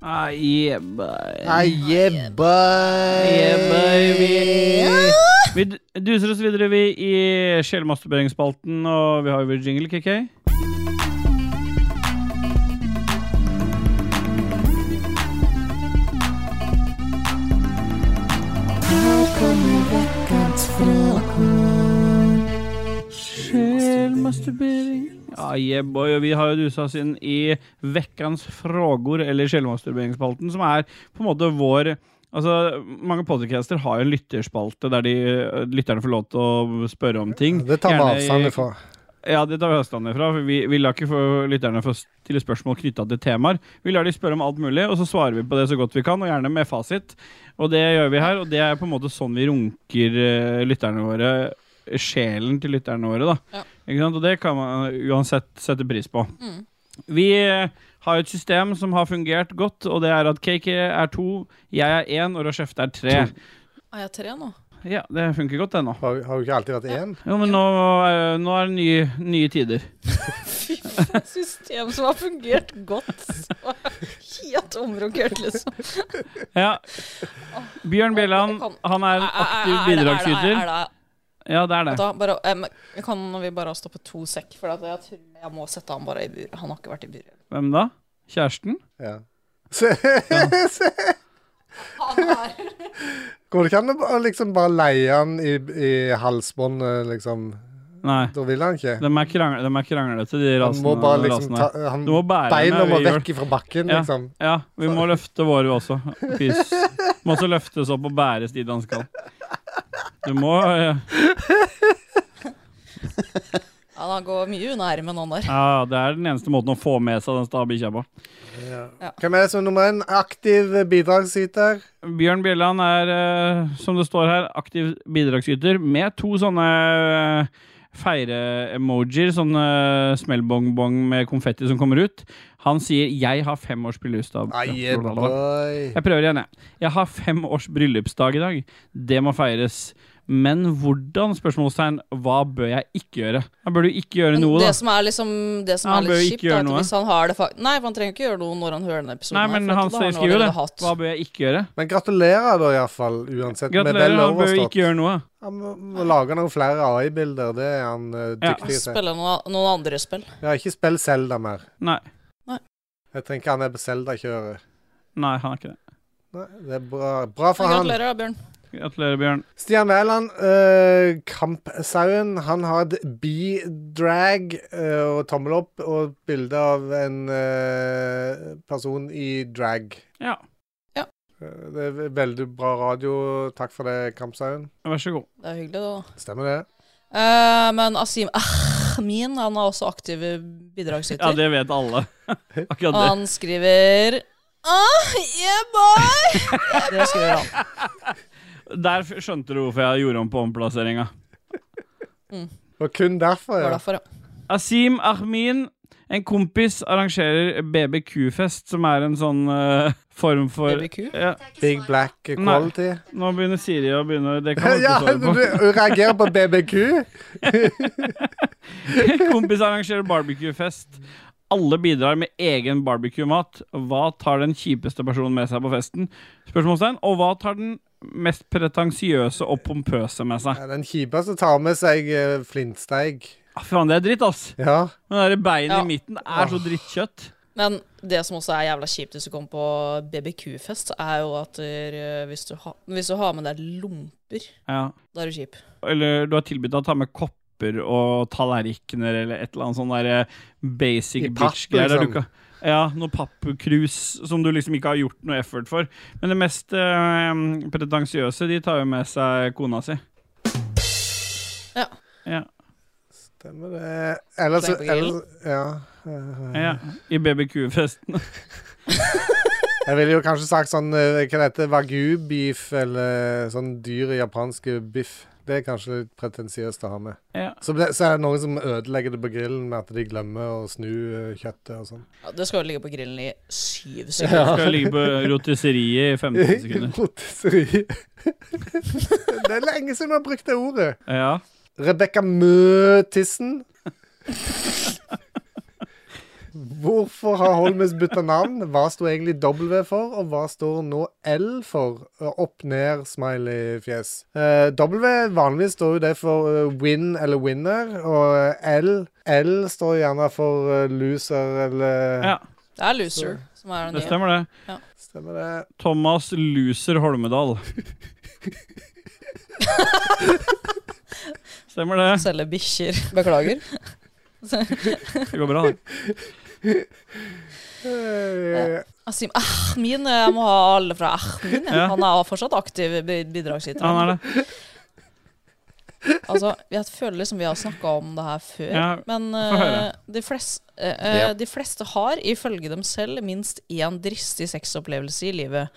S1: Ah, yeah, boy.
S8: Ah, yeah, boy.
S1: Yeah, baby. Vi d- duser oss videre vi i sjelmasturberingsspalten, og vi har jo vår jingle, KK. Sjelmasturbering Ah, yeah, boy. Og vi har jo dusa oss inn i Vekkans frågor, eller sjelmasturberingsspalten, som er på en måte vår Altså, Mange podcaster har jo en lytterspalte der de, eh, lytterne får lov til å spørre om ting.
S2: Det tar vi
S1: Gjerne i-
S2: avstand ifra.
S1: ja, det tar vi avstand fra. for Vi, vi lar ikke få lytterne få stille spørsmål knytta til temaer. Vi lar de spørre om alt mulig, og så svarer vi på det så godt vi kan, og gjerne med fasit. Og det gjør vi her, og det er på en måte sånn vi runker eh, lytterne våre. Sjelen til lytterne våre, da. Ikke sant? Og det kan man uansett sette pris på.
S3: Mm.
S1: Vi eh, har et system som har fungert godt, og det er at KK er to, jeg er én, og Rashefte er tre.
S3: Ah, jeg har tre nå.
S1: Ja, det funker godt, det nå.
S2: Har, har jo ikke alltid vært én?
S1: Jo, men nå, er- nå er det nye, nye tider.
S3: Et system som har fungert godt. Så Helt omrokert, liksom.
S1: Ja. Bjørn Bjelland, han er en aktiv bidragsyter. Ja, det er
S3: Vet
S1: det.
S3: du hva, Bare, em, kan vi bare stoppe to sekk? For at jeg tror jeg må sette han bare i bur. Han har ikke vært i bur.
S1: Hvem da? Kjæresten?
S2: Ja. Se, se. Går det ikke an å bare- liksom bare leie han i, i halsbåndet, liksom?
S1: Nei.
S2: Da vil han ikke.
S1: De er, krangle, de er kranglete, de
S2: Han
S1: rasene.
S2: må bare liksom
S1: rasene.
S2: ta- han-
S1: Du må bære
S2: beina
S1: med,
S2: må
S1: vi gjør-
S2: vekk fra bakken,
S1: ja,
S2: liksom.
S1: Ja. Vi må løfte våre også. Pys. Må også løftes opp og bæres dit han skal. Du må eh,
S3: Ja, han går mye unna ermet, han der.
S1: Ja, det er den eneste måten å få med seg den sta bikkja på.
S3: Ja.
S2: Hvem er det som er nummer én? Aktiv bidragsyter.
S1: Bjørn Bjelland er, eh, som det står her, aktiv bidragsyter med to sånne eh, feire-emojier, sånne eh, smellbongbong med konfetti som kommer ut. Han sier 'jeg har fem års bryllupsdag'.
S2: Aye, boy.
S1: Jeg prøver igjen, jeg. Jeg har fem års bryllupsdag i dag. Det må feires. Men hvordan? spørsmålstegn, Hva bør jeg ikke gjøre? Han bør du ikke gjøre
S3: Men
S1: noe, da.
S3: det som er, liksom, det som
S1: Ja, han
S3: er
S1: bør
S3: litt
S1: ikke
S3: kjipt,
S1: gjøre
S3: er at
S1: noe.
S3: hvis han har det fak Nei, for han trenger ikke gjøre noe når han hører denne episoden.
S1: Nei,
S3: her,
S1: men
S3: for
S1: han
S3: da har
S1: sier-
S3: noe
S1: skriver jo det.
S3: allerede hatt.
S1: Hva bør jeg ikke gjøre?
S2: Men gratulerer, da, iallfall. Uansett. med
S1: Gratulerer, han
S2: vel
S1: bør jo
S2: overstått.
S1: ikke gjøre noe.
S2: Han må- må lage noen flere AI-bilder. Det er han eh, dyktig til.
S3: Spille noen, noen andre spill.
S2: Ja, ikke spill Zelda mer.
S1: Nei.
S3: Nei.
S2: Jeg tenker han er på Zelda-kjøret.
S1: Nei, han er ikke det.
S2: Nei, det er bra, bra for han.
S3: Gratulerer, da, Bjørn.
S1: Gratulerer, Bjørn.
S2: Stian Wæland, eh, Kampsauen, han har et B-drag eh, og tommel opp og bilde av en eh, person i drag.
S1: Ja.
S3: Ja.
S2: Eh, Det er veldig bra radio. Takk for det, Kampsauen.
S1: Vær så god.
S3: Det er hyggelig, det, da.
S2: Stemmer det.
S3: Eh, men Asim Ahmin, han er også aktiv bidragsyter.
S1: Ja, det vet alle. Akkurat
S3: Og
S1: det.
S3: han skriver Ah, yeah, boy! det skriver han.
S1: Der f- skjønte du hvorfor jeg gjorde om på omplasseringa.
S2: Og kun derfor,
S3: Det
S2: ja.
S3: var derfor, ja.
S1: Asim Ahmin, en kompis, arrangerer BBQ-fest, som er en sånn eh, form for
S3: BBQ?
S1: Ja.
S2: Big black quality.
S1: Nei, nå begynner Siri å begynne Det kan
S2: ja,
S1: du
S2: du
S1: ikke svare på.
S2: reagerer på BBQ.
S1: En kompis arrangerer barbecue-fest. Alle bidrar med egen barbecue-mat. Hva tar den kjipeste personen med seg på festen? Spørsmålstegn. Og hva tar den mest pretensiøse og pompøse med seg?
S2: Ja, Den kjipeste tar med seg eh, flintsteig.
S1: Ah, Faen, det er dritt, ass.
S2: Ja.
S1: Men det der beinet
S3: Ja.
S1: i midten er så drittkjøtt.
S3: Men det som også er jævla kjipt hvis du kommer på BBQ-fest, er jo at eh, hvis, du ha, hvis du har med deg lomper,
S1: Ja.
S3: da er du kjip.
S1: Eller du har tilbudt deg å ta med kopper og tallerkener eller et eller annet sånn der eh, basic
S2: I papp,
S1: bitch-greier. der du
S2: liksom.
S1: ikke- Ja, noe pappkrus som du liksom ikke har gjort noe effort for. Men det mest eh, pretensiøse, de tar jo med seg kona si.
S3: Ja.
S1: Ja.
S2: Stemmer det. Ellers,
S3: Klein på
S2: ellers ja.
S1: ja. I BBQ-festen.
S2: Jeg ville jo kanskje sagt sånn eh, Hva det heter Wagyu beef, eller sånn dyr i japansk biff. Det er kanskje litt pretensiøst å ha med.
S1: Ja.
S2: Så, ble, så er det noen som ødelegger det på grillen med at de glemmer å snu eh, kjøttet og sånn.
S3: Ja, det skal jo ligge på grillen i syv
S1: Du
S3: sekunder.
S1: skal ligge på rotisseriet i 15 Mm, sekunder.
S2: Rotisseri. det er lenge siden vi har brukt det ordet.
S1: Ja.
S2: Rebekka Møtissen. Hvorfor har Holmes bytta navn? Hva sto egentlig W for, og hva står nå L for? Eh, Opp ned, smiley fjes. Eh, W vanligvis står jo det for eh, win eller winner, og eh, L L står gjerne for eh, loser eller
S1: Ja.
S3: Det er loser som er den
S1: Det
S3: nye.
S1: stemmer, det.
S3: Ja.
S2: Stemmer det.
S1: Thomas Loser Holmedal. Stemmer det.
S3: Selge bikkjer. Beklager.
S1: Det går bra, det.
S3: Eh, Asim Ahmin, eh, jeg må ha alle fra Ahmin. jeg.
S1: Ja.
S3: Han er fortsatt aktiv bi- bidragsyter.
S1: Ja, han er
S3: Altså, jeg føler liksom vi har snakka om det her før,
S1: Ja,
S3: men
S1: få høre.
S3: eh, de, flest, eh, eh,
S1: Ja.
S3: de fleste har, ifølge dem selv, minst én dristig sexopplevelse i livet.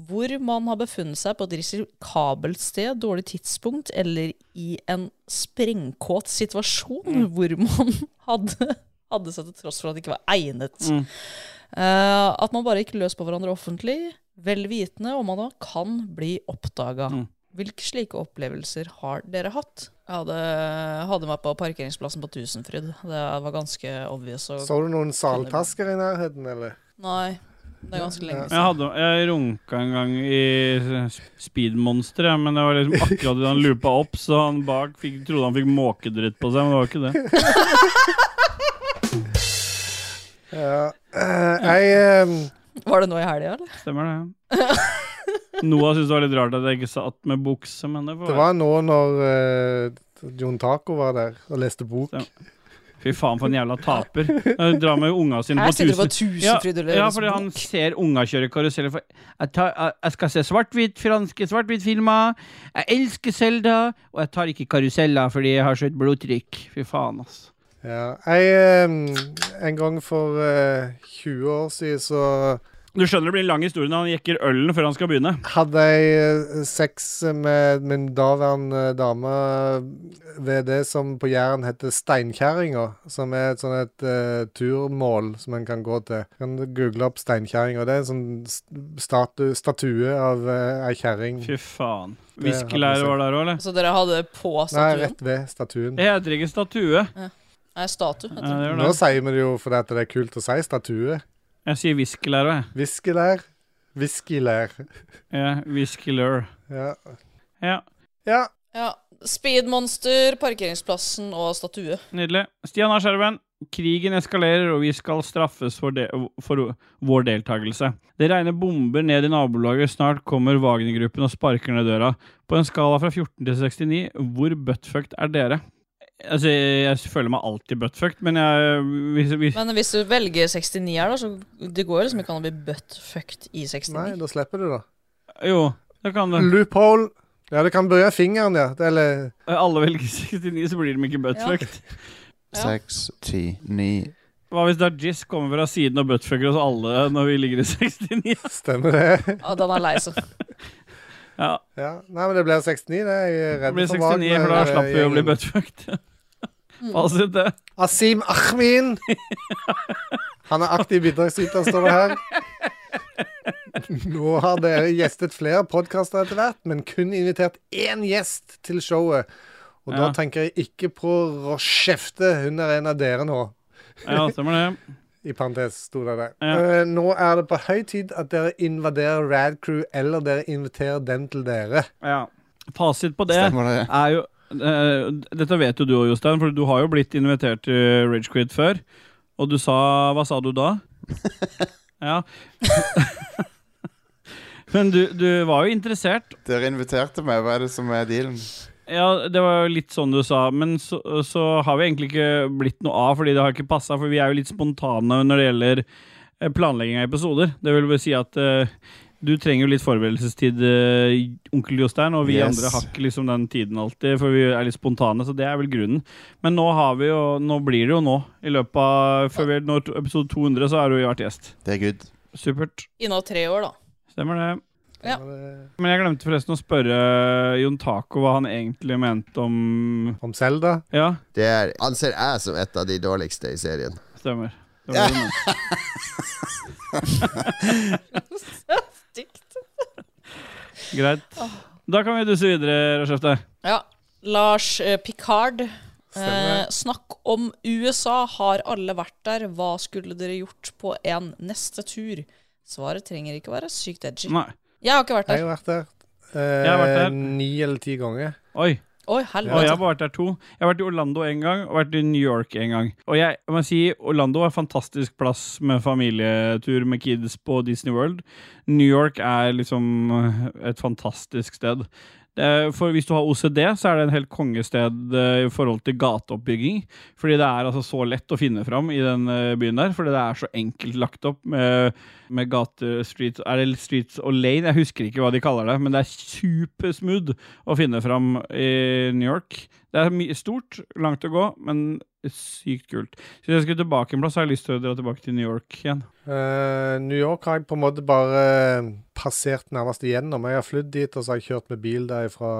S3: Hvor man har befunnet seg på et risikabelt sted, dårlig tidspunkt, eller i en sprengkåt situasjon
S1: Mm.
S3: hvor man hadde, hadde seg til tross for at det ikke var egnet.
S1: Mm.
S3: Eh, at man bare gikk løs på hverandre offentlig, vel vitende om man da kan bli oppdaga.
S1: Mm.
S3: Hvilke slike opplevelser har dere hatt? Jeg hadde, hadde meg på parkeringsplassen på Tusenfryd. Det var ganske obvious. å-
S2: Så du noen saltasker i nærheten, eller?
S3: Nei. Det er ganske lenge
S1: Jeg,
S3: siden.
S1: hadde, jeg runka en gang i Speedmonster, jeg, men det var liksom akkurat da han loopa opp, så han bak fikk, trodde han fikk måkedritt på seg, men det var ikke det.
S2: Ja. Eh, jeg eh,
S3: Var det nå i helga, eller?
S1: Stemmer det. Noah syntes det var litt rart at jeg ikke satt med bukse, men det får
S2: Det
S1: være.
S2: var nå når eh, Jon Taco var der og leste bok.
S1: Fy faen, for en jævla taper. Jeg drar med unga sine
S2: Her
S1: på
S2: sitter du på
S1: tusen-
S2: Tusenfryd og
S1: ja,
S2: leser
S1: ja, fordi han ser unga kjøre karusell. For jeg, tar, jeg, jeg skal se svart-hvitt franske svart-hvitt-filmer. Jeg elsker Selda, og jeg tar ikke karuseller fordi jeg har så høyt blodtrykk. Fy faen, ass.
S2: Ja, jeg, eh, en gang for eh, 20 år siden så
S1: Du skjønner det blir en lang historie når han jekker ølen før han skal begynne.
S2: hadde jeg eh, sex med min daværende eh, dame ved det som på Jæren heter Steinkjerringa, som er et sånn et eh, turmål som en kan gå til. Du kan google opp Steinkjerringa. Det er en sånn st- statu, statue av uh, ei kjerring.
S1: Fy faen.
S2: Det hadde
S1: Viskelæret
S2: jeg
S1: var der òg, eller?
S3: Så dere hadde på
S2: Nei,
S3: statuen?
S2: rett ved statuen.
S1: Det heter ikke statue.
S3: Nei, statue. heter
S1: Ja, det gjør
S2: Nå
S1: det.
S2: sier vi det jo fordi at det er kult å si statue.
S1: Jeg sier viskelær òg, jeg.
S2: Viskelær. Whiskylær.
S1: Ja, viskelør.
S2: Ja.
S1: Ja,
S2: ja.
S3: Ja. Speedmonster, parkeringsplassen og statue.
S1: nydelig. Stian A. Skjerven. Krigen eskalerer, og vi skal straffes for, de for vår deltakelse. Det regner bomber ned i nabolaget. Snart kommer Wagner-gruppen og sparker ned døra. På en skala fra 14 til 69, hvor buttfucked er dere? Altså, jeg føler meg alltid buttfucked, men jeg hvis, hvis,
S3: Men hvis du velger 69 her, da, så det går liksom ikke an å bli buttfucked i 69.
S2: Nei, da slipper du, da.
S1: Jo, det kan det.
S2: Loophole. Ja, du kan bøye fingeren, ja. Det- Eller
S1: Alle velger 69, så blir de ikke buttfucked.
S4: Seks, ti, ni
S1: Hva hvis Dajis kommer fra siden og buttfucker oss alle når vi ligger i 69?
S2: Stemmer det.
S3: Ja, den er lei seg.
S1: Ja.
S2: ja. Nei, men det blir 69, det. Jeg er
S1: Det
S2: redd
S1: blir
S2: for
S1: 69, for da
S2: Wagner,
S1: slapp vi å bli
S2: eh, gjengen.
S1: buttfucked. Fasit, det.
S2: Asim Ahmin! Han er aktiv bidragsyter, står det her. Nå har dere gjestet flere podkaster etter hvert, men kun invitert én gjest til showet. Og da
S1: Ja.
S2: tenker jeg ikke på Rochefte, hun er en av dere nå.
S1: Ja, stemmer det.
S2: I parentes sto det der.
S1: Ja.
S2: Eh, nå er det på høy tid at dere invaderer Rad Crew, eller dere inviterer den til dere.
S1: Ja. Fasit på det
S4: Stemmer det.
S1: er jo eh, Dette vet jo du òg, Jostein, for du har jo blitt invitert til Ragequid før. Og du sa Hva sa du da? ja. Men du, du var jo interessert,
S4: Dere inviterte meg, hva er det som er dealen?
S1: Ja, det var jo litt sånn du sa, men så, så har vi egentlig ikke blitt noe av, fordi det har ikke passa, for vi er jo litt spontane når det gjelder eh, planlegging av episoder. Det vil vel si at eh, du trenger jo litt forberedelsestid, eh, onkel Jostein, og vi
S4: Yes.
S1: andre har ikke liksom den tiden alltid, for vi er litt spontane, så det er vel grunnen. Men nå har vi jo Nå blir det jo nå. I løpet av før vi, når to- episode 200, så har du jo vært gjest.
S4: Det er good.
S1: Supert.
S3: Innav tre år, da.
S1: Stemmer det.
S3: Ja.
S1: Men jeg glemte forresten å spørre eh, Jon Taco hva han egentlig mente om
S2: Om Selda?
S1: Ja,
S14: Det er, anser jeg som et av de dårligste i serien.
S1: stemmer. Det
S14: Ja.
S1: var det nå.
S3: Så stygt.
S1: Greit. Da kan vi dusse videre, Rashefte.
S3: Ja. Lars eh, Picard. Eh,
S15: Stemmer.
S3: snakk om USA. Har alle vært der? Hva skulle dere gjort på en neste tur? Svaret trenger ikke være sykt edgy.
S15: Nei.
S3: Jeg har ikke vært
S2: Jeg
S3: der.
S2: har vært der. Eh,
S1: Jeg har vært der.
S2: Ni eller ti ganger.
S1: Oi.
S3: Oi, helvete.
S1: Og jeg har bare vært der to. Jeg har vært i Orlando én gang, og vært i New York én gang. Og jeg må si, Orlando er en fantastisk plass med familietur med kids på Disney World. New York er liksom et fantastisk sted. Det er- For hvis du har OCD, så er det en helt kongested eh, i forhold til gateoppbygging. Fordi det er altså så lett å finne fram i den eh, byen der. Fordi det er så enkelt lagt opp med, med gate, streets, er det streets og lane. Jeg husker ikke hva de kaller det, men det er supersmooth å finne fram i New York. Det er mye stort, langt å gå, men sykt kult. Så hvis jeg skulle tilbake en plass, så har jeg lyst til å dra tilbake til New York igjen.
S2: Eh, New York har jeg på en måte bare passert nærmest igjennom. Jeg har flydd dit, og så har jeg kjørt med bil derifra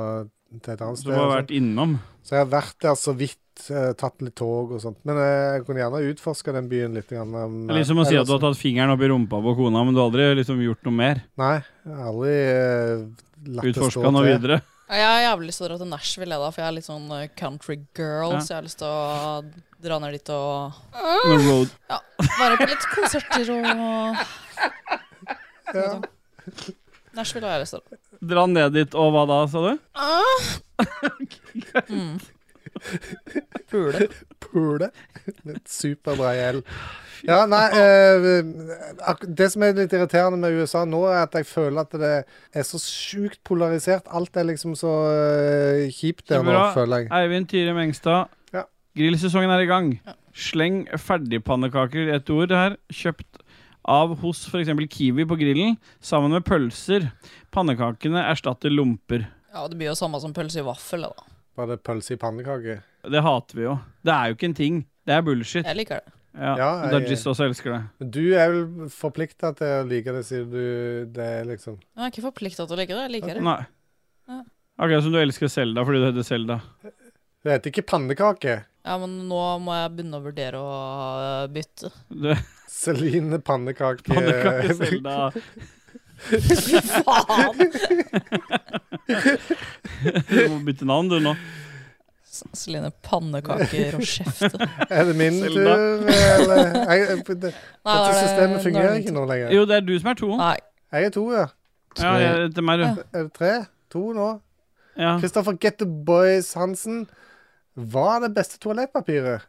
S2: til et annet
S1: Så
S2: sted.
S1: du har
S2: og
S1: vært
S2: sånn.
S1: innom.
S2: Så jeg har vært der så vidt, eh, tatt litt tog og sånt. Men eh, jeg kunne gjerne utforska den byen litt. Grann, eh,
S1: Det er liksom å si at du har tatt fingeren opp i rumpa på kona, men du har aldri liksom gjort noe mer.
S2: Nei, jeg har aldri eh, latt det stå
S1: Utforska noe
S2: til.
S1: videre.
S3: Jeg har jævlig lyst til å dra til Nashville, jeg da, for jeg er litt sånn eh, country girl.
S1: Ja.
S3: Så jeg har lyst til å dra ned dit og
S1: Noe road.
S3: Ja, Være på litt konserter og
S1: Sånn
S2: Ja.
S3: Nashville har jeg lyst til.
S1: Dra ned dit, og hva da, sa du? Ah!
S3: Mm.
S2: Pule. Pule. Litt superbra gjeld. Ja, nei eh, ak- Det som er litt irriterende med USA nå, er at jeg føler at det er så sjukt polarisert. Alt er liksom så eh, kjipt der nå,
S1: Bra.
S2: føler jeg.
S1: Eivind Tyrim Engstad. Grillsesongen er i gang. Sleng ferdigpannekaker i et ord her. Kjøpt av hos f.eks. Kiwi på grillen, sammen med pølser. Pannekakene erstatter lomper.
S3: Ja, det blir jo samme som pølse i vaffel, da.
S2: Var det pølse i pannekake?
S1: Det hater vi jo. Det er jo ikke en ting. Det er bullshit.
S3: Jeg liker det.
S1: Ja,
S2: Ja, jeg-
S1: Dudgies også elsker det.
S2: Du er vel forplikta til å like det, sier du det, er liksom.
S3: Jeg er ikke forplikta til å like det. Jeg liker det.
S1: Nei.
S3: Ja.
S1: Akkurat som du elsker Selda fordi du heter Selda.
S2: Det heter ikke pannekake.
S3: Ja, men nå må jeg begynne å vurdere å øh, bytte.
S2: Celine pannekake.
S1: Pannekake Selda.
S3: Fy faen!
S1: Du må bytte navn, du, nå.
S3: Celine Pannekaker og kjefte.
S2: Er det min tur, eller? Jeg, det, dette systemet fungerer ikke nå lenger.
S1: Jo, det er du som er to.
S3: Nei.
S2: Jeg er to, ja.
S1: Ja, jeg- til meg, du.
S2: Er det tre? To nå.
S1: Ja.
S2: Kristoffer Get the Boys Hansen. Hva er det beste toalettpapiret?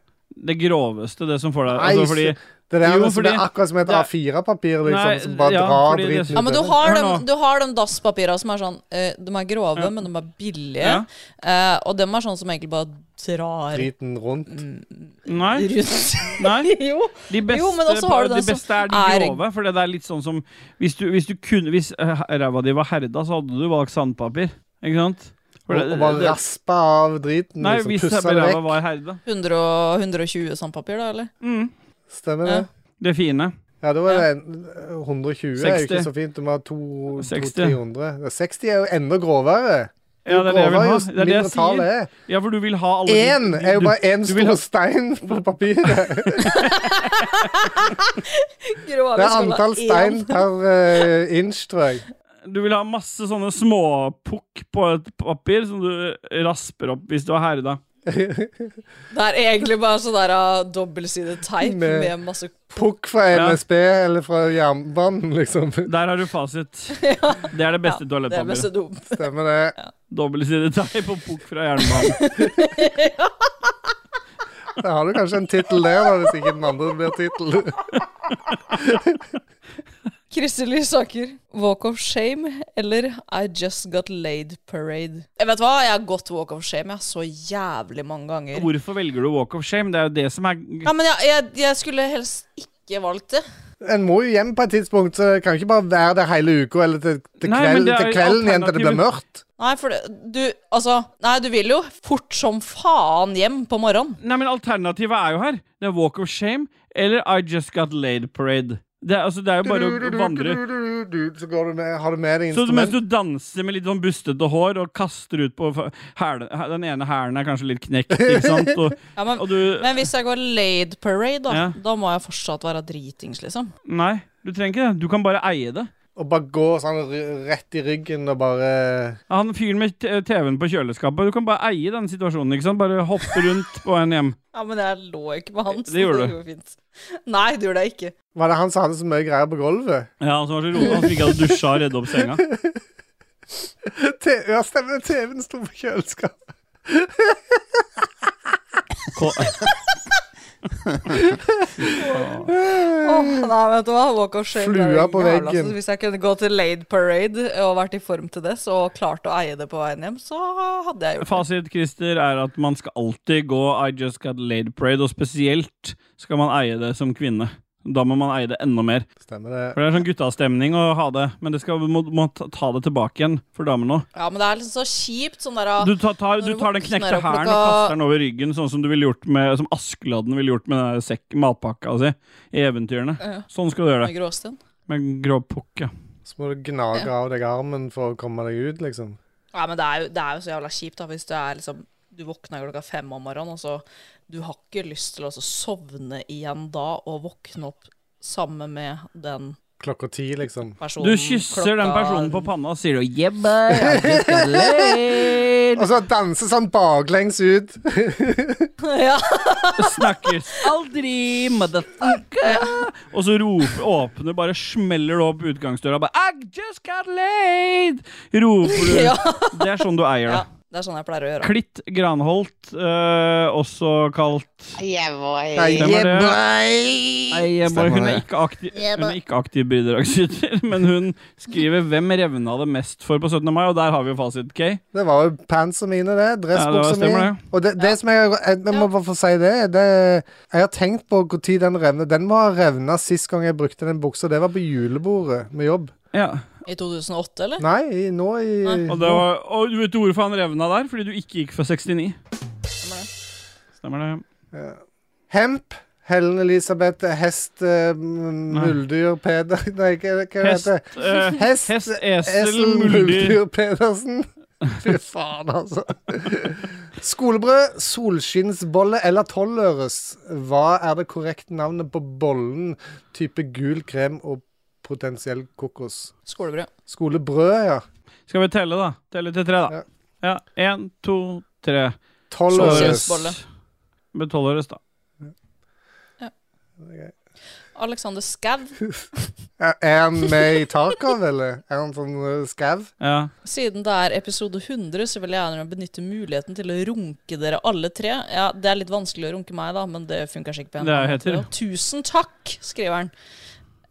S1: Det groveste, det som får deg
S2: Nei,
S1: altså, fordi,
S2: det der er
S1: Jo,
S2: som
S1: fordi-
S2: det er akkurat som et
S1: det er-
S2: A4-papir, liksom,
S1: Nei,
S2: som bare
S1: ja,
S2: drar
S1: fordi det-
S2: driten ut.
S3: Ja, men du
S2: av det.
S3: har,
S1: Hør
S3: dem,
S1: nå.
S3: du har de dasspapirene som er sånn eh, De er grove, men de er billige.
S1: Ja.
S3: eh, og dem er sånn som egentlig bare drar mm,
S2: Driten rundt.
S1: Mm. Nei.
S3: Rundt.
S1: Nei.
S3: jo.
S1: De beste,
S3: Jo, men også har
S1: de
S3: du den som
S1: beste er de
S3: er-
S1: grove. For det er litt sånn som Hvis, du, hvis, du kunne, hvis eh, ræva di var herda, så hadde du valgt sandpapir. Ikke sant? For
S2: Og,
S1: det-
S2: og bare
S1: det-
S2: raspa av driten.
S1: Nei,
S2: liksom,
S1: hvis
S2: pussa det
S1: ræva
S2: vekk.
S1: var herda. Mm.
S3: 100 og 120 sandpapir, da, eller?
S2: Stemmer det?
S3: Ja.
S1: Det fine.
S2: Ja, da er det en- eh, 120 er jo
S1: 60.
S2: ikke så fint. Du må ha to-
S1: 60.
S2: 200-300. 60 er jo enda grovere.
S1: Ja, det er det jeg vil ha. Det er det jeg
S2: mindre tall
S1: sier.
S2: er.
S1: Ja, for du vil ha alle de-
S2: Én er jo
S1: du-
S2: bare én
S1: du vil
S2: stor
S1: ha-
S2: stein på papiret.
S3: Grove
S2: Det er
S3: skala
S2: antall
S3: én.
S2: stein per eh, inch, tror jeg.
S1: Du vil ha masse sånne småpukk på et papir som du rasper opp hvis du har herda.
S3: Det er egentlig bare sånn der uh, dobbeltsidet teip med,
S2: Med-
S3: masse
S2: Pukk fra
S1: Ja.
S2: NSB eller fra jernbanen, liksom.
S1: Der har du fasit. Det er det beste
S3: Det er mest
S1: toalettpapiret.
S3: dumt.
S2: Stemmer det.
S1: Dobbeltsidet teip og pukk fra jernbanen.
S2: Da har du kanskje en tittel der, da, hvis ikke den andre blir tittel.
S3: Kristelig saker. Walk of shame eller I just got laid parade. Jeg vet hva, jeg har gått walk of shame jeg, så jævlig mange ganger.
S1: Hvorfor velger du walk of shame? Det er jo det som er
S3: Ja, men jeg, jeg, jeg skulle helst ikke valgt det.
S2: En må jo hjem på et tidspunkt, så kan jo ikke bare være der hele uka eller til, til,
S1: Nei, men
S2: kveld,
S1: det er
S2: til kvelden igjen til det blir
S1: alternativet.
S2: mørkt.
S3: Nei, for det, du Altså, nei, du vil jo fort som faen hjem på morgenen.
S1: Nei, men alternativet er jo her. Det er Walk of Shame eller I Just Got Laid Parade. Det er, altså, det er jo bare å vandre
S2: Så går du med, har du med deg
S1: Så mens
S2: instrument.
S1: du danser med litt sånn bustete hår og kaster ut på f- hæle, hæ- Den ene hælen er kanskje litt knekt, ikke sant? Og,
S3: Ja, men,
S1: og du
S3: men hvis jeg går laid parade, da,
S1: Ja.
S3: da må jeg fortsatt være dritings, liksom.
S1: Nei, du trenger ikke det. Du kan bare eie det.
S2: Og bare gå sånn r- rett i ryggen og bare
S1: Han fyren med t- TV-en på kjøleskapet. Du kan bare eie den situasjonen. ikke sant? Bare hoppe rundt på en hjem.
S3: Ja, men jeg lå ikke på han. så
S1: Det gjorde du.
S3: går fint. Nei, det gjorde jeg ikke.
S2: Var det han som hadde så mye greier på gulvet?
S1: Ja, Han som var så rolig, han som ikke hadde dusja og redda opp senga.
S2: Te- Ja, stemmer. TV-en sto på kjøleskapet.
S3: Åh, nei, vet du hva? Walk of shame.
S2: Flua
S3: det er det
S2: på
S3: jævla,
S2: veggen.
S3: altså, Hvis jeg kunne gå til Lade Parade og vært i form til det, så klarte å eie det på veien hjem, så hadde jeg gjort det.
S1: Fasit Christer, er at man skal alltid gå I just got laid parade, og spesielt skal man eie det som kvinne. Da må man eie det enda mer.
S2: Stemmer det.
S1: For det er sånn guttastemning å ha det, men det skal, må, må ta- ta det tilbake igjen for damene òg.
S3: Ja, men det er liksom så kjipt sånn der ah,
S1: Du tar, tar,
S3: når
S1: du tar den
S3: våkner
S1: knekte
S3: opp
S1: hæren og
S3: klokka-
S1: kaster den over ryggen, sånn som du ville gjort med Som Askeladden ville gjort med den der sekk, matpakka si i eventyrene.
S3: Ja.
S1: Sånn skal du gjøre
S3: Med
S1: det.
S3: gråsten.
S1: Med grå pukk, ja.
S2: Så må du gnage av deg armen for å komme deg ut, liksom.
S3: Ja, men det er, jo, det er jo så jævla kjipt da, hvis du er liksom du våkner klokka fem om morgenen, og så du har ikke lyst til å så sovne igjen da og våkne opp sammen med den
S2: Klokka ti, liksom.
S3: personen.
S1: Du kysser den personen på panna og sier du, yeah, boy, I just got laid.
S2: og så danse sånn baklengs ut.
S3: Ja.
S1: Snakkes aldri, motherfucker. Og så roper, åpner, bare smeller du opp utgangsdøra. Bare, I just got laid! Roper du.
S3: Ja.
S1: Det er sånn du eier det.
S3: Ja, det er sånn jeg pleier å gjøre.
S1: Klitt Granholt, eh, også kalt Stemmer det. Nei, jeg bare,
S3: Stemmer
S1: hun, er
S3: det.
S1: ikke aktiv,
S3: Yeah,
S1: hun
S3: boy.
S1: er ikke aktiv bidragsyter, men hun skriver 'Hvem revna det mest for' på 17. mai, og der har vi jo fasit, Kay.
S2: Det var jo pantsa mine, det.
S1: Ja,
S2: Dressbuksa
S1: det var-
S2: mi.
S1: stemmer det.
S2: Og det, det som jeg, jeg, jeg må bare få si det, det Jeg har tenkt på når den revner. Den må ha revna sist gang jeg brukte den buksa. Det var på julebordet med jobb.
S3: I 2008, eller?
S2: Nei, i- nå i
S1: Og, det var, og du vet du hvorfor han revna der? Fordi du ikke gikk for 69. Stemmer det.
S2: Hemp. Helen Elisabeth, hest, eh, m- muldyr, Peder Nei, hva, hva
S1: Hest,
S2: heter det?
S1: eh,
S2: hest,
S1: hest, esel, muldyr.
S2: Pedersen. Fy faen, altså. Skolebrød, solskinnsbolle eller tolvøres. Hva er det korrekte navnet på bollen? Type gul krem og potensiell kokos.
S3: Skolebrød.
S2: Skolebrød, ja.
S1: Skal vi telle, da? Telle til tre, da. Ja. Én, to, tre.
S2: Tolvøres.
S1: Med tolvøres, da.
S3: Alexander Skau.
S2: Er er han med i Tarkov, eller? Er han sånn uh, skau?
S1: Ja.
S3: Siden det er episode 100, så vil jeg gjerne benytte muligheten til å runke dere alle tre. Ja, Det er litt vanskelig å runke meg, da, men det funker sikkert. på en
S1: Det er
S3: annen
S1: heter
S3: måte. Tusen takk, skriver han.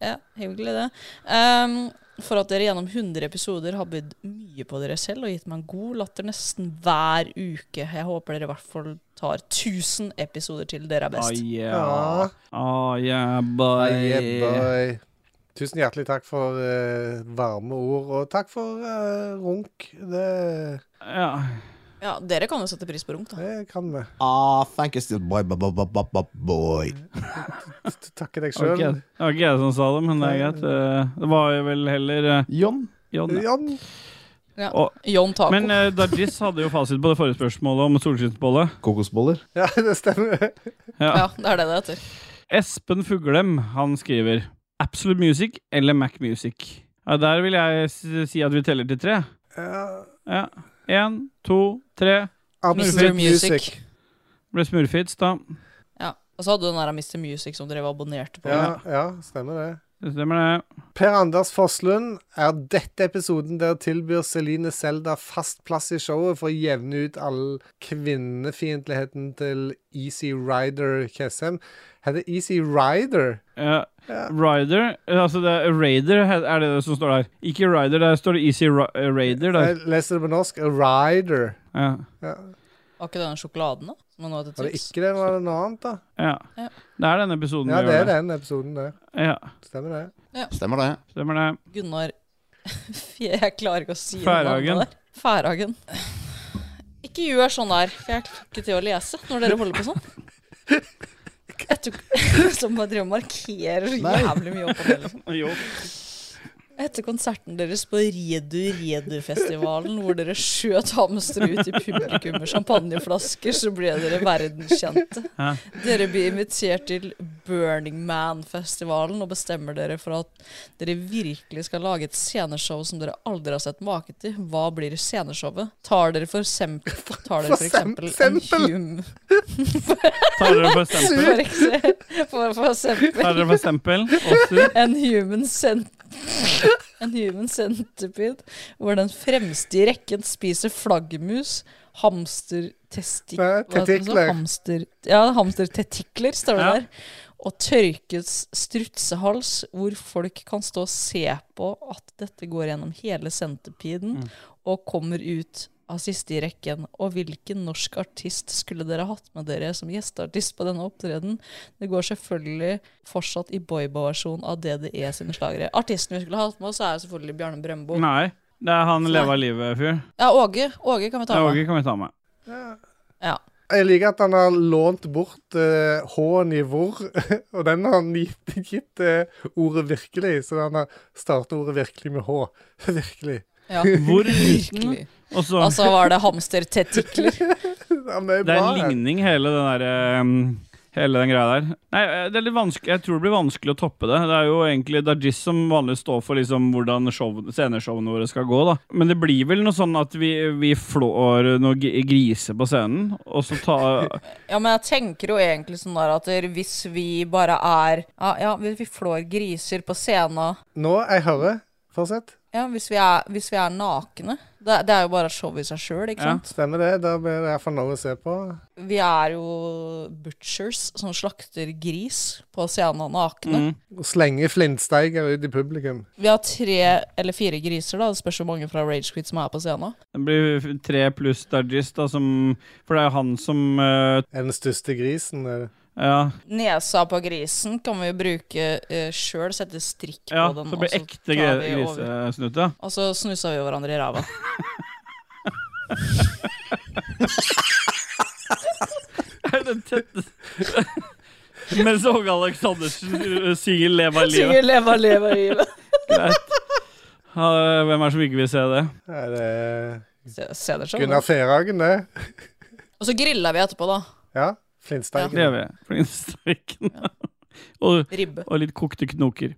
S3: Ja, hyggelig det. Ehm, for at dere gjennom 100 episoder har bydd mye på dere selv og gitt meg en god latter nesten hver uke. Jeg håper dere i hvert fall tar 1000 episoder til dere
S1: Ah,
S3: er best.
S1: yeah. Ah, yeah, boy.
S2: Ah, yeah, boy. Tusen hjertelig takk for eh, varme ord, og takk for eh, runk. Det
S1: ja.
S3: Ja, dere kan jo sette pris på runk, da.
S2: Det kan vi.
S8: Ah, thank you still, boy, boy, boy, boy, boy, boy, boy.
S2: Takker deg
S1: Det var
S2: sjøl.
S1: ikke- det var ikke jeg som sa det, men det er greit. Eh, Det var jo vel heller eh,
S8: John.
S1: John, ja.
S2: Jan,
S3: Ja.
S1: Og-
S3: John Taco.
S1: Men eh, Dargis hadde jo fasit på det forrige spørsmålet om solskinnsbolle.
S11: Kokosboller.
S2: ja, det stemmer.
S3: ja, det er det det heter.
S1: Espen Fuglem, han skriver Absolute Music eller Mac Music? Ja, der vil jeg s- si at vi teller til tre.
S2: Ja.
S1: Ja. Én, to, tre.
S2: Absolute
S3: Mr. Music.
S2: music.
S1: Ble smurfits, da.
S3: Ja. Og så hadde du den der Mr. Music som dere abonnerte på.
S2: Ja, ja, stemmer det.
S1: Det stemmer, det.
S2: Per Anders Forslund, er dette episoden der tilbyr Celine Selda fast plass i showet for å jevne ut all kvinnefiendtligheten til Easy Rider Kjessem? Heter Easy Rider?
S1: Ja. Rider eh, Altså, det er Raider he- er det det som står der. Ikke Rider, der står det Easy Ra eh, Raider der.
S2: Jeg leser det på norsk. Rider.
S1: Ja.
S2: Ja.
S3: Var ikke denne sjokoladen, da? Som er nå til
S2: Var det
S3: tips?
S2: ikke det, var det noe annet, da?
S1: ja.
S3: Ja.
S1: Det er denne episoden
S2: Ja,
S1: vi
S2: Sånn det
S1: gjør
S2: er den episoden, det.
S1: Ja,
S2: Stemmer det.
S4: Stemmer det.
S1: stemmer det.
S3: Gunnar Fy, Jeg klarer ikke å si det
S1: Færhagen.
S3: navnet der. Færhagen. Ikke gjør sånn der, for jeg klarer ikke til å lese når dere holder på sånn. Jeg tror ikke- Som bare driver og markerer så
S8: Nei.
S3: jævlig mye opp på det. liksom.
S1: Jo.
S3: Etter konserten deres på Redu Redu-festivalen, hvor dere skjøt hamstere ut i publikum med champagneflasker, så ble dere verdenskjente.
S1: Hæ?
S3: Dere blir invitert til Burning Man-festivalen og bestemmer dere for at dere virkelig skal lage et sceneshow som dere aldri har sett make til. Hva blir sceneshowet? Tar dere for, sem tar dere for eksempel en hum...
S1: Tar dere for eksempel-
S3: For ekse- For, for eksempel.
S1: Tar dere for eksempel Åsir?
S3: En human cent... En human centipede, hvor den fremste i rekken spiser flaggermus, hamstertestik...
S2: Nei,
S3: hva heter det så?
S2: testikler.
S3: Hamster, ja, hamstertetikler, står det
S2: Ja.
S3: der. Og tørket strutsehals, hvor folk kan stå og se på at dette går gjennom hele centipeden,
S1: Mm.
S3: og kommer ut av siste i rekken. Og hvilken norsk artist skulle dere hatt med dere som gjesteartist på denne opptreden? Det går selvfølgelig fortsatt i boyba-versjon av DDE sine slagere. Artisten vi skulle hatt med oss, er selvfølgelig Bjarne Brøndbo.
S1: Nei. Det er han
S3: Nei.
S1: leva livet-fyr.
S3: Ja, Åge. Åge kan vi ta med.
S1: Åge kan vi ta med.
S3: Ja.
S2: Jeg liker at han har lånt bort eh, H-en i hvor, og den har han gitt, gitt eh, ordet virkelig. Så han har startet ordet virkelig med H. Virkelig.
S3: Ja. Virkelig.
S1: Og så-
S3: Og så var det hamstertetikler.
S1: Det er en ligning, hele den der um, Hele den greia der. Nei, eh, det er litt vanskelig Jeg tror det blir vanskelig å toppe det. Det er jo egentlig Dajis som vanligvis står for liksom hvordan show, sceneshowene våre skal gå, da. Men det blir vel noe sånn at vi, vi flår noen gi- griser på scenen, og så ta
S3: Ja, men jeg tenker jo egentlig sånn der at hvis vi bare er Ja, ja hvis vi flår griser på scenen
S2: Nå, jeg hører. Fortsett.
S3: Ja, hvis vi er, hvis vi er nakne det, det er jo bare et show i seg sjøl, ikke sant?
S2: Stemmer det. Da blir det iallfall noe å se på.
S3: Vi er jo butchers som slakter gris på scenen nakne.
S1: Mm.
S2: Og slenge flintsteiger ut i publikum.
S3: Vi har tre eller fire griser, da. Det spørs hvor mange fra Rage Quit som er på scenen.
S1: Det blir tre pluss Dajis, da, som For det er jo han som eh,
S2: Den største grisen, er det.
S1: Ja.
S3: Nesa på grisen kan vi jo bruke uh, sjøl, sette strikk på
S1: ja
S3: den.
S1: så blir
S3: og tar
S1: ekte gre-
S3: vi over.
S1: grisesnutte.
S3: Og så snusa vi hverandre i ræva.
S1: Er det tette- Mens Åge Aleksandersen uh, synger 'Leva livet'.
S3: Synger «Leva, leva livet.
S1: Greit. Ha, hvem er det som ikke vil se det?
S2: Er det
S3: Se, se det sånn, da.
S2: Gunnar Ferhagen, det.
S3: Og så grilla vi etterpå, da.
S2: Ja. Flintsteigen.
S1: Det gjør vi. Flintsteiken. og,
S3: Ribbe.
S1: og litt kokte knoker.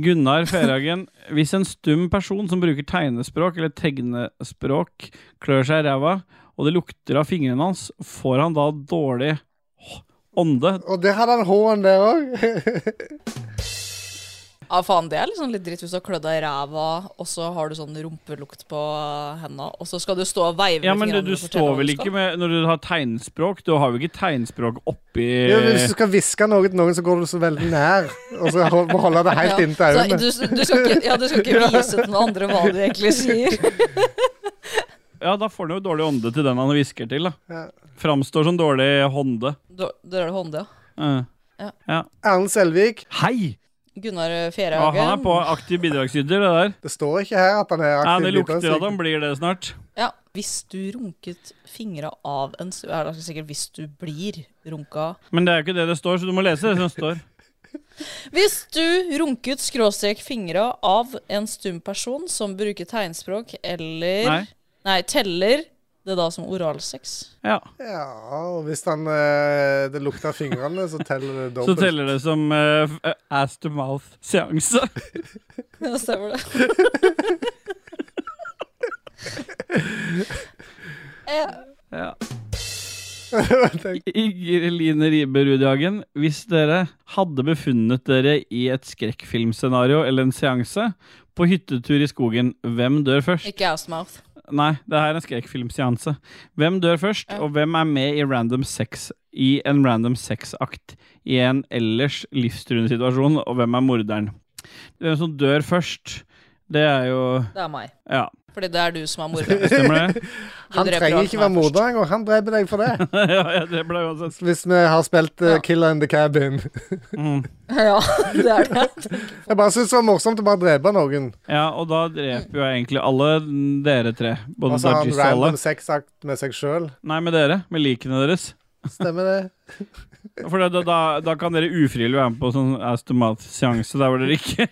S1: Gunnar Ferhagen. Hvis en stum person som bruker tegnespråk eller tegnespråk, klør seg i ræva, og det lukter av fingrene hans, får han da dårlig h- ånde?
S2: Og der hadde han H-en der òg.
S3: Ja, faen, det er liksom litt dritt hvis du har klødd deg i ræva, og så har du sånn rumpelukt på henda, og så skal du stå og veive
S1: Ja, men du,
S3: fingrene
S1: du
S3: og fortelle
S1: står
S3: hva
S1: vel
S3: skal.
S1: ikke med Når du har tegnspråk, du har jo ikke tegnspråk oppi
S2: Ja, men
S1: Eh.
S2: hvis du skal hviske noe til noen, så går du så veldig nær. Og så hold- må holde det helt
S3: Ja,
S2: inntil
S3: så
S2: øynene.
S3: Du, du skal ikke, ja, du skal ikke vise til noen andre hva du egentlig sier.
S1: Ja, da får han jo dårlig ånde til den han hvisker til, da.
S2: Ja.
S1: Framstår som dårlig hånde.
S3: Da da er det hånda.
S1: Eh,
S3: Ja.
S1: ja.
S2: Erlend Selvik.
S1: Hei!
S3: Gunnar eh,
S1: Ja,
S3: Fjerhagen.
S1: han er på aktiv bidragsyter, det der.
S2: Det står ikke her at han er
S1: Ja, det
S2: aktiv
S1: lukter at
S2: bidragsyter.
S1: han blir det snart.
S3: Ja, hvis du runket fingra av en stu- ja, det er sikkert hvis du blir runka
S1: Men det er jo ikke det det står, så du må lese det som står.
S3: Hvis du runket skråstrek fingra av en stum person som bruker tegnspråk eller
S1: Nei.
S3: Nei, teller det da som oralsex?
S1: Ja.
S2: Ja, og hvis han, eh, det lukter av fingrene, så teller det
S1: Så
S2: dobbelt.
S1: teller det som eh, f- eh, ass to mouth-seanse.
S3: Ja, stemmer det. Eh,
S1: Ja. Inger Line Ribe Rudhagen, hvis dere hadde befunnet dere i et skrekkfilmscenario eller en seanse på hyttetur i skogen, hvem dør først?
S3: Ikke assmouth.
S1: Nei, det her er en skrekkfilmseanse. Hvem dør først, og hvem er med i random sex i en random sex-akt i en ellers livstruende situasjon, og hvem er morderen? Hvem som dør først, det er jo
S3: Det er meg.
S1: Ja,
S3: Fordi det er du som er morderen.
S1: stemmer det?
S2: Han
S3: Du dreper
S2: trenger
S3: alt
S2: ikke
S3: meg
S2: være morder engang. Han dreper deg for det.
S1: ja, jeg dreper deg uansett.
S2: Hvis vi har spilt eh, Killer in the Cabin.
S1: Mm.
S3: Ja, det er det. jeg tenker.
S2: Jeg bare syns det var morsomt å bare drepe noen.
S1: Ja, og da dreper jo jeg egentlig alle dere tre.
S2: Og
S1: Både
S2: så har Altså, han
S1: Dajis og alle.
S2: random sexakt med seg sjøl.
S1: Nei, med dere. Med likene deres.
S2: Stemmer det?
S1: For da, da, da kan dere ufrivillig være med på sånn ass to mouth-seanse der hvor dere ikke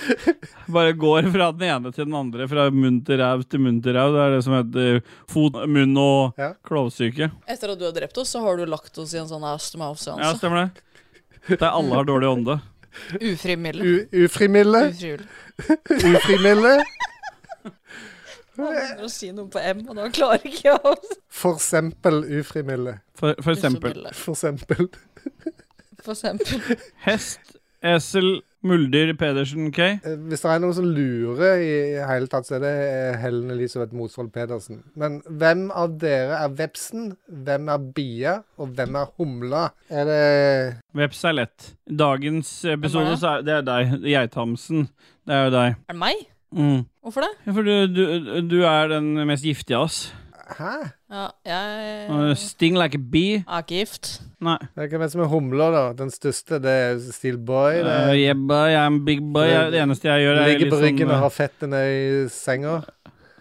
S1: Bare går fra den ene til den andre, fra munn til ræv til munn til ræv. Det er det som heter fot, munn og klovsyke.
S3: Etter at du har drept oss, så har du lagt oss i en sånn
S1: Ja,
S3: astmaoffseanse.
S1: stemmer det. Der alle har dårlig ånde.
S3: Ufrimilde.
S2: U- Ufrimilde.
S3: Ufrivillig.
S2: Ufrimilde.
S3: Han begynner å si noe på M, og da klarer ikke jeg å
S2: For eksempel ufrimilde.
S1: For, for eksempel.
S2: For eksempel.
S3: For eksempel.
S1: Hest, esel, muldyr, Pedersen, K.
S2: Eh, Hvis det er noen som lurer i hele tatt, så er det eh, Helen Elisabeth Mosvold Pedersen. Men hvem av dere er vepsen, hvem er bia, og hvem er humla? Er det
S1: Veps er lett. Dagens episode,
S3: det?
S1: så er det er deg. Geithamsen. Det er jo deg.
S3: Er det meg?
S1: Mm.
S3: Hvorfor det?
S1: Ja, for du, du, du er den mest giftige av oss.
S2: Hæ?
S3: Ja, jeg
S1: Uh, Sting like a bee.
S3: er ikke gift.
S1: Nei.
S2: Det er Hvem er det som er humla, da? Den største, det er Steel Boy? Det
S1: Uh,
S2: er,
S1: yeah, boy, jeg er en big boy. Jeg, det eneste jeg gjør, er
S2: Ligger
S1: litt
S2: på ryggen
S1: sånn
S2: og
S1: uh,
S2: har fettet ned i senga?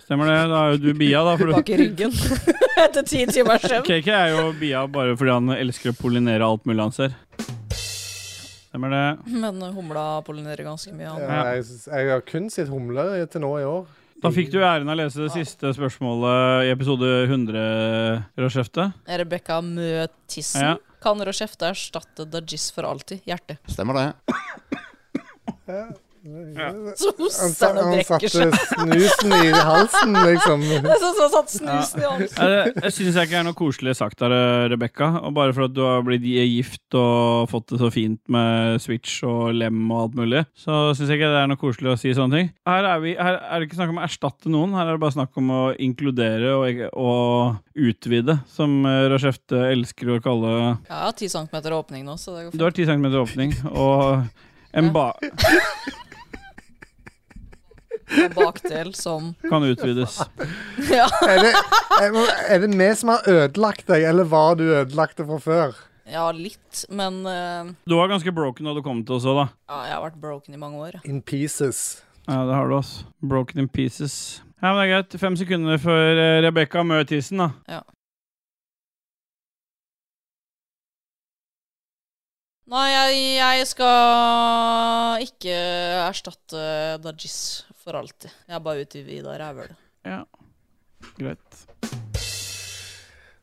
S1: Stemmer det? Da er jo du bia, da. For
S3: Bak i
S1: du,
S3: ryggen etter ti timers søvn.
S1: KK er jo bia bare fordi han elsker å pollinere alt mulig han ser. Stemmer det.
S3: Men humla pollinerer ganske mye.
S2: Ja,
S3: Han.
S2: Jeg, jeg har kun sett humler til nå i år.
S1: Da fikk du æren av å lese det siste spørsmålet i episode 100, Rødskjefte.
S3: Rebekka Mø Tissen.
S1: Ja.
S3: Kan Rochefte erstatte Dajis for alltid? Hjerte.
S4: Stemmer det.
S3: Så
S2: Han,
S3: hoster
S2: sa-
S3: han og
S2: han
S3: brekker
S2: satte
S3: seg.
S2: snusen i halsen, liksom.
S3: Det er sånn som han satt snusen i halsen.
S1: Ja, Det syns jeg ikke er noe koselig sagt av Rebekka. Og bare for at du har blitt gift og fått det så fint med switch og lem og alt mulig, så syns jeg ikke det er noe koselig å si sånne ting. Her er, vi, her er det ikke snakk om å erstatte noen, her er det bare snakk om å inkludere og, og utvide, som Rashefte elsker å kalle
S3: Ja, jeg har ti centimeter åpning nå, så det går
S1: Du har 10 cm åpning og en ba...
S3: fint. Bakdel som
S1: Kan utvides.
S3: Ja.
S2: Er det, er, er det vi som har ødelagt deg, eller var du ødelagt fra før?
S3: ja, litt, men eh,
S1: Du var ganske broken da du kom til oss òg, da.
S3: ja, jeg har vært broken i mange år.
S2: In pieces.
S1: Ja, det har du, altså. Broken in pieces. Ja, men det er greit. Fem sekunder for eh, Rebekka Mø Tissen, da.
S3: Nei, jeg, jeg skal ikke erstatte Dajis for alltid. Jeg bare utvider rævhølet.
S1: Ja. Greit.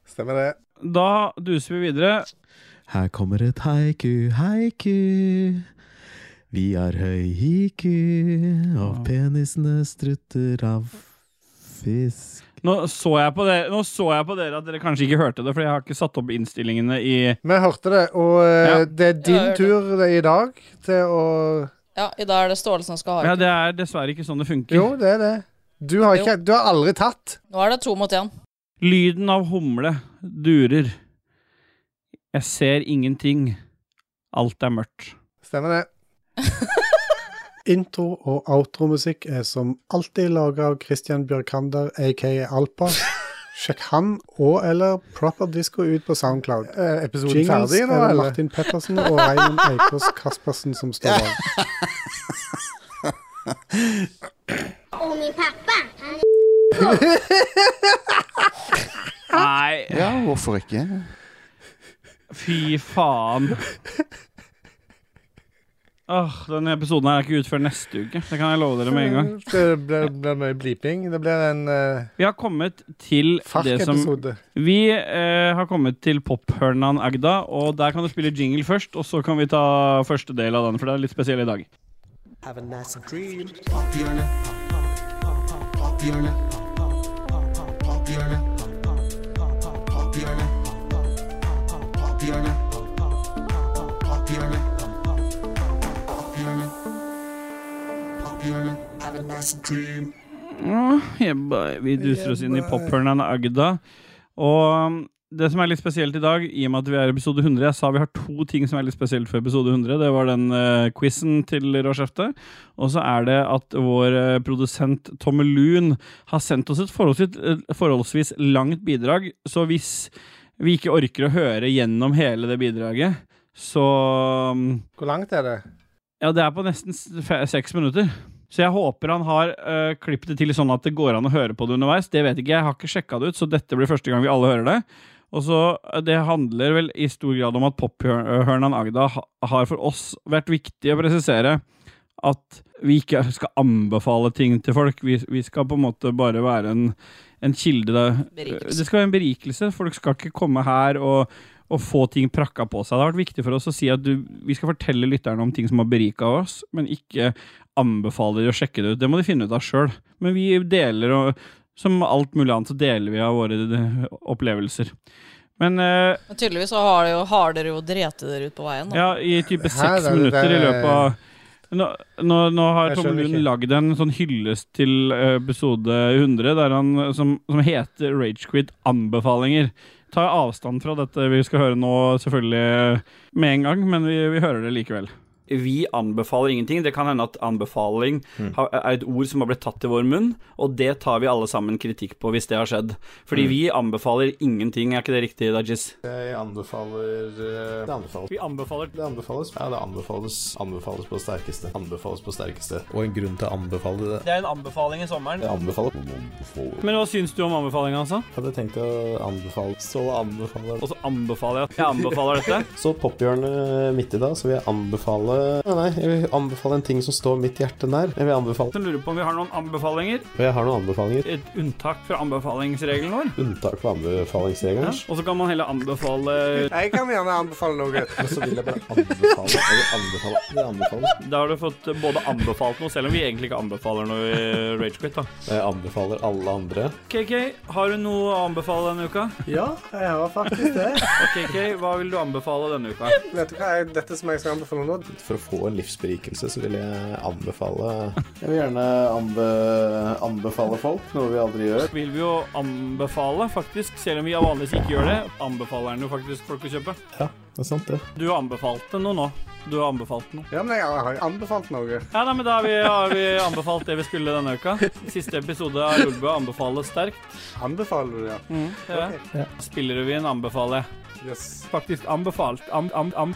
S2: Stemmer det.
S1: Da duser vi videre.
S16: Her kommer et haiku, haiku. Vi har høy hiku, og penisene strutter av fisk.
S1: Nå så, jeg på dere, nå så jeg på dere at dere kanskje ikke hørte det, for jeg har ikke satt opp innstillingene i
S2: Vi hørte det, og eh,
S1: Ja.
S2: det er din
S3: Ja, jeg
S2: tur eh, i dag til å
S3: Ja, i dag er det Ståle som skal ha
S1: Ja,
S3: det.
S1: det er dessverre ikke sånn det funker.
S5: Mm.
S2: Jo, det er det. Du har, ikke, du har aldri tatt.
S3: Nå er det to mot én.
S1: Lyden av humle durer. Jeg ser ingenting. Alt er mørkt.
S2: Stemmer det.
S17: Intro- og outromusikk er som alltid laga av Christian Bjørkander, aka Alpa. Sjekk han og eller Proper Disco ut på Soundcloud.
S2: Er Eh, episoden
S17: Jingles
S2: ferdig nå,
S17: er det
S2: eller?
S17: Martin Pettersen og Reinen Eikås Kaspersen som står bak.
S18: Og min pappa, han
S1: Nei,
S4: Ja, hvorfor ikke?
S1: fy faen. Åh, Denne episoden her er ikke ut før neste uke. Det kan jeg love dere med en gang.
S2: Mm, Det blir, blir mye bliping. Det blir en eh,
S1: Vi har kommet til det som
S2: Fark-episode.
S1: Vi eh, har kommet til pophørnan Agda, og der kan du spille jingle først, og så kan vi ta første del av den, for det er litt spesiell i dag.
S7: Have a nice dream. Have a nice dream.
S1: Åh, jebba, vi duser oss inn i pophørnan Agda. Og um, det som er litt spesielt i dag, i og med at vi er i episode 100 Jeg sa vi har to ting som er litt spesielt for episode 100. Det var den uh, quizen til Råskjefte. Og så er det at vår eh, produsent Tommelun har sendt oss et forholdsvis, eh, forholdsvis langt bidrag. Så hvis vi ikke orker å høre gjennom hele det bidraget, så um,
S2: Hvor langt er det?
S1: ja, det er på nesten s- fe- seks minutter. Så jeg håper han har uh, klippet det til sånn at det går an å høre på det underveis. Det vet ikke jeg, jeg har ikke sjekka det ut, så dette blir første gang vi alle hører det. Og så, eh, Det handler vel i stor grad om at pophørnan Agda ha- har for oss vært viktig å presisere at
S19: vi ikke skal anbefale ting til folk. Vi, vi skal på en måte bare være en, en kilde.
S3: Berikelse.
S19: Det skal være en berikelse. Folk skal ikke komme her og, og få ting prakka på seg. Det har vært viktig for oss å si at du, vi skal fortelle lytterne om ting som har berika oss, men ikke anbefale de å sjekke det ut. Det må de finne ut av sjøl. Men vi deler, og som alt mulig annet, så deler vi av våre eh, opplevelser. Men eh,
S3: Men tydeligvis så har, det jo, har dere jo dreti dere ut på veien. Da.
S19: ja, i type
S2: Her er
S19: seks
S2: det-
S19: minutter i
S2: det-
S19: løpet av nå, nå, nå har
S2: Jeg
S19: Tom
S2: skjønner
S19: Lund
S2: ikke.
S19: lagd en sånn hyllest til eh, episode 100 der han, som, som heter Ragequit anbefalinger. Tar avstand fra dette vi skal høre nå, selvfølgelig eh, med en gang, men vi, vi hører det likevel.
S20: Vi anbefaler ingenting. Det kan hende at anbefaling
S19: Mm.
S20: ha- er et ord som har blitt tatt i vår munn, og det tar vi alle sammen kritikk på hvis det har skjedd. Fordi
S1: Mm.
S20: vi anbefaler ingenting, er ikke det riktig, Dajis?
S11: Jeg anbefaler eh, Det anbefales.
S1: Vi anbefaler.
S11: Det anbefales. Ja, det anbefales. Anbefales på det sterkeste. Anbefales på det sterkeste.
S21: Og en grunn til å anbefale det.
S1: Det er en anbefaling i sommeren.
S11: Jeg anbefaler.
S1: Men hva syns du om anbefalinga, altså?
S11: Hadde tenkt å anbefale. Så anbefaler
S1: Og så anbefaler jeg at jeg anbefaler dette.
S11: Så pophjørnet midt i dag, så vil jeg anbefale Nei, nei, jeg vil anbefale en ting som står mitt hjerte nær. Jeg vil anbefale
S1: Så lurer jeg på om vi har noen anbefalinger.
S11: Og jeg har noen anbefalinger.
S1: Et unntak fra anbefalingsregelen vår.
S11: Unntak for
S1: Ja.
S11: anbefalingsregelen.
S1: Og så kan man heller anbefale
S2: Jeg kan gjerne anbefale noe.
S11: Men så vil jeg bare anbefale. Jeg vil anbefale. Jeg vil anbefale.
S1: Da har du fått både anbefalt noe, selv om vi egentlig ikke anbefaler noe i Ragequit, da.
S11: Jeg anbefaler alle andre.
S1: KK, har du noe å anbefale denne uka?
S5: Ja, jeg har faktisk det.
S1: Og KK, hva vil du anbefale denne uka?
S5: Vet du hva jeg, dette som jeg skal anbefale nå?
S11: For å få en livsberikelse så vil jeg anbefale Jeg vil gjerne anbe anbefale folk, noe vi aldri gjør.
S1: Vil vi jo anbefale, faktisk, selv om vi vanligvis ikke gjør det, anbefaler den jo faktisk folk å kjøpe.
S11: Ja, det er sant, det.
S1: Du anbefalte noe nå. Du har anbefalt noe.
S5: Ja, men jeg har jo anbefalt noe.
S1: Ja, nei, men Da har vi, har vi anbefalt det vi skulle denne uka. Siste episode av Lolbua anbefales sterkt.
S5: Anbefaler du, ja.
S1: Mm, det er.
S5: Ja.
S1: Spillrevyen anbefaler jeg.
S5: Yes.
S1: Faktisk anbefalt. Am, am, am.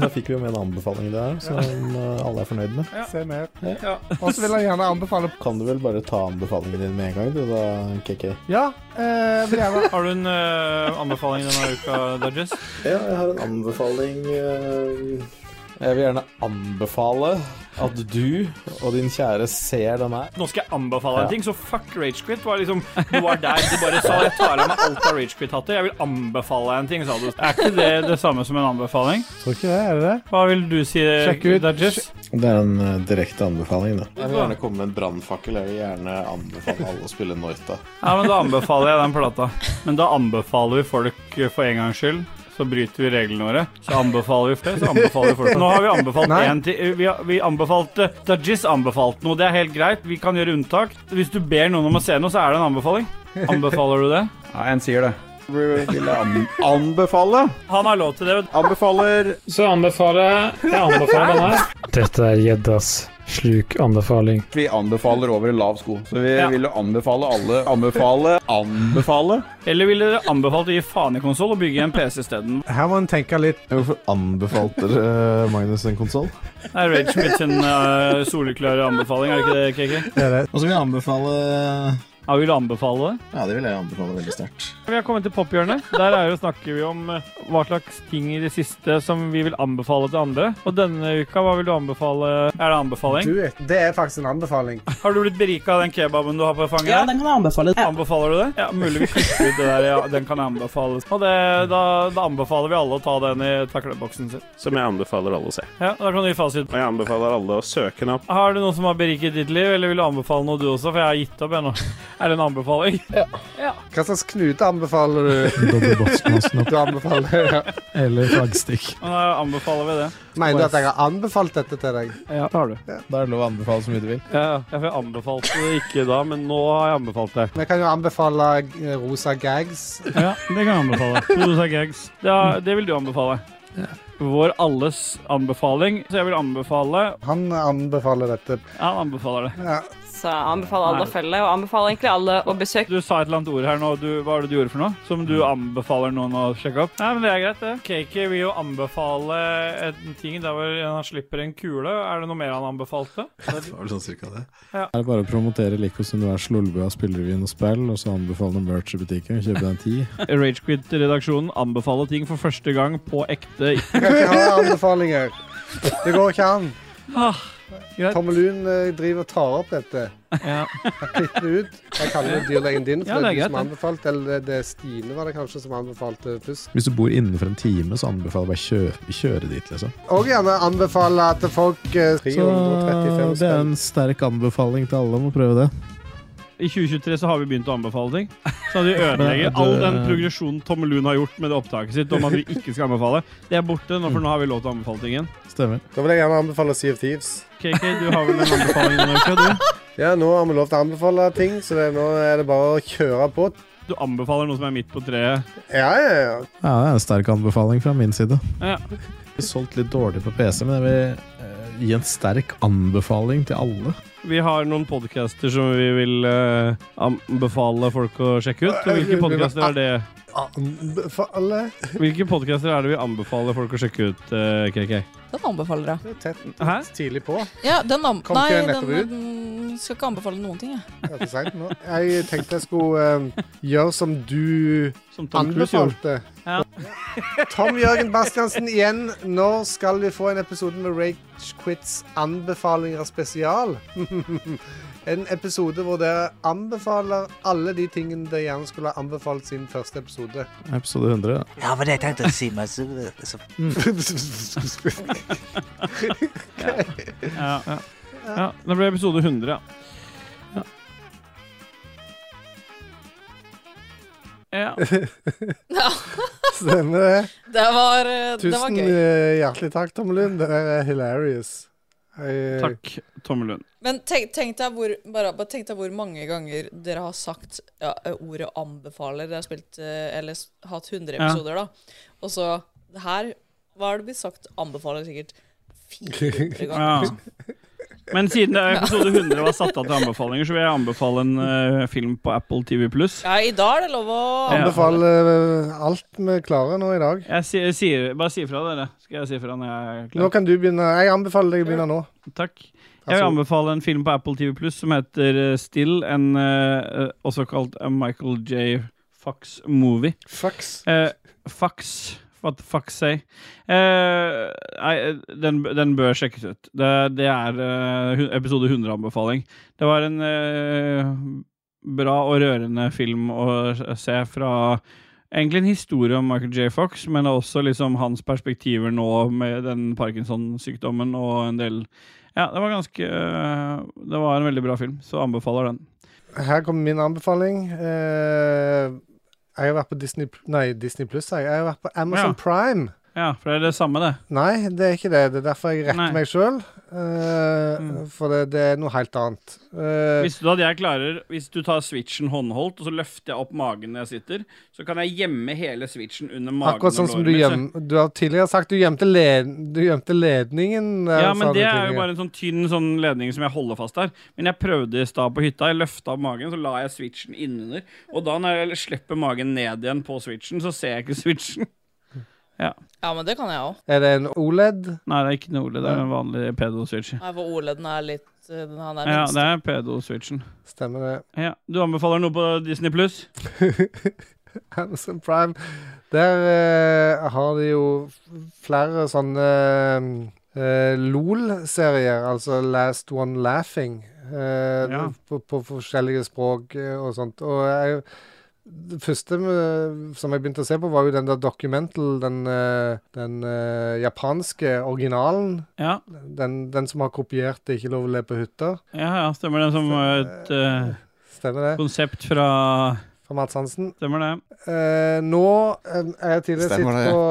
S11: Da fikk vi jo med en anbefaling der som eh, alle er fornøyd med.
S5: Se mer.
S1: Ja.
S5: Og så vil jeg gjerne anbefale
S11: Kan du vel bare ta anbefalingen din med en gang, du da, KK?
S5: Ja, eh, jeg vil gjerne
S1: Har du en eh, anbefaling denne uka, Dodges?
S11: Ja, jeg har en anbefaling. eh, Jeg vil gjerne anbefale at du og din kjære ser den her.
S1: Nå skal jeg anbefale en
S11: Ja.
S1: ting, så fuck Ragequit. Var liksom, du var der, du bare sa jeg tar av meg alt av Ragequit-hatter. Jeg vil anbefale en ting, sa du. Er ikke det det samme som en anbefaling?
S5: Tror ikke det, er det det?
S1: Hva vil du si,
S5: Sjekk ut.
S1: Dodges?
S22: Det er en eh, direkte anbefaling, da.
S11: Jeg vil gjerne komme med en brannfakkel. Jeg vil gjerne anbefale alle å spille Noita.
S1: Ja, men da anbefaler jeg den plata. Men da anbefaler vi folk eh, for en gangs skyld. Så bryter vi reglene våre. Så anbefaler vi flere, så anbefaler vi folk. Nå har vi anbefalt
S5: Nei.
S1: én til. Eh, Vi, har- vi anbefalte Dajis anbefalte noe. Det er helt greit. Vi kan gjøre unntak. Hvis du ber noen om å se noe, så er det en anbefaling. Anbefaler du det?
S23: Ja, en sier det.
S1: Vil jeg
S23: Anbefale?
S1: Han har lov til det.
S23: Anbefaler
S24: Så anbefaler jeg anbefaler den her.
S25: Dette er gjeddas sluk anbefaling.
S23: Vi anbefaler over en lav sko. Så vi vil jo anbefale alle. Anbefale. Anbefale.
S1: Eller ville dere anbefalt å gi faen i konsoll og bygge en PC isteden?
S5: Her må en tenke litt.
S11: Hvorfor anbefalte dere Magnus en konsoll?
S1: Det er Ragequit sin eh, soleklare anbefaling, er det ikke det, KK?
S21: Og så vil jeg anbefale
S1: Ja, vil du anbefale det?
S21: Ja, det vil jeg anbefale veldig sterkt.
S1: Vi har kommet til pophjørnet. Der er jo, snakker vi om eh, hva slags ting i det siste som vi vil anbefale til andre. Og denne uka, hva vil du anbefale? Er det anbefaling?
S5: Du, det er faktisk en anbefaling.
S1: Har du blitt berika av den kebaben du har på fanget?
S5: Ja, den
S1: kan jeg anbefale. Anbefaler du det? Ja, mulig vi klipper ut det der. Ja, den kan jeg anbefale. Og det, da, da anbefaler vi alle å ta den i takleboksen sin.
S6: Som jeg anbefaler alle å se.
S1: Ja, da kan du gi fasit.
S6: Og jeg anbefaler alle å søke den opp.
S1: Har du noen som har beriket ditt liv, eller vil du anbefale noe du også? For jeg har gitt opp ennå. Er det en anbefaling? Ja.
S2: Hva slags knute anbefaler du?
S26: Dobbel botsknasen opp.
S2: Du anbefaler, ja.
S26: Eller flaggstikk.
S1: Da anbefaler vi det.
S2: Mener du at jeg har anbefalt dette til deg?
S1: Ja, det har du.
S22: Da er det lov å anbefale så mye du vil.
S1: Ja, ja. jeg anbefalte det ikke da, men nå har jeg anbefalt det.
S2: Vi kan jo anbefale eh, rosa gags.
S1: Ja, det kan jeg anbefale. Rosa gags. Det, det vil du anbefale. Vår alles anbefaling, så jeg vil anbefale
S2: Han anbefaler dette.
S1: Han anbefaler det.
S27: Så jeg anbefaler alle
S1: Nei.
S27: å følge, og anbefaler egentlig alle å besøke
S1: Du sa et eller annet ord her nå. Du, hva var det du gjorde for noe? Som du anbefaler noen å sjekke opp? Nei, men Det er greit, det. Cakey vil jo anbefale en ting der hvor han slipper en kule. Er det noe mer han anbefalte?
S22: Det var vel sånn cirka det.
S1: Ja.
S22: Er det bare å promotere like hos Univers Lolbua, spillerevyen og spill, og så anbefale noen merch i butikken? Kjøpe deg en ti?
S1: Ragequit-redaksjonen anbefaler ting for første gang på ekte.
S2: Jeg kan ikke ha anbefalinger. Det går ikke an.
S1: Ah, greit.
S2: Tommelun eh, driver og tar opp dette.
S1: Ja.
S2: Han klipper det ut. Jeg kaller det dyrlegen din, for
S1: Ja,
S2: det
S1: det
S2: er
S1: er
S2: du som
S1: greit,
S2: anbefalte. Eller det er Stine var det kanskje som anbefalte først.
S11: Hvis du bor innenfor en time, så anbefaler jeg bare kjøre, kjøre dit, liksom.
S2: Og gjerne anbefale til folk eh,
S11: Så eh,
S2: 335
S11: det er
S2: spenn.
S11: en sterk anbefaling til alle om å prøve det.
S1: I 2023 så har vi begynt å anbefale ting. Så de ødelegger
S11: Men,
S1: all
S11: det-
S1: den progresjonen Tomme Lund har gjort med det opptaket sitt om at vi ikke skal anbefale. Det er borte, nå, for nå har vi lov til å anbefale ting igjen.
S11: Stemmer.
S2: Da vil jeg gjerne anbefale Sea of Thieves.
S1: KK, du har vel en anbefaling denne uka, du?
S2: Ja, nå har vi lov til å anbefale ting, så det, nå er det bare å kjøre på.
S1: Du anbefaler noe som er midt på treet?
S2: Ja, ja, ja.
S11: Ja, det er en sterk anbefaling fra min side.
S1: Ja.
S11: Vi har solgt litt dårlig på PC, men jeg vil eh, gi en sterk anbefaling til alle.
S1: Vi har noen podcaster som vi vil eh, anbefale folk å sjekke ut. Og hvilke podcaster er det?
S2: Anbefale
S1: Hvilke podcaster er det vi anbefaler folk å sjekke ut, eh, KK?
S3: Den anbefaler jeg.
S2: Tett,
S1: Hæ?
S2: tidlig på.
S3: Ja, den anb
S2: Kom
S3: Nei,
S2: ikke
S3: den,
S2: nettopp ut.
S3: den skal ikke anbefale noen ting, jeg.
S2: Det er for sent nå. Jeg tenkte jeg skulle eh, gjøre som du
S1: Som Tom Cruise
S2: anbefalte.
S1: Ja.
S2: Tom Jørgen Bastiansen igjen. Når skal vi få en episode med Rage Quits anbefalinger spesial? en episode hvor dere anbefaler alle de tingene dere gjerne skulle ha anbefalt siden første episode.
S11: Episode 100.
S7: Ja, men jeg tenkte å si meg så, så.
S1: Ja, ja. ja det ble episode 100, ja. Ja.
S2: Stemmer det.
S3: Det var, eh, det var
S2: Tusen
S3: gøy.
S2: eh, hjertelig takk, Tommelund. Det der er hilarious. Jeg-
S1: Takk, Tommelund.
S3: Men tenk, tenk, deg hvor, bare, bare tenk deg hvor mange ganger dere har sagt ja, ordet 'anbefaler'. Dere har spilt, eh, eller s- hatt 100
S1: Ja.
S3: episoder, da. Og så det her Hva har det blitt sagt? 'Anbefaler' sikkert 400 ganger.
S1: Ja. Men siden det er episode 100 var satt av til anbefalinger, så vil jeg anbefale en eh, film på Apple TV pluss.
S3: Ja, i dag er det lov å
S2: Anbefaler eh, alt vi klarer nå i dag.
S1: Jeg sier, sier, bare si fra, dere. Skal jeg si fra når jeg er
S2: Nå
S1: klar?
S2: kan du begynne. Jeg anbefaler deg å begynne nå.
S1: Takk. Jeg vil anbefale en film på Apple TV pluss som heter eh, Still, en, eh, eh, også kalt eh, Michael J. Fox movie.
S2: Fox?
S1: Eh, Fox. What the fuck say? Eh, nei, eh, den, den bør sjekkes ut. Det, det er eh, hu- episode 100-anbefaling. Det var en eh, bra og rørende film å se fra Egentlig en historie om Michael J. Fox, men også liksom hans perspektiver nå med den Parkinson-sykdommen og en del Ja, det var ganske eh, Det var en veldig bra film, så anbefaler den.
S2: Her kommer min anbefaling. Eh, jeg har vært på Disney Nei, Disney Pluss. Jeg. jeg har vært på
S1: Ja.
S2: Amazon Prime.
S1: Ja, for det er det samme, det.
S2: Nei, det er ikke det. Det er derfor jeg retter
S1: Nei. Mm.
S2: meg sjøl. For det, det er noe helt annet. Eh,
S1: Hvis du, at jeg klarer, hvis du tar switchen håndholdt, og så løfter jeg opp magen når jeg sitter, så kan jeg gjemme hele switchen under magen.
S2: Akkurat sånn
S1: og
S2: som du
S1: låret mitt, så-
S2: gjem... Du har tidligere sagt du gjemte, led, du gjemte ledningen. eh,
S1: Ja,
S2: og
S1: men
S2: sånne
S1: det er
S2: ting.
S1: jo bare en sånn tynn sånn ledning som jeg holder fast der. Men jeg prøvde i stad på hytta. Jeg løfta opp magen, så la jeg switchen innunder. Og da når jeg slipper magen ned igjen på switchen, så ser jeg ikke switchen.
S3: Ja, men det kan jeg òg.
S2: Er det en E OLED?
S1: Nei, det er ikke noe Ole. Det er en vanlig pedo-switch.
S3: For OLED-en er litt eh, den- Han er
S1: Ja,
S3: minst.
S1: det er pedo-switchen.
S2: Stemmer det.
S1: Ja. Du anbefaler noe på Disney pluss?
S2: Amazon Prime. Der eh, har de jo flere sånne eh, LOL-serier, altså Last One Laughing, eh,
S1: Ja.
S2: på, på forskjellige språk eh, og sånt. Og jeg, det første med, som jeg begynte å se på, var jo den der Documental, den, eh, den eh, japanske originalen.
S1: Ja.
S2: Den, den som har kopiert 'Det er ikke lov å le på hytta'.
S1: Ja, ja, stemmer det. Som et eh,
S2: Stemmer det?
S1: konsept fra
S2: Fra Mads Hansen.
S1: Stemmer det.
S2: Eh, nå eh, er jeg tidligere
S1: Stemmer
S2: sitt
S1: det.
S2: på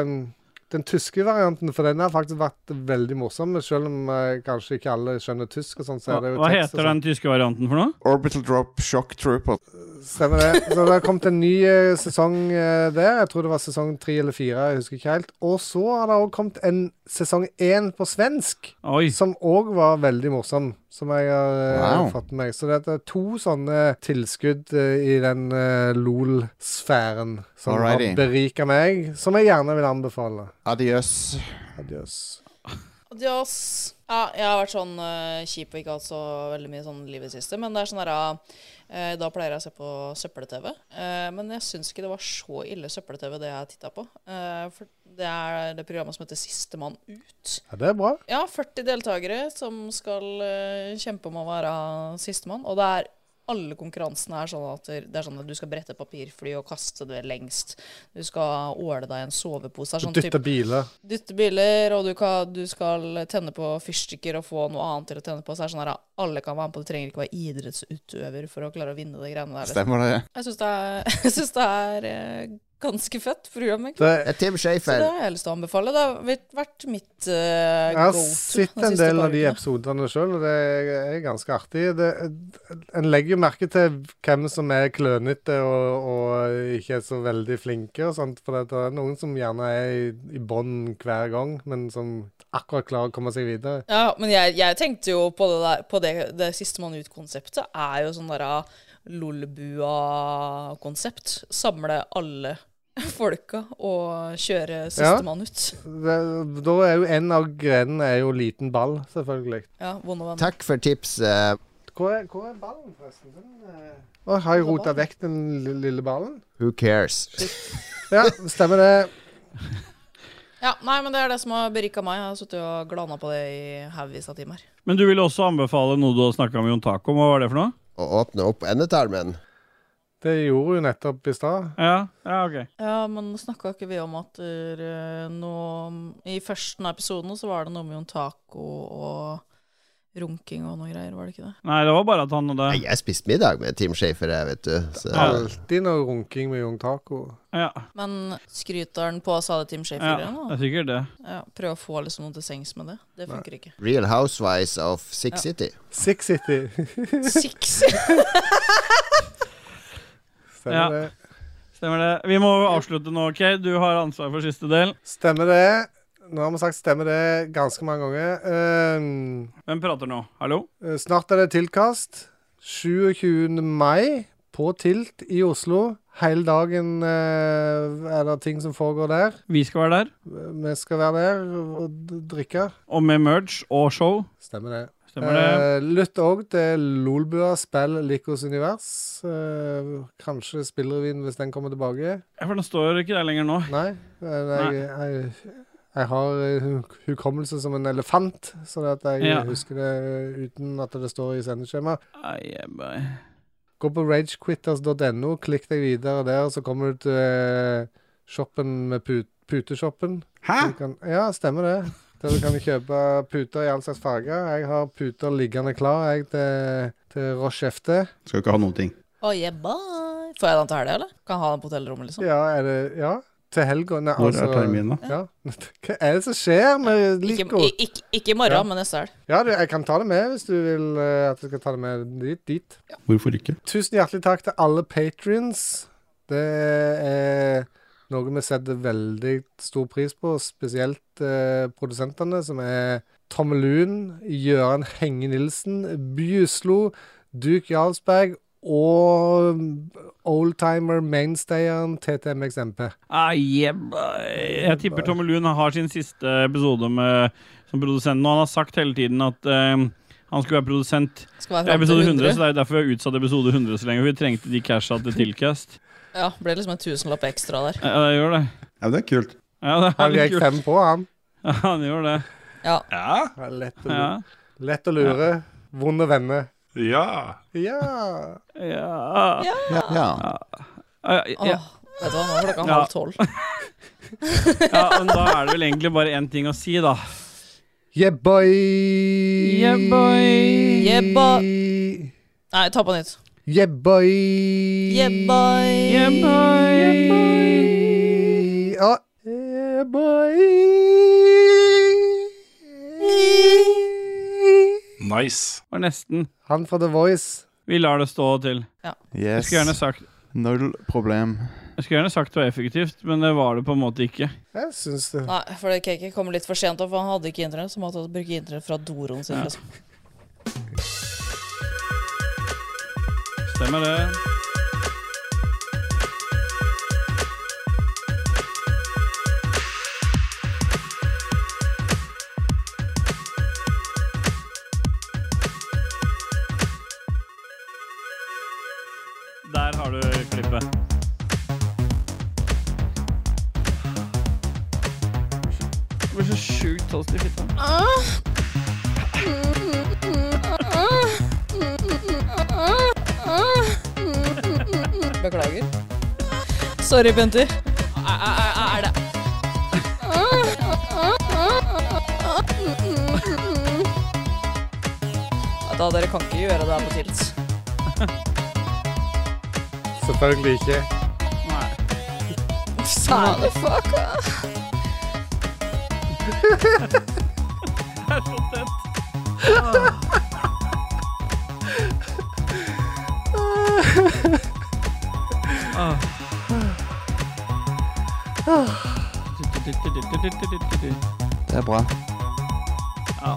S2: eh, den tyske varianten, for den har faktisk vært veldig morsom. Selv om eh, kanskje ikke alle skjønner tysk og sånn, så
S1: Hva,
S2: er det jo
S1: hva
S2: tekst.
S1: heter den tyske varianten for noe?
S4: Orbital Drop Shock Trooper.
S2: Stemmer det. Så det har kommet en ny eh, sesong eh, der. Jeg tror det var sesong tre eller fire, jeg husker ikke helt. Og så har det også kommet en sesong én på svensk, som òg var veldig morsom. Som jeg har eh,
S4: Wow.
S2: fått med meg. Så det er to sånne tilskudd eh, i den eh, LOL-sfæren som
S4: Alrighty.
S2: har berika meg, som jeg gjerne vil anbefale.
S4: Adios.
S2: Adios.
S3: Adios. Ja, jeg har vært sånn eh, kjip og ikke hatt så veldig mye sånn liv i det siste. Men det er sånn der, eh, da pleier jeg å se på søppel-TV. Eh, men jeg syns ikke det var så ille søppel-TV, det jeg titta på. Eh, for det er det programmet som heter Sistemann ut.
S2: Ja, det er bra.
S3: Ja, 40 deltakere som skal eh, kjempe om å være sistemann. Og det er alle konkurransene er sånn at det er sånn at du skal brette papirfly og kaste det lengst. Du skal åle deg i en sovepose. Det er Sånn
S2: Dytte
S3: typ-
S2: biler.
S3: Dytte biler, og du, kan, du skal tenne på fyrstikker og få noe annet til å tenne på. Så er det sånn her, alle kan være med på, du trenger ikke være idrettsutøver for å klare å vinne de greiene der. liksom.
S4: Stemmer det.
S3: Jeg syns det er, jeg synes det er eh, ganske fett program, egentlig.
S4: Det
S6: Eh,
S4: er Tim Schafer.
S3: Så det har jeg lyst til å anbefale. Det har vært- vært mitt eh,
S2: Jeg har
S3: go-to.
S2: sett
S3: de
S2: en
S3: siste
S2: del
S3: par
S2: av de
S3: ukene.
S2: episodene sjøl, og det er ganske artig. Det, en legger jo merke til hvem som er klønete og, og eh, ikke er så veldig flinke og sånt, for det er noen som gjerne er i, i bånn hver gang, men som akkurat klarer å komme seg videre.
S3: Ja, men jeg, jeg tenkte jo på det, der, på det, det sistemann ut-konseptet er jo sånn der ah, Lolbua-konsept. Samle alle folka og kjøre sistemann ut.
S2: Det, da er jo en av grenene er jo liten ball, selvfølgelig.
S3: Ja, vond og venn.
S6: Takk for tipset.
S2: Hvor er, hvor er ballen, forresten? Den, eh, Å, har jeg rota vekk den li- lille ballen?
S6: Who cares?
S2: Ja, stemmer det.
S3: Ja, nei, men det er det som har berika meg. Jeg har sittet og glana på det i haugvis av timer.
S1: Men du ville også anbefale noe du snakka om Jon Taco om. Hva var det for noe?
S6: Å åpne opp endetarmen.
S2: Det gjorde hun nettopp i stad.
S1: Ja, ja, ok.
S3: Ja, men snakka ikke vi om at eh, nå I første episoden så var det noe med Jon Taco og runking og noe greier, var det ikke det?
S1: Nei, det var bare at han hadde
S6: Jeg spiste middag med Tim Schafer, jeg, vet du. Så
S2: Alltid noe runking med Young Taco.
S3: Men skryter han på, sa det Tim Schafer?
S1: Ja,
S3: eller noe?
S1: det er sikkert det.
S3: Ja, prøve å få liksom noe til sengs med det. Det funker ikke.
S6: Real Housewives of Sick
S3: Ja.
S6: City.
S2: Sick City.
S3: Six!
S2: Stemmer
S1: ja.
S2: det.
S1: Stemmer det. Vi må avslutte nå, OK? Du har ansvar for siste del.
S2: Stemmer det. Nå har vi sagt stemmer det ganske mange ganger. Ehm,
S1: Hvem prater nå? Hallo?
S2: Snart er det tilkast. 27. mai på Tilt i Oslo. Hele dagen eh, er det ting som foregår der.
S1: Vi skal være der.
S2: Vi skal være der og d- drikke.
S1: Og med merge og show.
S2: Stemmer det.
S1: Stemmer det.
S2: Eh, lytt òg til Lolbua spill Likos univers. Eh, kanskje spillrevyen hvis den kommer tilbake.
S1: Ja, For den står ikke der lenger nå.
S2: Nei. Jeg, jeg, jeg har eh, hu- hukommelse som en elefant, så det at jeg
S1: Ja.
S2: husker det uten at det står i sendeskjema.
S1: Ai, ai, ai.
S2: Gå på ragequitters.no, klikk deg videre der, så kommer du til eh, shoppen med put puteshoppen.
S3: Ah.
S2: Hæ? Kan, ja, stemmer det. Der du kan kjøpe puter i all slags farger. Jeg har puter liggende klar jeg, til, til Rochefte.
S14: Skal jo ikke ha noen ting.
S3: Oh, yeah, bye. Får jeg den til helga, eller? Kan jeg ha den på hotellrommet, liksom?
S2: Ja, er det Ja? Til helga? Nei,
S14: Når er terminen,
S2: da? Ja. Hva er det som skjer med
S3: Ikke,
S2: Lico?
S3: i- ikke, ikke i morgen,
S2: Ja.
S3: men neste helg.
S2: Ja, du, jeg kan ta det med hvis du vil eh, at jeg skal ta det med dit. dit.
S14: Hvorfor ikke?
S2: Tusen hjertelig takk til alle patrions. Det er noe vi setter veldig stor pris på, spesielt eh, produsentene, som er Tomme Lund, Gøran Henge Nilsen, Bjuslo, Duke Jarlsberg og mm, oldtimer-mainstayeren TTMXMP.
S1: Ai, ai, ai. Jeg tipper Tomme Lund har sin siste episode med, som produsent nå. Han har sagt hele tiden at eh, han skulle være produsent
S3: Skal
S1: i
S3: være fram til
S1: episode 100,
S3: 100.
S1: så det er jo derfor vi har utsatt episode 100 så lenge. for Vi trengte de casha til Tilcast.
S3: Ja, ble liksom en tusenlapp ekstra der.
S1: Ja, det gjør det.
S14: Ja, det er kult.
S1: Ja, det er
S2: Han
S1: litt
S2: gikk
S1: kult.
S2: fem på, han.
S1: Ja, han gjør det.
S3: Ja.
S2: Ja, Lett å lure.
S1: Ja.
S2: Lett å lure. Vonde venner.
S14: Ja.
S2: Ja.
S1: Ja.
S6: Ja.
S1: Ja, ja, ja.
S3: Åh, vet du hva, nå er klokka
S1: Ja.
S3: halv tolv.
S1: ja, men da er det vel egentlig bare én ting å si, da.
S2: Yeah, boy.
S1: Yeah, boy.
S3: Jebba Nei, ta på nytt.
S2: Yeah, boy.
S3: Jebba
S2: Ja. Yeah, boy.
S14: Nice.
S1: Var nesten.
S2: Han fra The Voice.
S1: Vi lar det stå til.
S3: Ja.
S1: Jeg
S4: Yes.
S1: skulle gjerne sagt
S4: Null problem.
S1: Jeg skulle gjerne sagt det var effektivt, men det var det på en måte ikke.
S2: Jeg syns det.
S3: Nei, for det cake kom litt for sent, opp, for han hadde ikke internett, så han måtte bruke internett fra doroen sin.
S1: Ja.
S3: liksom.
S1: Stemmer det. så sjukt toast i fitta.
S28: Beklager. Sorry, Benti. Er det Da dere kan ikke gjøre det her på Tilts.
S11: Selvfølgelig ikke.
S28: Motherfucker.
S1: Det er så tett. Ah.
S4: Det er bra.
S1: Ja.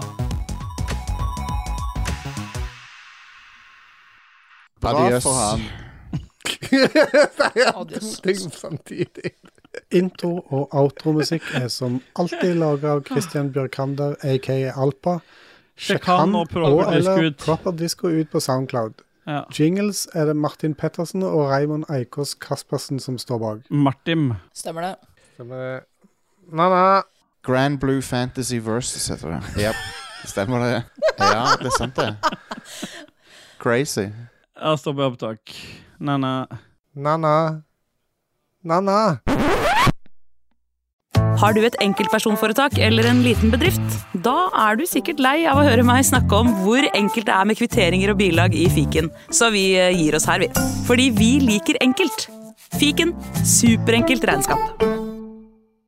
S4: Adios.
S11: Adios. Ting samtidig.
S2: Intro- og outromusikk er som alltid laga av Christian Bjørkander, aka Alpa.
S1: Sjekk han og Proper Disco
S2: eller
S1: ut.
S2: Proper Disco ut på Soundcloud.
S1: Ja.
S2: Jingles er det Martin Pettersen og Raymond Eikås Kaspersen som står bak.
S1: Martin.
S28: Stemmer det.
S11: Na-na.
S4: Grand Blue Fantasy Versus heter det. Ja, stemmer det. Ja, det er sant, det. Crazy.
S1: Jeg stopper opptak. Na-na.
S11: Na-na. Na-na.
S3: Har du et enkeltpersonforetak eller en liten bedrift? Da er du sikkert lei av å høre meg snakke om hvor enkelt det er med kvitteringer og bilag i fiken, så vi eh, gir oss her, vi. Fordi vi liker enkelt. Fiken superenkelt regnskap.